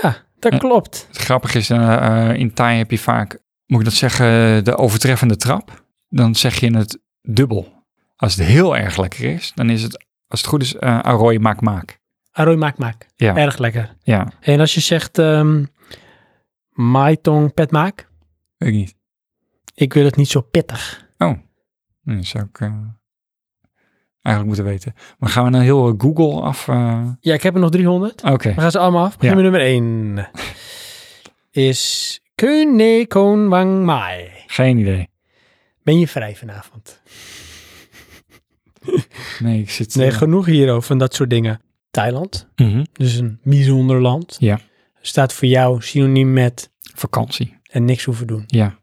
S1: ja, dat
S2: Ja.
S1: klopt.
S2: Het grappige is, eh, eh, in Thai heb je vaak, moet ik dat zeggen, de overtreffende trap. Dan zeg je het dubbel. Als het heel erg lekker is, dan is het, als het goed is, eh Aroy maak maak.
S1: Aroy Maak Maak.
S2: Ja.
S1: Erg lekker.
S2: Ja,
S1: En als je zegt ehm Mai Tong Pet Maak.
S2: weet ik niet.
S1: Ik wil het niet zo pittig.
S2: Nee, dat zou ik eh, eigenlijk moeten weten. Maar gaan we nou heel eh, Google af? eh?
S1: Ja, ik heb er nog 300.
S2: Oké.
S1: We gaan ze allemaal af. Begin
S2: Ja.
S1: met nummer 1. Is Keun Nee Koon Wang Mai.
S2: Geen idee.
S1: Ben je vrij vanavond?
S2: Nee, ik zit...
S1: Nee,
S2: eh,
S1: genoeg hierover van dat soort dingen. Thailand.
S2: mhm.
S1: Dus een bijzonder land.
S2: Ja.
S1: Staat voor jou synoniem met
S2: Vakantie.
S1: en niks hoeven doen.
S2: Ja.
S1: Je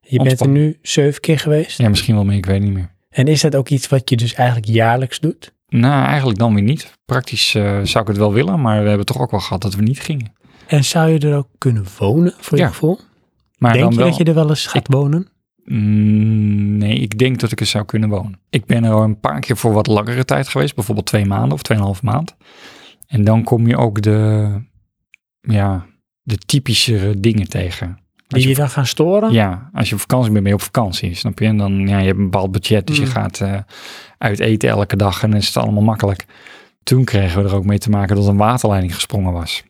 S1: bent er
S2: Ontspannen.
S1: nu zeven keer geweest.
S2: Ja, misschien wel meer, ik weet niet meer.
S1: En is dat ook iets wat je dus eigenlijk jaarlijks doet?
S2: Nou, eigenlijk dan weer niet. Praktisch eh, zou ik het wel willen, maar we hebben toch ook wel gehad dat we niet gingen.
S1: En zou je er ook kunnen wonen voor je
S2: Ja,
S1: gevoel?
S2: Maar
S1: Denk
S2: dan
S1: je
S2: wel,
S1: dat je er wel eens gaat wonen?
S2: Mm, nee, ik denk dat ik er zou kunnen wonen. Ik ben er al een paar keer voor wat langere tijd geweest, bijvoorbeeld twee maanden of tweeënhalf maand. En dan kom je ook de, ja, de typischere dingen tegen. Als
S1: Die
S2: je
S1: je dan gaan storen?
S2: Ja, als je op vakantie bent, ben je op vakantie, snap je? En dan, ja, je hebt een bepaald budget, dus je
S1: Mm.
S2: gaat eh, uit eten elke dag en dan is het allemaal makkelijk. Toen kregen we er ook mee te maken dat een waterleiding gesprongen was.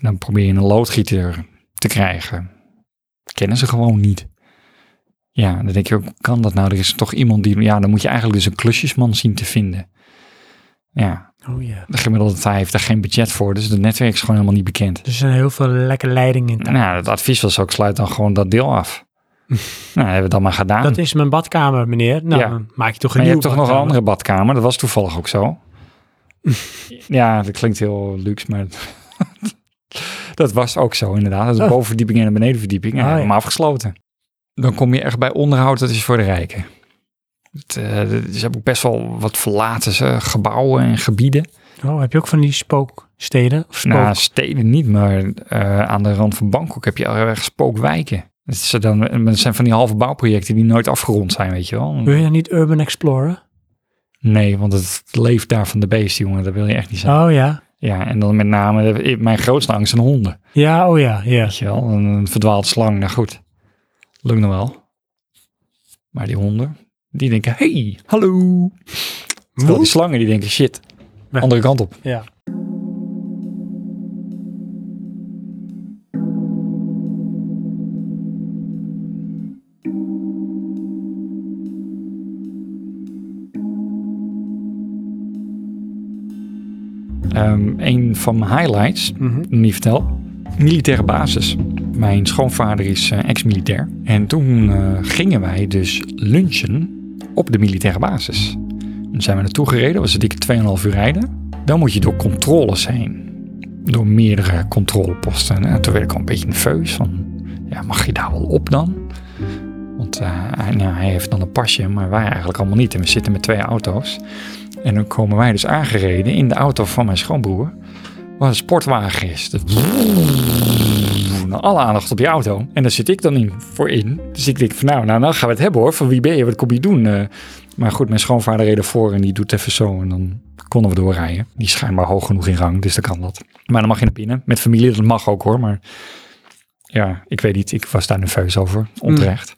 S2: Dan probeer je een loodgieter te krijgen. Kennen ze gewoon niet. Ja, dan denk je ook, hoe kan dat nou? Er is toch iemand die... Ja, dan moet je eigenlijk dus een klusjesman zien te vinden. Ja,
S1: Oh ja.
S2: de gemiddelde taai heeft daar geen budget voor, dus het netwerk is gewoon helemaal niet bekend.
S1: Dus Er zijn heel veel lekkere leidingen in.
S2: Nou, het advies was ook, sluit dan gewoon dat deel af. nou, dat hebben we dan maar gedaan.
S1: Dat is mijn badkamer, meneer. Nou,
S2: Ja.
S1: dan maak je toch een
S2: Maar je
S1: nieuwe
S2: hebt toch nog een
S1: badkamer.
S2: andere badkamer? Dat was toevallig ook zo. ja, dat klinkt heel luxe, maar dat was ook zo inderdaad. Dat is een
S1: Oh.
S2: bovenverdieping en een benedenverdieping. En
S1: Ah, ja.
S2: helemaal afgesloten. Dan kom je echt bij onderhoud, dat is voor de rijken. Het, eh, ze hebben ook best wel wat verlaten ze, gebouwen en gebieden.
S1: Oh, heb je ook van die spooksteden? Of spook...
S2: Nou, steden niet, maar eh, aan de rand van Bangkok heb je heel erg spookwijken. Dat, is dan, dat zijn van die halve bouwprojecten die nooit afgerond zijn, weet je wel.
S1: Wil je dan niet urban exploren?
S2: Nee, want het leeft daar van de beest, jongen. Dat wil je echt niet zijn.
S1: Oh ja.
S2: Ja, en dan met name eh, mijn grootste angst zijn honden.
S1: Ja, oh ja, ja.
S2: Weet je wel, een, een verdwaald slang. Nou goed, lukt nog wel. Maar die honden, die denken, hey, hallo. Terwijl die slangen, die denken, shit,
S1: Weg.
S2: andere kant op.
S1: Ja.
S2: Ehm, een van mijn highlights,
S1: Mhm.
S2: niet verteld, militaire basis. Mijn schoonvader is eh, ex-militair. En toen eh, gingen wij dus lunchen op de militaire basis. Dan zijn we naartoe gereden, was een dikke 2,5 uur rijden. Dan moet je door controles heen. Door meerdere controleposten. En toen werd ik al een beetje nerveus van, ja, mag je daar wel op dan? Want eh, hij, nou, hij heeft dan een pasje, maar wij eigenlijk allemaal niet. En we zitten met twee auto's. En dan komen wij dus aangereden in de auto van mijn schoonbroer. Wat een sportwagen is. Dat nou, alle aandacht op die auto. En daar zit ik dan in, voor in. Dus ik denk van nou, nou, nou gaan we het hebben hoor. Van wie ben je? Wat kom je doen? Eh, maar goed, mijn schoonvader reed ervoor en die doet even zo. En dan konden we doorrijden. Die is schijnbaar hoog genoeg in rang, dus dan kan dat. Maar dan mag je naar binnen. Met familie, dat mag ook hoor. Maar ja, ik weet niet. Ik was daar nerveus over. Onterecht.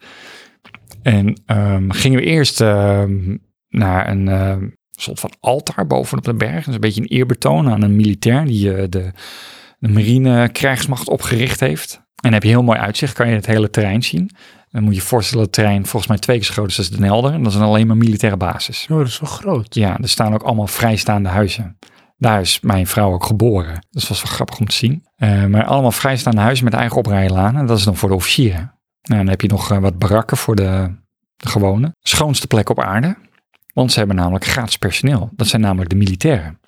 S2: En ehm, gingen we eerst ehm, naar een ehm, soort van altaar bovenop de berg. Dat is een beetje een eerbetoon aan een militair die eh, de, de marine krijgsmacht opgericht heeft. En dan heb je heel mooi uitzicht, kan je het hele terrein zien. Dan moet je je voorstellen, het terrein volgens mij twee keer zo groot is als de Helder. En dat is dan alleen maar militaire basis.
S1: Oh, dat is wel groot.
S2: Ja, er staan ook allemaal vrijstaande huizen. Daar is mijn vrouw ook geboren. Dus dat was wel grappig om te zien. Eh, maar allemaal vrijstaande huizen met eigen oprijlaan. En dat is dan voor de officieren. Nou, dan heb je nog eh, wat barakken voor de, de gewone. Schoonste plek op aarde. Want ze hebben namelijk gratis personeel. Dat zijn namelijk de militairen.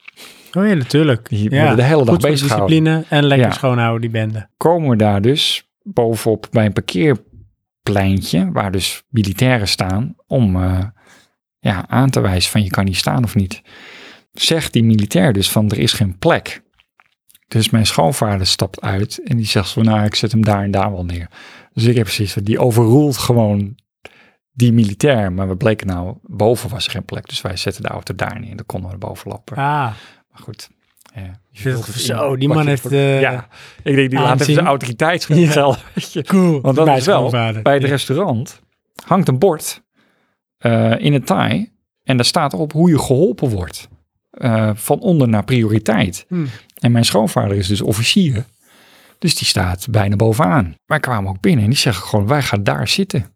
S1: Oh ja, natuurlijk.
S2: Die
S1: ja.
S2: worden de hele dag
S1: Goed voor
S2: bezig gehouden.
S1: discipline en lekker
S2: Ja.
S1: schoonhouden die bende.
S2: Komen we daar dus bovenop bij een parkeerpleintje. Waar dus militairen staan. Om eh, ja, aan te wijzen van je kan niet staan of niet. Zegt die militair dus van er is geen plek. Dus mijn schoonvader stapt uit en die zegt van nou ik zet hem daar en daar wel neer. Dus ik heb precies van die overroelt gewoon die militair. Maar we bleken nou boven was er geen plek. Dus wij zetten de auto daar neer. Dan konden we naar boven lopen.
S1: Ah,
S2: Maar goed. Ja,
S1: Dit- zo, die man heeft, eh,
S2: ja, ik denk die laat even
S1: aanzien.
S2: zijn autoriteit gelden. weet je.
S1: cool.
S2: Want dat
S1: Mijn
S2: is wel
S1: schoonvader.
S2: Bij het
S1: Ja.
S2: restaurant hangt een bord eh, in het Thai. En daar staat op hoe je geholpen wordt. Eh, van onder naar prioriteit.
S1: Hm.
S2: En mijn schoonvader is dus officier. Dus die staat bijna bovenaan. Wij kwamen ook binnen en die zeggen gewoon, wij gaan daar zitten.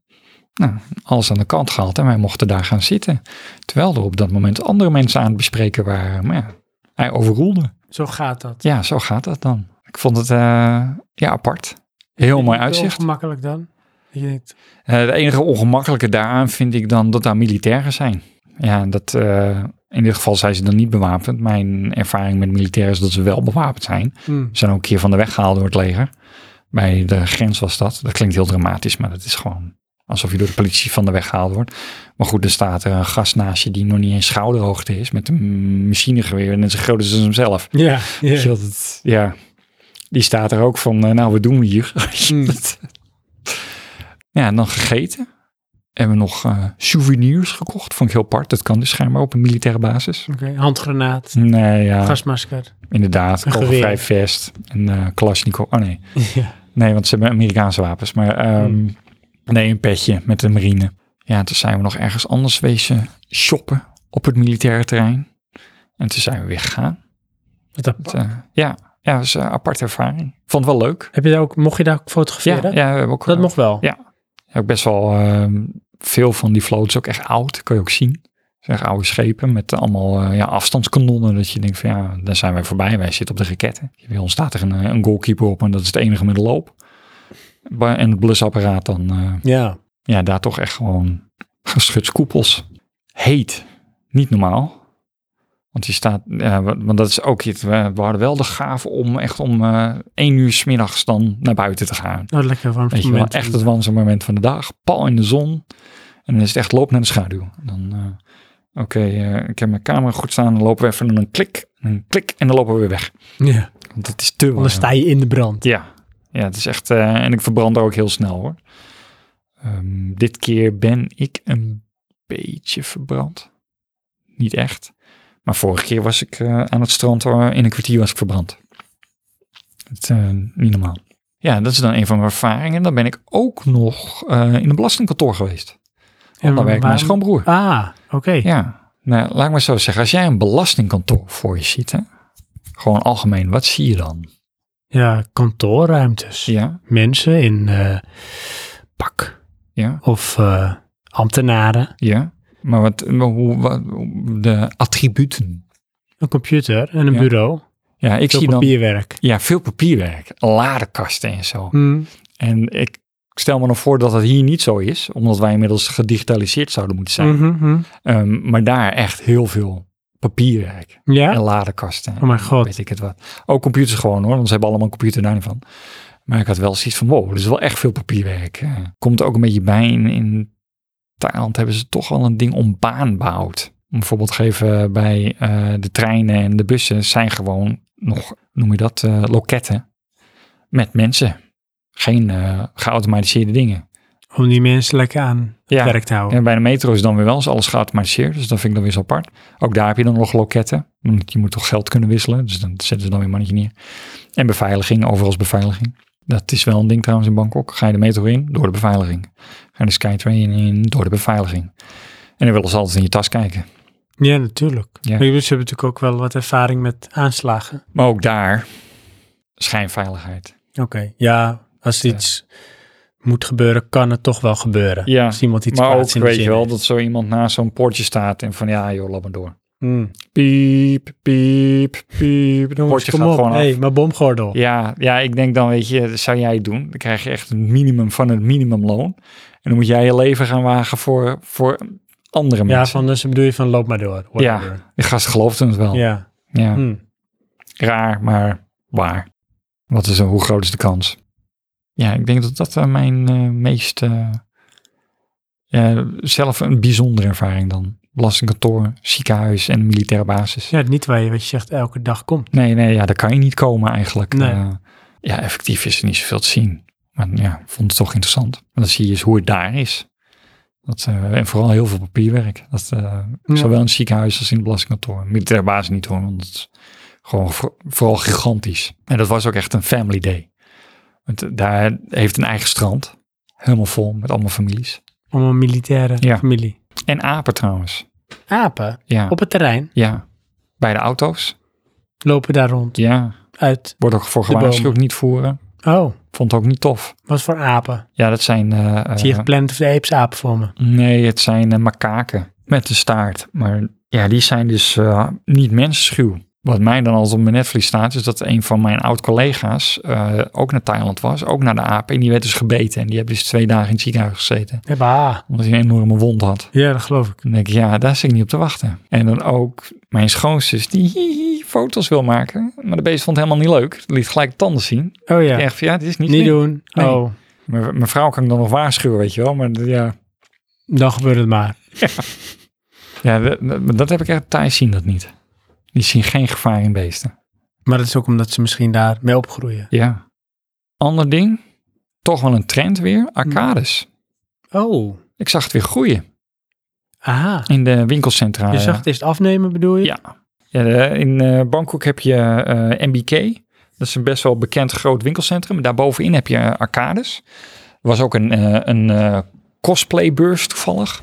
S2: Nou, alles aan de kant gehaald en wij mochten daar gaan zitten. Terwijl er op dat moment andere mensen aan het bespreken waren. Maar ja, hij overroelde.
S1: Zo gaat dat.
S2: Ja, zo gaat dat dan. Ik vond het eh, ja, apart. Heel mooi uitzicht.
S1: Gemakkelijk dan. Dat je denkt,
S2: Eh, het enige ongemakkelijke daaraan vind ik dan dat daar militairen zijn. Ja, dat, eh, in dit geval zijn ze dan niet bewapend. Mijn ervaring met militairen is dat ze wel bewapend zijn.
S1: hm,
S2: Ze zijn ook een keer van de weg gehaald door het leger. Bij de grens was dat. Dat klinkt heel dramatisch, maar dat is gewoon alsof je door de politie van de weg gehaald wordt. Maar goed, er staat er een gast naast je die nog niet eens schouderhoogte is. Met een machinegeweer net zo groot als hemzelf.
S1: Ja, ja.
S2: Weet je wel, dat- ja, die staat er ook van, eh, nou, wat doen we hier?
S1: Mm.
S2: Dat- ja, en dan gegeten. Hebben we nog eh, souvenirs gekocht. Vond ik heel apart. Dat kan dus schijnbaar op een militaire basis.
S1: Oké, handgranaat,
S2: Nee, ja,
S1: gasmasker.
S2: inderdaad.
S1: een geweer.
S2: Kogelvrij vest. En eh Kalashnikov. Oh nee.
S1: Ja.
S2: Nee, want ze hebben Amerikaanse wapens. Maar ehm,
S1: Hmm.
S2: nee, een petje met de marine. Ja, toen zijn we nog ergens anders wezen shoppen. op het militaire terrein. En toen zijn we weer gegaan.
S1: Wat apart.
S2: Het, eh, ja, ja, dat was een aparte ervaring. Vond het wel leuk.
S1: Heb je daar ook, mocht je daar ook
S2: Ja, ja,
S1: fotograferen?
S2: we hebben ook,
S1: Dat
S2: eh,
S1: mocht wel.
S2: Ja. ja, ook best wel ehm, veel van die vloot is ook echt oud, kan je ook zien. Het zijn echt oude schepen met allemaal eh, ja, afstandskanonnen. Dat je denkt van ja, daar zijn wij voorbij. Wij zitten op de raketten. Bij ons staat er een, eh, een goalkeeper op en dat is het enige met de loop. Ba- En het blusapparaat dan, eh,
S1: Ja.
S2: ja, daar toch echt gewoon geschutskoepels. Heet, niet normaal. Want je staat, ja, wa- want dat is ook iets. We, we hadden wel de gave om echt om eh één uur 's middags dan naar buiten te gaan.
S1: Oh, lekker warm
S2: Weet je wel,
S1: moment.
S2: echt het warmste moment van de dag. Pal in de zon. En dan is het echt loop naar de schaduw. Dan, eh, oké, eh, ik heb mijn camera goed staan. Dan lopen we even een klik, een klik en dan lopen we weer weg.
S1: Ja.
S2: Want het is te warm.
S1: Anders sta je in de brand.
S2: Ja, ja het is echt... eh, en ik verbrand er ook heel snel hoor. Ehm, dit keer ben ik een beetje verbrand. Niet echt. Maar vorige keer was ik eh, aan het strand hoor, in een kwartier was ik verbrand. Het is eh, niet normaal. Ja, dat is dan een van mijn ervaringen. Dan ben ik ook nog eh, in een belastingkantoor geweest. Daar
S1: En
S2: werkt mijn
S1: waarom-
S2: schoonbroer.
S1: Ah, oké.
S2: Ja, nou, laat ik maar zo zeggen. Als jij een belastingkantoor voor je ziet, hè, gewoon algemeen, wat zie je dan?
S1: Ja, kantoorruimtes.
S2: Ja,
S1: Mensen in eh, pak
S2: ja,
S1: of eh, ambtenaren.
S2: ja. Maar wat, maar hoe, wat, de attributen.
S1: Een computer en een
S2: Ja.
S1: bureau.
S2: Ja, ik
S1: Veel
S2: zie dan
S1: papierwerk.
S2: ja, veel papierwerk, ladenkasten en zo.
S1: Hmm.
S2: En ik stel me dan voor dat dat hier niet zo is, omdat wij inmiddels gedigitaliseerd zouden moeten zijn.
S1: Mhm, mhm.
S2: Ehm, maar daar echt heel veel papierwerk en
S1: Ja?
S2: ladenkasten.
S1: Oh mijn god.
S2: Weet ik het wat. Ook computers gewoon hoor, want ze hebben allemaal een computer daar niet van. Maar ik had wel zoiets van, wow, dit is wel echt veel papierwerk. eh. Komt ook een beetje bij, in, in Thailand hebben ze toch wel een ding om baanbouwt. Om bijvoorbeeld geven bij eh, de treinen en de bussen zijn gewoon nog, noem je dat, eh, loketten met mensen. Geen eh, geautomatiseerde dingen.
S1: Om die mensen lekker aan het
S2: Ja.
S1: werk te houden.
S2: En bij de metro is dan weer wel eens alles geautomatiseerd. Dus dat vind ik dan weer zo apart. Ook daar heb je dan nog loketten. Want je moet toch geld kunnen wisselen. Dus dan zetten ze dan weer een mannetje neer. En beveiliging, overal is beveiliging. Dat is wel een ding trouwens in Bangkok. Ga je de metro in, door de beveiliging. Ga je de Skytrain in, door de beveiliging. En dan willen ze altijd in je tas kijken.
S1: Ja, natuurlijk.
S2: Ja.
S1: Maar jullie hebben natuurlijk ook wel wat ervaring met aanslagen.
S2: Maar ook daar, schijnveiligheid.
S1: Oké. Ja, als
S2: Ja.
S1: iets moet gebeuren, kan het toch wel gebeuren.
S2: Ja,
S1: Als iemand iets
S2: maar ook
S1: kwaads in de
S2: weet je
S1: zin
S2: wel
S1: heeft.
S2: dat zo iemand naast zo'n poortje staat en van ja joh, laat maar door.
S1: Hmm.
S2: Piep, piep, piep. Het
S1: Jongens,
S2: poortje
S1: kom
S2: gaat
S1: op.
S2: gewoon af.
S1: hey, maar bomgordel.
S2: Ja, ja, ik denk dan, weet je, zou jij het doen? Dan krijg je echt een minimum van het minimumloon. En dan moet jij je leven gaan wagen voor, voor andere
S1: Ja,
S2: mensen.
S1: van dus bedoel je van loop maar door. whatever.
S2: De gast gelooft het wel. Ja.
S1: ja. Hmm.
S2: Raar, maar waar. Wat is, hoe groot is de kans? Ja, ik denk dat dat eh, mijn eh, meest... eh, eh, zelf een bijzondere ervaring dan. Belastingkantoor, ziekenhuis en militaire basis.
S1: Ja, niet waar je wat je zegt elke dag komt.
S2: Nee, nee, ja, daar kan je niet komen eigenlijk.
S1: Nee.
S2: Eh, ja, effectief is er niet zoveel te zien. Maar ja, ik vond het toch interessant. En dan zie je eens hoe het daar is. Dat, eh, en vooral heel veel papierwerk. Dat, eh, Zowel in het ziekenhuis als in het belastingkantoor. Militaire basis niet hoor, want het is gewoon vo- vooral gigantisch. En dat was ook echt een family day. Want eh, daar heeft een eigen strand. Helemaal vol met allemaal families.
S1: Om een militaire
S2: Ja.
S1: familie.
S2: En apen trouwens.
S1: Apen
S2: Ja,
S1: op het terrein
S2: ja. bij de auto's.
S1: lopen daar rond.
S2: Ja,
S1: Uit.
S2: wordt ook voor
S1: De bomen.
S2: gewaarschuwd niet voeren.
S1: Oh,
S2: Vond het ook niet tof.
S1: wat voor apen?
S2: Ja, dat zijn. eh, eh,
S1: Zie je gepland of de eepsaap voor me?
S2: nee, het zijn eh, makaken met de staart. Maar ja, die zijn dus eh, niet mensschuw. Wat mij dan altijd op mijn netvlies staat, is dat een van mijn oud-collega's eh, ook naar Thailand was, ook naar de apen. En die werd dus gebeten. En die heeft dus twee dagen in het ziekenhuis gezeten,
S1: Hebba.
S2: omdat hij een enorme wond had.
S1: Ja, dat geloof ik.
S2: Dan denk ik, ja, daar zit ik niet op te wachten. En dan ook mijn schoonzus, die hihi foto's wil maken. Maar de beest vond het helemaal niet leuk. Liet gelijk tanden zien.
S1: Oh ja,
S2: Ja. Echt, van, ja, dit is niet,
S1: niet
S2: leuk.
S1: doen.
S2: Nee.
S1: Oh,
S2: Mijn mijn vrouw kan ik dan nog waarschuwen, weet je wel. Maar ja,
S1: dan gebeurt het maar.
S2: Ja, dat, dat- dat heb ik echt. Thais zien dat niet. Die zien geen gevaar in beesten.
S1: Maar dat is ook omdat ze misschien daar mee opgroeien.
S2: Ja. Ander ding, toch wel een trend
S1: Mm.
S2: weer, arcades.
S1: Oh,
S2: Ik zag het weer groeien
S1: aha.
S2: in de winkelcentra.
S1: Je zag het eerst afnemen, bedoel je?
S2: Ja. ja, de- in eh, Bangkok heb je eh, MBK. Dat is een best wel bekend groot winkelcentrum. Daarbovenin heb je eh, arcades. Er was ook een, eh, een eh, cosplaybeurs toevallig.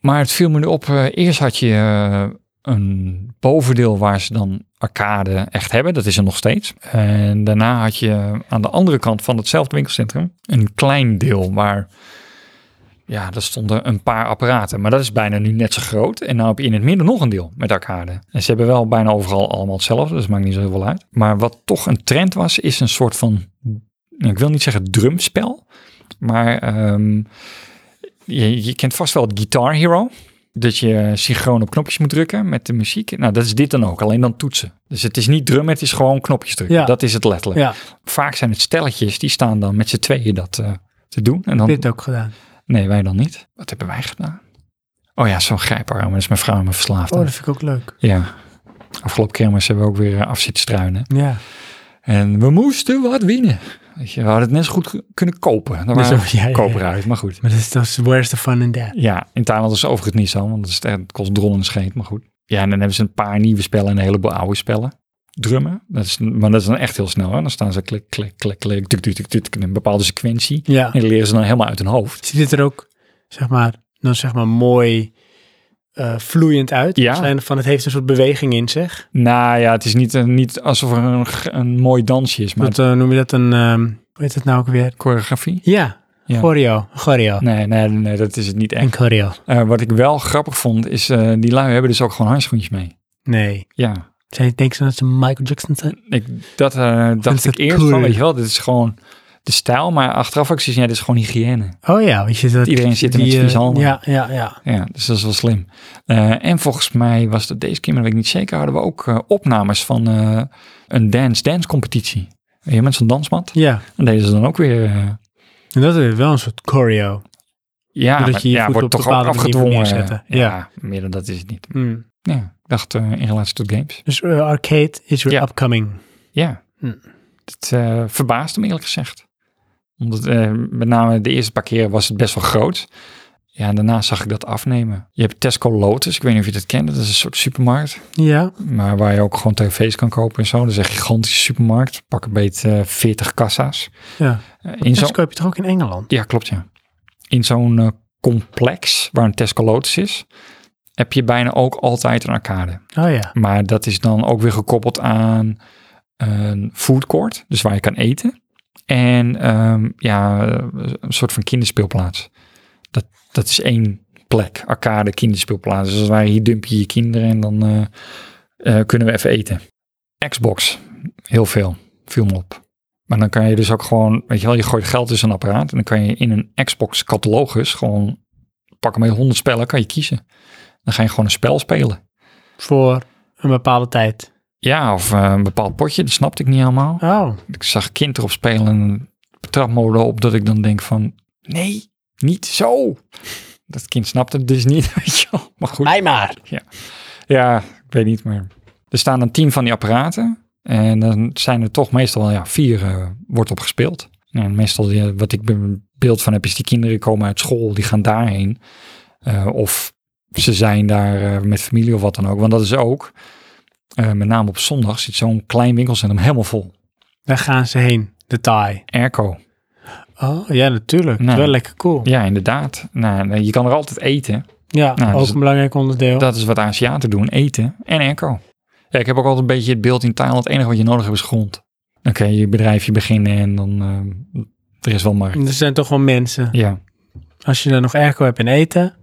S2: Maar het viel me nu op, eh, eerst had je eh, een bovendeel waar ze dan arcade echt hebben. Dat is er nog steeds. En daarna had je aan de andere kant van hetzelfde winkelcentrum een klein deel waar... Ja, daar stonden een paar apparaten, maar dat is bijna nu net zo groot. En nou heb je in het midden nog een deel met arcade. En ze hebben wel bijna overal allemaal hetzelfde, dus het maakt niet zo heel veel uit. Maar wat toch een trend was, is een soort van, nou, ik wil niet zeggen drumspel, maar ehm, je, je kent vast wel het Guitar Hero. Dat je synchroon op knopjes moet drukken met de muziek. Nou, dat is dit dan ook, alleen dan toetsen. Dus het is niet drummen, het is gewoon knopjes drukken.
S1: Ja.
S2: Dat is het letterlijk.
S1: Ja,
S2: Vaak zijn het stelletjes, die staan dan met z'n tweeën dat eh, te doen. En dan,
S1: dit ook gedaan.
S2: Nee, wij dan niet. Wat hebben wij gedaan? Oh ja, zo'n grijparm. Dat is mijn vrouw me verslaafd.
S1: Oh,
S2: aan.
S1: dat vind ik ook leuk.
S2: Ja. Afgelopen kermis hebben we ook weer eh, af zitten struinen.
S1: Ja,
S2: En we moesten wat winnen. Weet je, we hadden het net zo goed ge- kunnen kopen. Dan
S1: Dus
S2: waren
S1: ook- ja, ja, ja.
S2: we koper uit, maar goed.
S1: maar dat is, dat is where's the fun in that?
S2: Ja, in Thailand is het overigens niet zo, want het, is, het kost drol en scheet, maar goed. Ja, en dan hebben ze een paar nieuwe spellen en een heleboel oude spellen. Drummen, dat is, maar dat is dan echt heel snel. Hè? Dan staan ze klik, klik, klik, klik, tuk, tuk, tuk, tuk, in een bepaalde sequentie.
S1: Ja.
S2: En die leren ze dan helemaal uit hun hoofd.
S1: Ziet het er ook, zeg maar, dan zeg maar mooi eh, vloeiend uit?
S2: Ja.
S1: Als zijnde van, het heeft een soort beweging in zich.
S2: Nou ja, het is niet, eh, niet alsof er een, g- een mooi dansje is, maar
S1: Wat eh, noem je dat een, ehm, hoe heet het nou ook weer?
S2: choreografie.
S1: Ja,
S2: Ja.
S1: choreo. Choreo.
S2: Nee, nee, nee, dat is het niet echt.
S1: En choreo.
S2: Eh, wat ik wel grappig vond, is eh, die lui hebben dus ook gewoon handschoentjes mee.
S1: Nee.
S2: Ja,
S1: Zij denkt ze dat ze Michael Jackson zijn?
S2: Ik, dat eh dacht
S1: dat
S2: ik eerst
S1: cool.
S2: van, weet je wel, dit is gewoon de stijl. Maar achteraf ook zoiets, ja, dit is gewoon hygiëne.
S1: Oh ja, weet je dat...
S2: Iedereen zit er met
S1: die,
S2: vieze
S1: eh,
S2: handen.
S1: Ja, ja, ja.
S2: Ja, dus dat is wel slim. Eh, en volgens mij was dat deze keer, maar dat weet ik niet zeker, hadden we ook eh, opnames van eh, een dance-dance competitie. Weet je, met zo'n dansmat.
S1: Ja,
S2: En deden ze dan ook weer... eh,
S1: en dat is wel een soort choreo.
S2: ja,
S1: Doordat
S2: maar-
S1: je je
S2: ja,
S1: voet
S2: wordt
S1: op een
S2: toch ook
S1: bepaalde manier
S2: afgedwongen.
S1: neerzetten.
S2: Ja,
S1: Ja.
S2: meer dan dat is het niet.
S1: Hmm.
S2: Ja, ik dacht eh, in relatie tot games.
S1: Dus eh, arcade is weer
S2: Ja.
S1: upcoming.
S2: Ja,
S1: Hm.
S2: het eh verbaast me eerlijk gezegd. Omdat eh, met name de eerste paar keer was het best wel groot. Ja, en daarna zag ik dat afnemen. Je hebt Tesco Lotus, ik weet niet of je dat kent. Dat is een soort supermarkt,
S1: Ja,
S2: maar waar je ook gewoon tv's kan kopen en zo. Dat is een gigantische supermarkt. Pak een beet eh 40 kassa's.
S1: ja.
S2: Eh, in zo'n-
S1: Tesco heb je toch ook in Engeland?
S2: ja, klopt ja. In zo'n eh, complex waar een Tesco Lotus is, heb je bijna ook altijd een arcade.
S1: Oh ja.
S2: Maar dat is dan ook weer gekoppeld aan een food court, dus waar je kan eten. En ehm, ja, een soort van kinderspeelplaats. Dat, dat is één plek, arcade kinderspeelplaats. Dus waar je hier dump je je kinderen en dan eh, eh, kunnen we even eten. Xbox, heel veel, viel me op. Maar dan kan je dus ook gewoon, weet je wel, je gooit geld in zo'n apparaat. En dan kan je in een Xbox catalogus gewoon pakken met honderd spellen, kan je kiezen. Dan ga je gewoon een spel spelen.
S1: Voor een bepaalde tijd.
S2: Ja, of eh, een bepaald potje, dat snapte ik niet helemaal.
S1: Oh,
S2: Ik zag kind erop spelen en trap me op dat ik dan denk van, nee, niet zo. Dat kind snapte het dus niet, weet je wel. Maar goed,
S1: mij maar.
S2: ja, ik weet niet, maar er staan dan tien van die apparaten. En dan zijn er toch meestal, wel, ja, vier eh, wordt op gespeeld. En meestal, die, wat ik be- beeld van heb, is die kinderen komen uit school, die gaan daarheen. Eh, of ze zijn daar eh, met familie of wat dan ook. Want dat is ook, eh, met name op zondag, zit zo'n klein winkelcentrum helemaal vol.
S1: Daar gaan ze heen, de Thai.
S2: Airco.
S1: Oh ja, natuurlijk. Dat is
S2: Nou.
S1: Wel lekker cool.
S2: Ja, inderdaad. Nou, je kan er altijd eten.
S1: Ja,
S2: Nou,
S1: ook
S2: dus-
S1: een belangrijk onderdeel.
S2: Dat is wat Aziaten doen, eten en airco. Ja, ik heb ook altijd een beetje het beeld in Thailand, het enige wat je nodig hebt is grond. Dan kan je je bedrijfje beginnen en dan eh, er is wel markt.
S1: En er zijn toch wel mensen.
S2: Ja,
S1: Als je dan nog airco hebt en eten,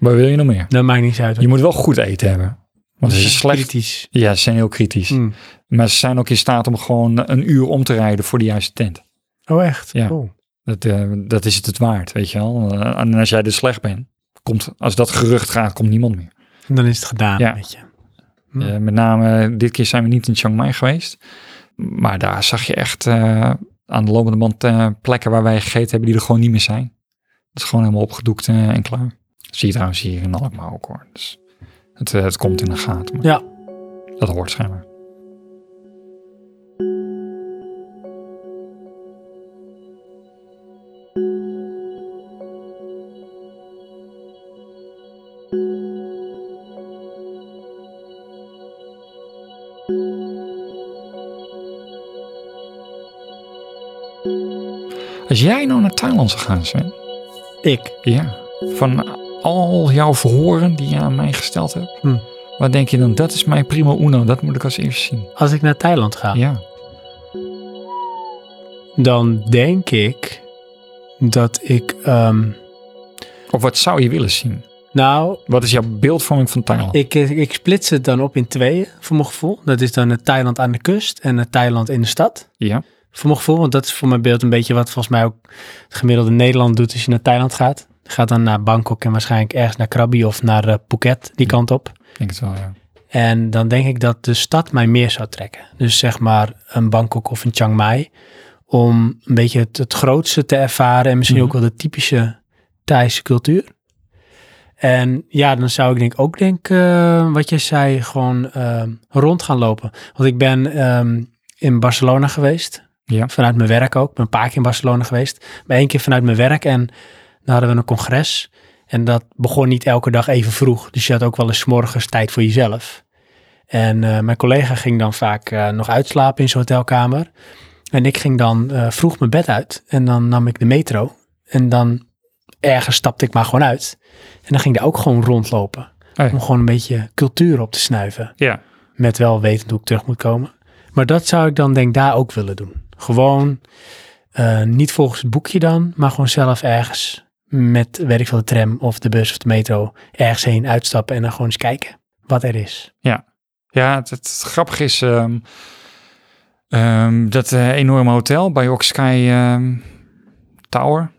S2: maar wil je nog meer?
S1: dan maakt niks uit.
S2: Je moet wel goed eten hebben. Want als je
S1: Dat is
S2: slecht...
S1: Kritisch.
S2: Ja, ze zijn heel kritisch.
S1: Mm.
S2: Maar ze zijn ook in staat om gewoon een uur om te rijden voor de juiste tent.
S1: Oh echt?
S2: Ja.
S1: Oh.
S2: Dat, eh, dat is het het waard, weet je wel. Eh, En als jij dus slecht bent, komt, als dat gerucht gaat, komt niemand meer.
S1: En dan is het gedaan,
S2: Ja.
S1: weet je.
S2: Eh, met name, eh, dit keer zijn we niet in Chiang Mai geweest. Maar daar zag je echt eh, aan de lopende band eh, plekken waar wij gegeten hebben die er gewoon niet meer zijn. Het is gewoon helemaal opgedoekt eh, en klaar. Dat zie je trouwens hier in Alkmaar ook hoor. Dus het, eh, het komt in de gaten, maar
S1: Ja.
S2: dat hoort schijnbaar. Als jij nou naar Thailand zou gaan, Sven. nou
S1: Ik.
S2: Ja. Van al jouw verhoren die je aan mij gesteld hebt,
S1: Hm.
S2: wat denk je dan? Dat is mijn primo uno, dat moet ik als eerst zien.
S1: Als ik naar Thailand ga,
S2: Ja.
S1: dan denk ik dat ik. ehm,
S2: Of wat zou je willen zien?
S1: nou,
S2: Wat is jouw beeldvorming van Thailand?
S1: ik, ik splits het dan op in tweeën, voor mijn gevoel. Dat is dan het Thailand aan de kust en het Thailand in de stad.
S2: Ja.
S1: Voor mijn gevoel, want dat is voor mijn beeld een beetje wat volgens mij ook het gemiddelde Nederland doet als je naar Thailand gaat. Je Gaat dan naar Bangkok en waarschijnlijk ergens naar Krabi of naar eh, Phuket, die kant op.
S2: Ik denk het wel, ja.
S1: En dan denk ik dat de stad mij meer zou trekken. Dus zeg maar een Bangkok of een Chiang Mai. Om een beetje het, het grootste te ervaren. En misschien
S2: Mhm.
S1: ook wel de typische Thaise cultuur. En ja, dan zou ik denk ook denk eh, wat jij zei, gewoon ehm, rond gaan lopen. Want ik ben ehm, in Barcelona geweest.
S2: Ja.
S1: Vanuit mijn werk ook. Ik ben een paar keer in Barcelona geweest. Maar één keer vanuit mijn werk. En dan hadden we een congres. En dat begon niet elke dag even vroeg. Dus je had ook wel eens 's morgens tijd voor jezelf. En eh, mijn collega ging dan vaak eh, nog uitslapen in zijn hotelkamer. En ik ging dan eh, vroeg mijn bed uit. En dan nam ik de metro. En dan ergens stapte ik maar gewoon uit. En dan ging ik daar ook gewoon rondlopen.
S2: ja.
S1: Om gewoon een beetje cultuur op te snuiven.
S2: Ja.
S1: Met wel wetend hoe ik terug moet komen. Maar dat zou ik dan denk ik daar ook willen doen. Gewoon eh, niet volgens het boekje dan, maar gewoon zelf ergens met, weet ik veel, de tram of de bus of de metro ergens heen uitstappen en dan gewoon eens kijken wat er is.
S2: Ja, het, het grappige is ehm, ehm, dat eh, enorme hotel bij Oak Sky ehm, Tower.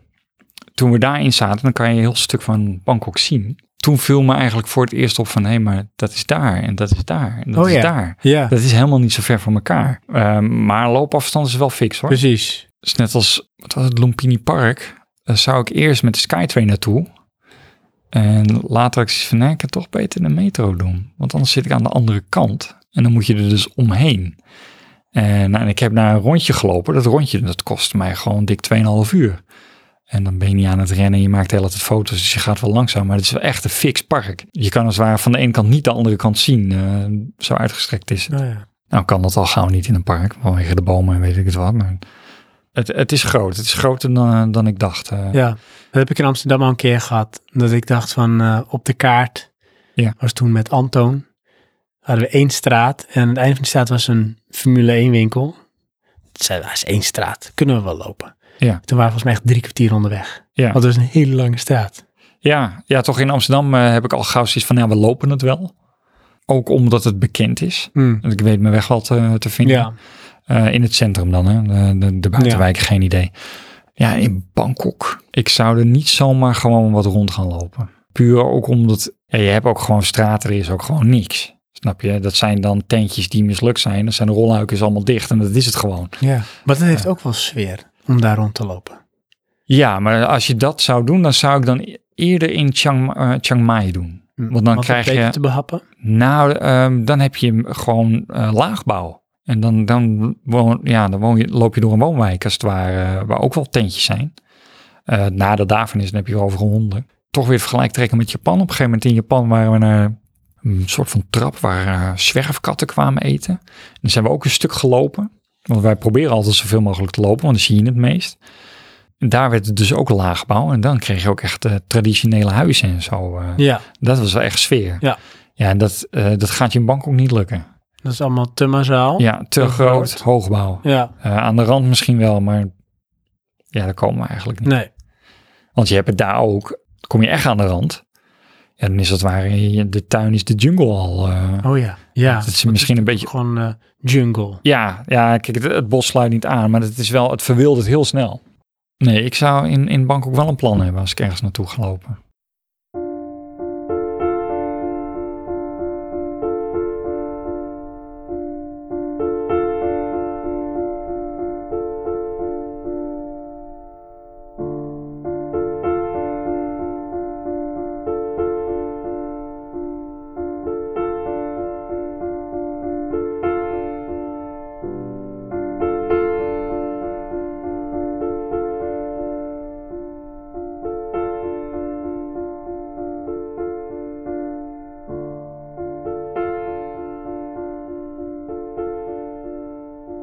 S2: Toen we daarin zaten, dan kan je een heel stuk van Bangkok zien. Toen viel me eigenlijk voor het eerst op van, hé, maar dat is daar en dat is daar en dat
S1: Oh
S2: is
S1: ja.
S2: daar.
S1: Ja,
S2: Dat is helemaal niet zo ver van elkaar. Ehm, maar loopafstand is wel fix hoor.
S1: precies.
S2: Dus net als wat was het Lumpini Park, eh, zou ik eerst met de Skytrain naartoe. En later had ik zoiets van, nee, ik kan toch beter de metro doen. Want anders zit ik aan de andere kant. En dan moet je er dus omheen. En, nou, en ik heb naar een rondje gelopen. Dat rondje, dat kost mij gewoon dik 2,5 uur. En dan ben je niet aan het rennen. Je maakt de hele tijd foto's, dus je gaat wel langzaam. Maar het is wel echt een fix park. Je kan als het ware van de ene kant niet de andere kant zien. eh, zo uitgestrekt is het.
S1: Nou ja.
S2: Nou kan dat al gauw niet in een park, vanwege de bomen en weet ik het wat. Maar het, het is groot. Het is groter dan, dan ik dacht. eh.
S1: ja, dat heb ik in Amsterdam al een keer gehad. Dat ik dacht van eh, op de kaart,
S2: Ja.
S1: was toen met Antoon, hadden we één straat en aan het einde van de straat was een Formule 1 winkel. Toen zeiden we, "Ah, is één straat, kunnen we wel lopen.
S2: Ja.
S1: Toen waren we volgens mij echt drie kwartier onderweg.
S2: Ja.
S1: Want het was een hele lange straat.
S2: Ja, ja, toch in Amsterdam eh, heb ik al gauw zoiets van, ja, we lopen het wel. Ook omdat het bekend is. Ik weet mijn weg wel te, te vinden.
S1: Ja.
S2: Eh, in het centrum dan, hè? De, de, de buitenwijk, geen idee. Ja, in Bangkok. Ik zou er niet zomaar gewoon wat rond gaan lopen. Puur ook omdat, ja, je hebt ook gewoon straten, er is ook gewoon niks. Snap je? Dat zijn dan tentjes die mislukt zijn. Dan zijn de rolluikers allemaal dicht en dat is het gewoon.
S1: ja. Maar dat heeft ook wel sfeer om daar rond te lopen.
S2: Ja, maar als je dat zou doen, dan zou ik dan e- eerder in Chiang, eh, Chiang Mai doen. Want dan
S1: dat
S2: krijg
S1: beter
S2: je-
S1: te behappen.
S2: Nou, ehm, dan heb je gewoon eh, laagbouw. En dan, dan, woon, ja, dan woon je, loop je door een woonwijk als het ware, eh, waar ook wel tentjes zijn. Eh het nadeel daarvan is, dan heb je overal honden. Toch weer het vergelijk trekken met Japan. Op een gegeven moment in Japan waren we naar een soort van trap waar eh, zwerfkatten kwamen eten. En dan zijn we ook een stuk gelopen. Want wij proberen altijd zoveel mogelijk te lopen, want dan zie je het meest. En daar werd het dus ook laagbouw. En dan kreeg je ook echt eh, traditionele huizen en zo. eh,
S1: Ja,
S2: dat was wel echt sfeer.
S1: Ja.
S2: Ja, en dat, eh, dat gaat je in Bangkok niet lukken.
S1: dat is allemaal te massaal.
S2: Ja, te
S1: Te
S2: groot,
S1: groot.
S2: hoogbouw.
S1: Ja,
S2: Eh, aan de rand misschien wel, maar ja, daar komen we eigenlijk niet.
S1: nee.
S2: Want je hebt het daar ook, kom je echt aan de rand. Ja, dan is het waar, je- de tuin is de jungle al. eh.
S1: Oh ja. Ja,
S2: dat is misschien een beetje...
S1: gewoon eh, jungle.
S2: Ja, ja kijk, het, het bos sluit niet aan, maar het, is wel, het verwildert heel snel. Nee, ik zou in, in Bangkok wel een plan hebben als ik ergens naartoe ga lopen.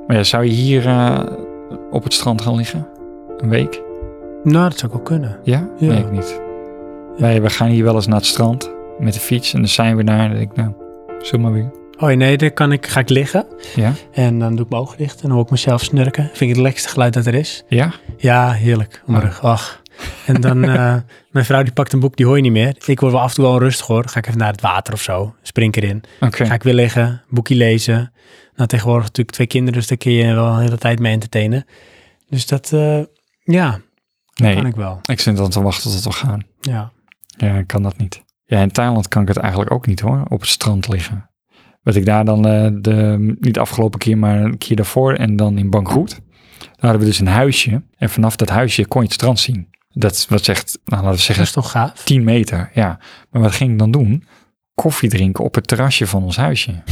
S2: Maar ja, zou je hier eh, op het strand gaan liggen? Een week?
S1: Nou, dat zou ook wel kunnen.
S2: Ja?
S1: Ja.
S2: Nee, ik niet. Wij, we gaan hier wel eens naar het strand met de fiets en dan zijn we daar. En dan denk ik, nou, zullen maar weer.
S1: Oh nee, dan kan ik, ga ik liggen
S2: Ja?
S1: en dan doe ik mijn ogen dicht en dan hoor ik mezelf snurken. Vind ik het lekkerste geluid dat er is.
S2: Ja?
S1: Ja, heerlijk.
S2: Oh.
S1: Om de rug. Ach. En dan, eh, mijn vrouw die pakt een boek, die hoor je niet meer. Ik word wel af en toe wel rustig hoor. Dan Ga ik even naar het water of zo. Spring erin.
S2: Oké.
S1: Ga ik weer liggen, boekje lezen. Nou, tegenwoordig natuurlijk twee kinderen, dus daar kun je wel de hele tijd mee entertainen. Dus dat, eh, ja,
S2: Nee,
S1: kan ik wel.
S2: ik zit dan te wachten tot we gaan.
S1: Ja.
S2: Ja, ik kan dat niet. Ja, in Thailand kan ik het eigenlijk ook niet hoor, op het strand liggen. Wat ik daar dan, eh, de, niet de afgelopen keer, maar een keer daarvoor en dan in Bangkok. Daar hadden we dus een huisje en vanaf dat huisje kon je het strand zien. Dat is wat zegt, nou laten we
S1: Dat
S2: zeggen
S1: is toch gaaf?
S2: 10 meter, ja. Maar wat ging ik dan doen? Koffie drinken op het terrasje van ons huisje.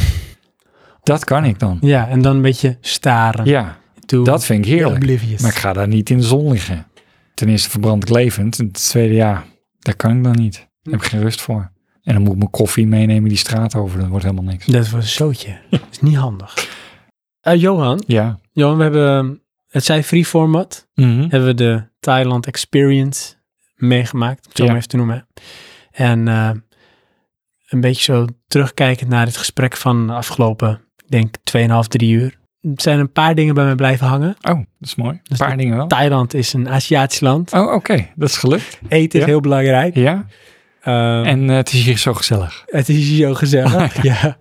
S2: Dat kan ik dan.
S1: Ja, en dan een beetje staren.
S2: Ja,
S1: toe.
S2: dat vind ik heerlijk.
S1: Oblivious.
S2: Maar ik ga daar niet in de zon liggen. Ten eerste verbrand ik levend. En ten tweede, ja, dat kan ik dan niet. Daar heb ik geen rust voor. En dan moet ik mijn koffie meenemen die straat over. Dat wordt helemaal niks.
S1: Dat was een zootje. Dat is niet handig. Eh, Johan,
S2: Ja.
S1: Johan, we hebben, ehm, het zijn free format.
S2: Mhm.
S1: hebben we de Thailand Experience meegemaakt, om het zo
S2: Ja.
S1: maar even te noemen. En eh, een beetje zo terugkijkend naar het gesprek van de afgelopen, ik denk 2,5, 3 uur. Er zijn een paar dingen bij mij blijven hangen.
S2: Oh, dat is mooi. Een
S1: is
S2: paar
S1: de-
S2: dingen wel.
S1: Thailand is een Aziatisch land.
S2: Oh, oké. Dat is gelukt.
S1: Eten is
S2: Ja.
S1: heel belangrijk.
S2: Ja.
S1: Ehm,
S2: En eh, het is hier zo gezellig.
S1: Het is hier zo gezellig. ja.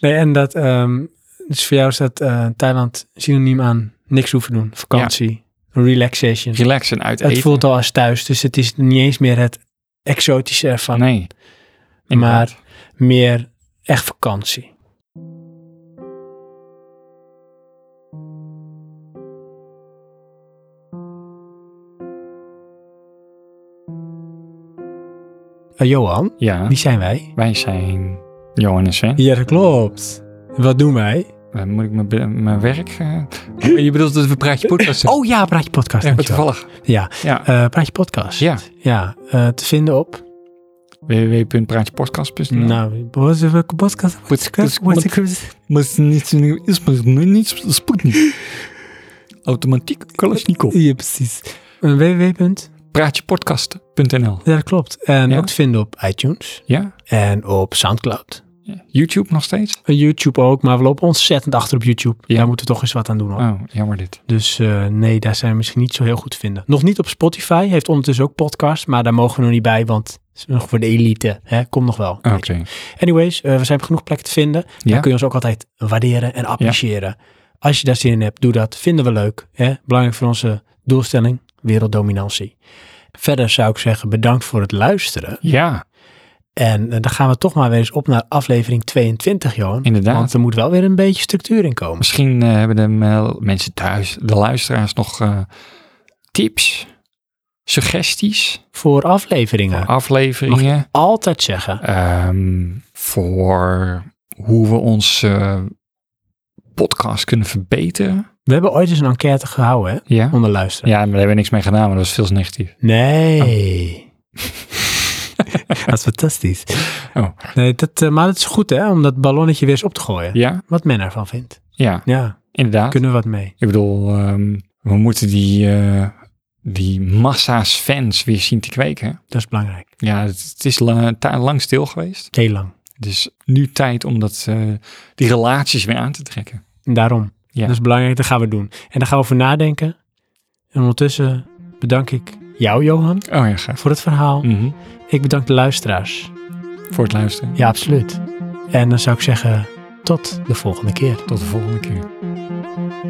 S1: Nee, en dat, ehm, dus voor jou is dat eh, Thailand synoniem aan niks hoeven doen. Vakantie, relaxation.
S2: Relax en uit
S1: Het
S2: eten.
S1: voelt al als thuis, dus het is niet eens meer het exotische ervan.
S2: Nee.
S1: maar
S2: Inderdaad.
S1: meer echt vakantie. Eh, Johan,
S2: Ja.
S1: wie zijn wij?
S2: Wij zijn Johan en Sven.
S1: Ja, dat klopt. Wat doen wij?
S2: Eh, Moet ik mijn, be- mijn werk... eh, je bedoelt dat we Praatje Podcast
S1: Oh ja, Praatje Podcast.
S2: Ja,
S1: dankjewel.
S2: toevallig.
S1: Ja,
S2: Ja.
S1: eh, Praatje Podcast.
S2: Ja.
S1: Ja, eh, te vinden op...
S2: www.praatjepodcast.nl
S1: Nou, wat- welke podcast?
S2: Podcast.
S1: Wat is
S2: Maar het is niet zo nieuw is, maar het is nu niet sp- Sputnik. Automatiek Kalashnikov.
S1: Ja, precies. Eh, www.
S2: Praatjepodcast.nl
S1: Ja, dat klopt. En
S2: Ja?
S1: ook te vinden op iTunes
S2: Ja?
S1: en op Soundcloud.
S2: Ja. YouTube nog steeds?
S1: En YouTube ook, maar we lopen ontzettend achter op YouTube.
S2: Ja.
S1: Daar moeten we toch eens wat aan doen hoor.
S2: Oh, jammer dit.
S1: Dus eh, nee, daar zijn we misschien niet zo heel goed te vinden. Nog niet op Spotify, heeft ondertussen ook podcasts, maar daar mogen we nog niet bij, want het is nog voor de elite. Hè? Komt nog wel.
S2: Oké.
S1: Anyways, eh, we zijn op genoeg plekken te vinden. Dan
S2: Ja?
S1: kun je ons ook altijd waarderen en appreciëren. Als je daar zin in hebt, doe dat. Vinden we leuk. Hè? Belangrijk voor onze doelstelling, werelddominantie. Verder zou ik zeggen, bedankt voor het luisteren.
S2: Ja,
S1: En eh, dan gaan we toch maar weer eens op naar aflevering 22, Johan.
S2: Inderdaad.
S1: Want er moet wel weer een beetje structuur in komen.
S2: misschien eh, hebben de mel- mensen thuis, de luisteraars, nog eh, tips, suggesties,
S1: Voor afleveringen.
S2: afleveringen.
S1: Altijd zeggen.
S2: ehm, voor hoe we onze eh, podcast kunnen verbeteren.
S1: We hebben ooit eens een enquête gehouden hè,
S2: Ja?
S1: onder luisteren.
S2: Ja, maar daar hebben we niks mee gedaan, maar dat was veel te negatief.
S1: Nee. dat is fantastisch.
S2: Oh.
S1: Nee, dat, eh, maar het is goed hè, om dat ballonnetje weer eens op te gooien.
S2: Ja?
S1: Wat men ervan vindt.
S2: Ja,
S1: Ja,
S2: inderdaad.
S1: kunnen we wat mee.
S2: Ik bedoel, ehm, we moeten die, eh, die massa's fans weer zien te kweken.
S1: Dat is belangrijk.
S2: Ja, het, het is la- ta- lang stil geweest.
S1: Heel lang.
S2: Het is nu tijd om dat, eh, die relaties weer aan te trekken.
S1: En daarom.
S2: Ja.
S1: Dat is belangrijk, dat gaan we doen. En daar gaan we voor nadenken. En ondertussen bedank ik jou, Johan,
S2: Oh ja, gaaf.
S1: voor het verhaal.
S2: Mhm.
S1: Ik bedank de luisteraars.
S2: Voor het luisteren.
S1: Ja, absoluut. En dan zou ik zeggen, tot de volgende keer.
S2: Tot de volgende keer.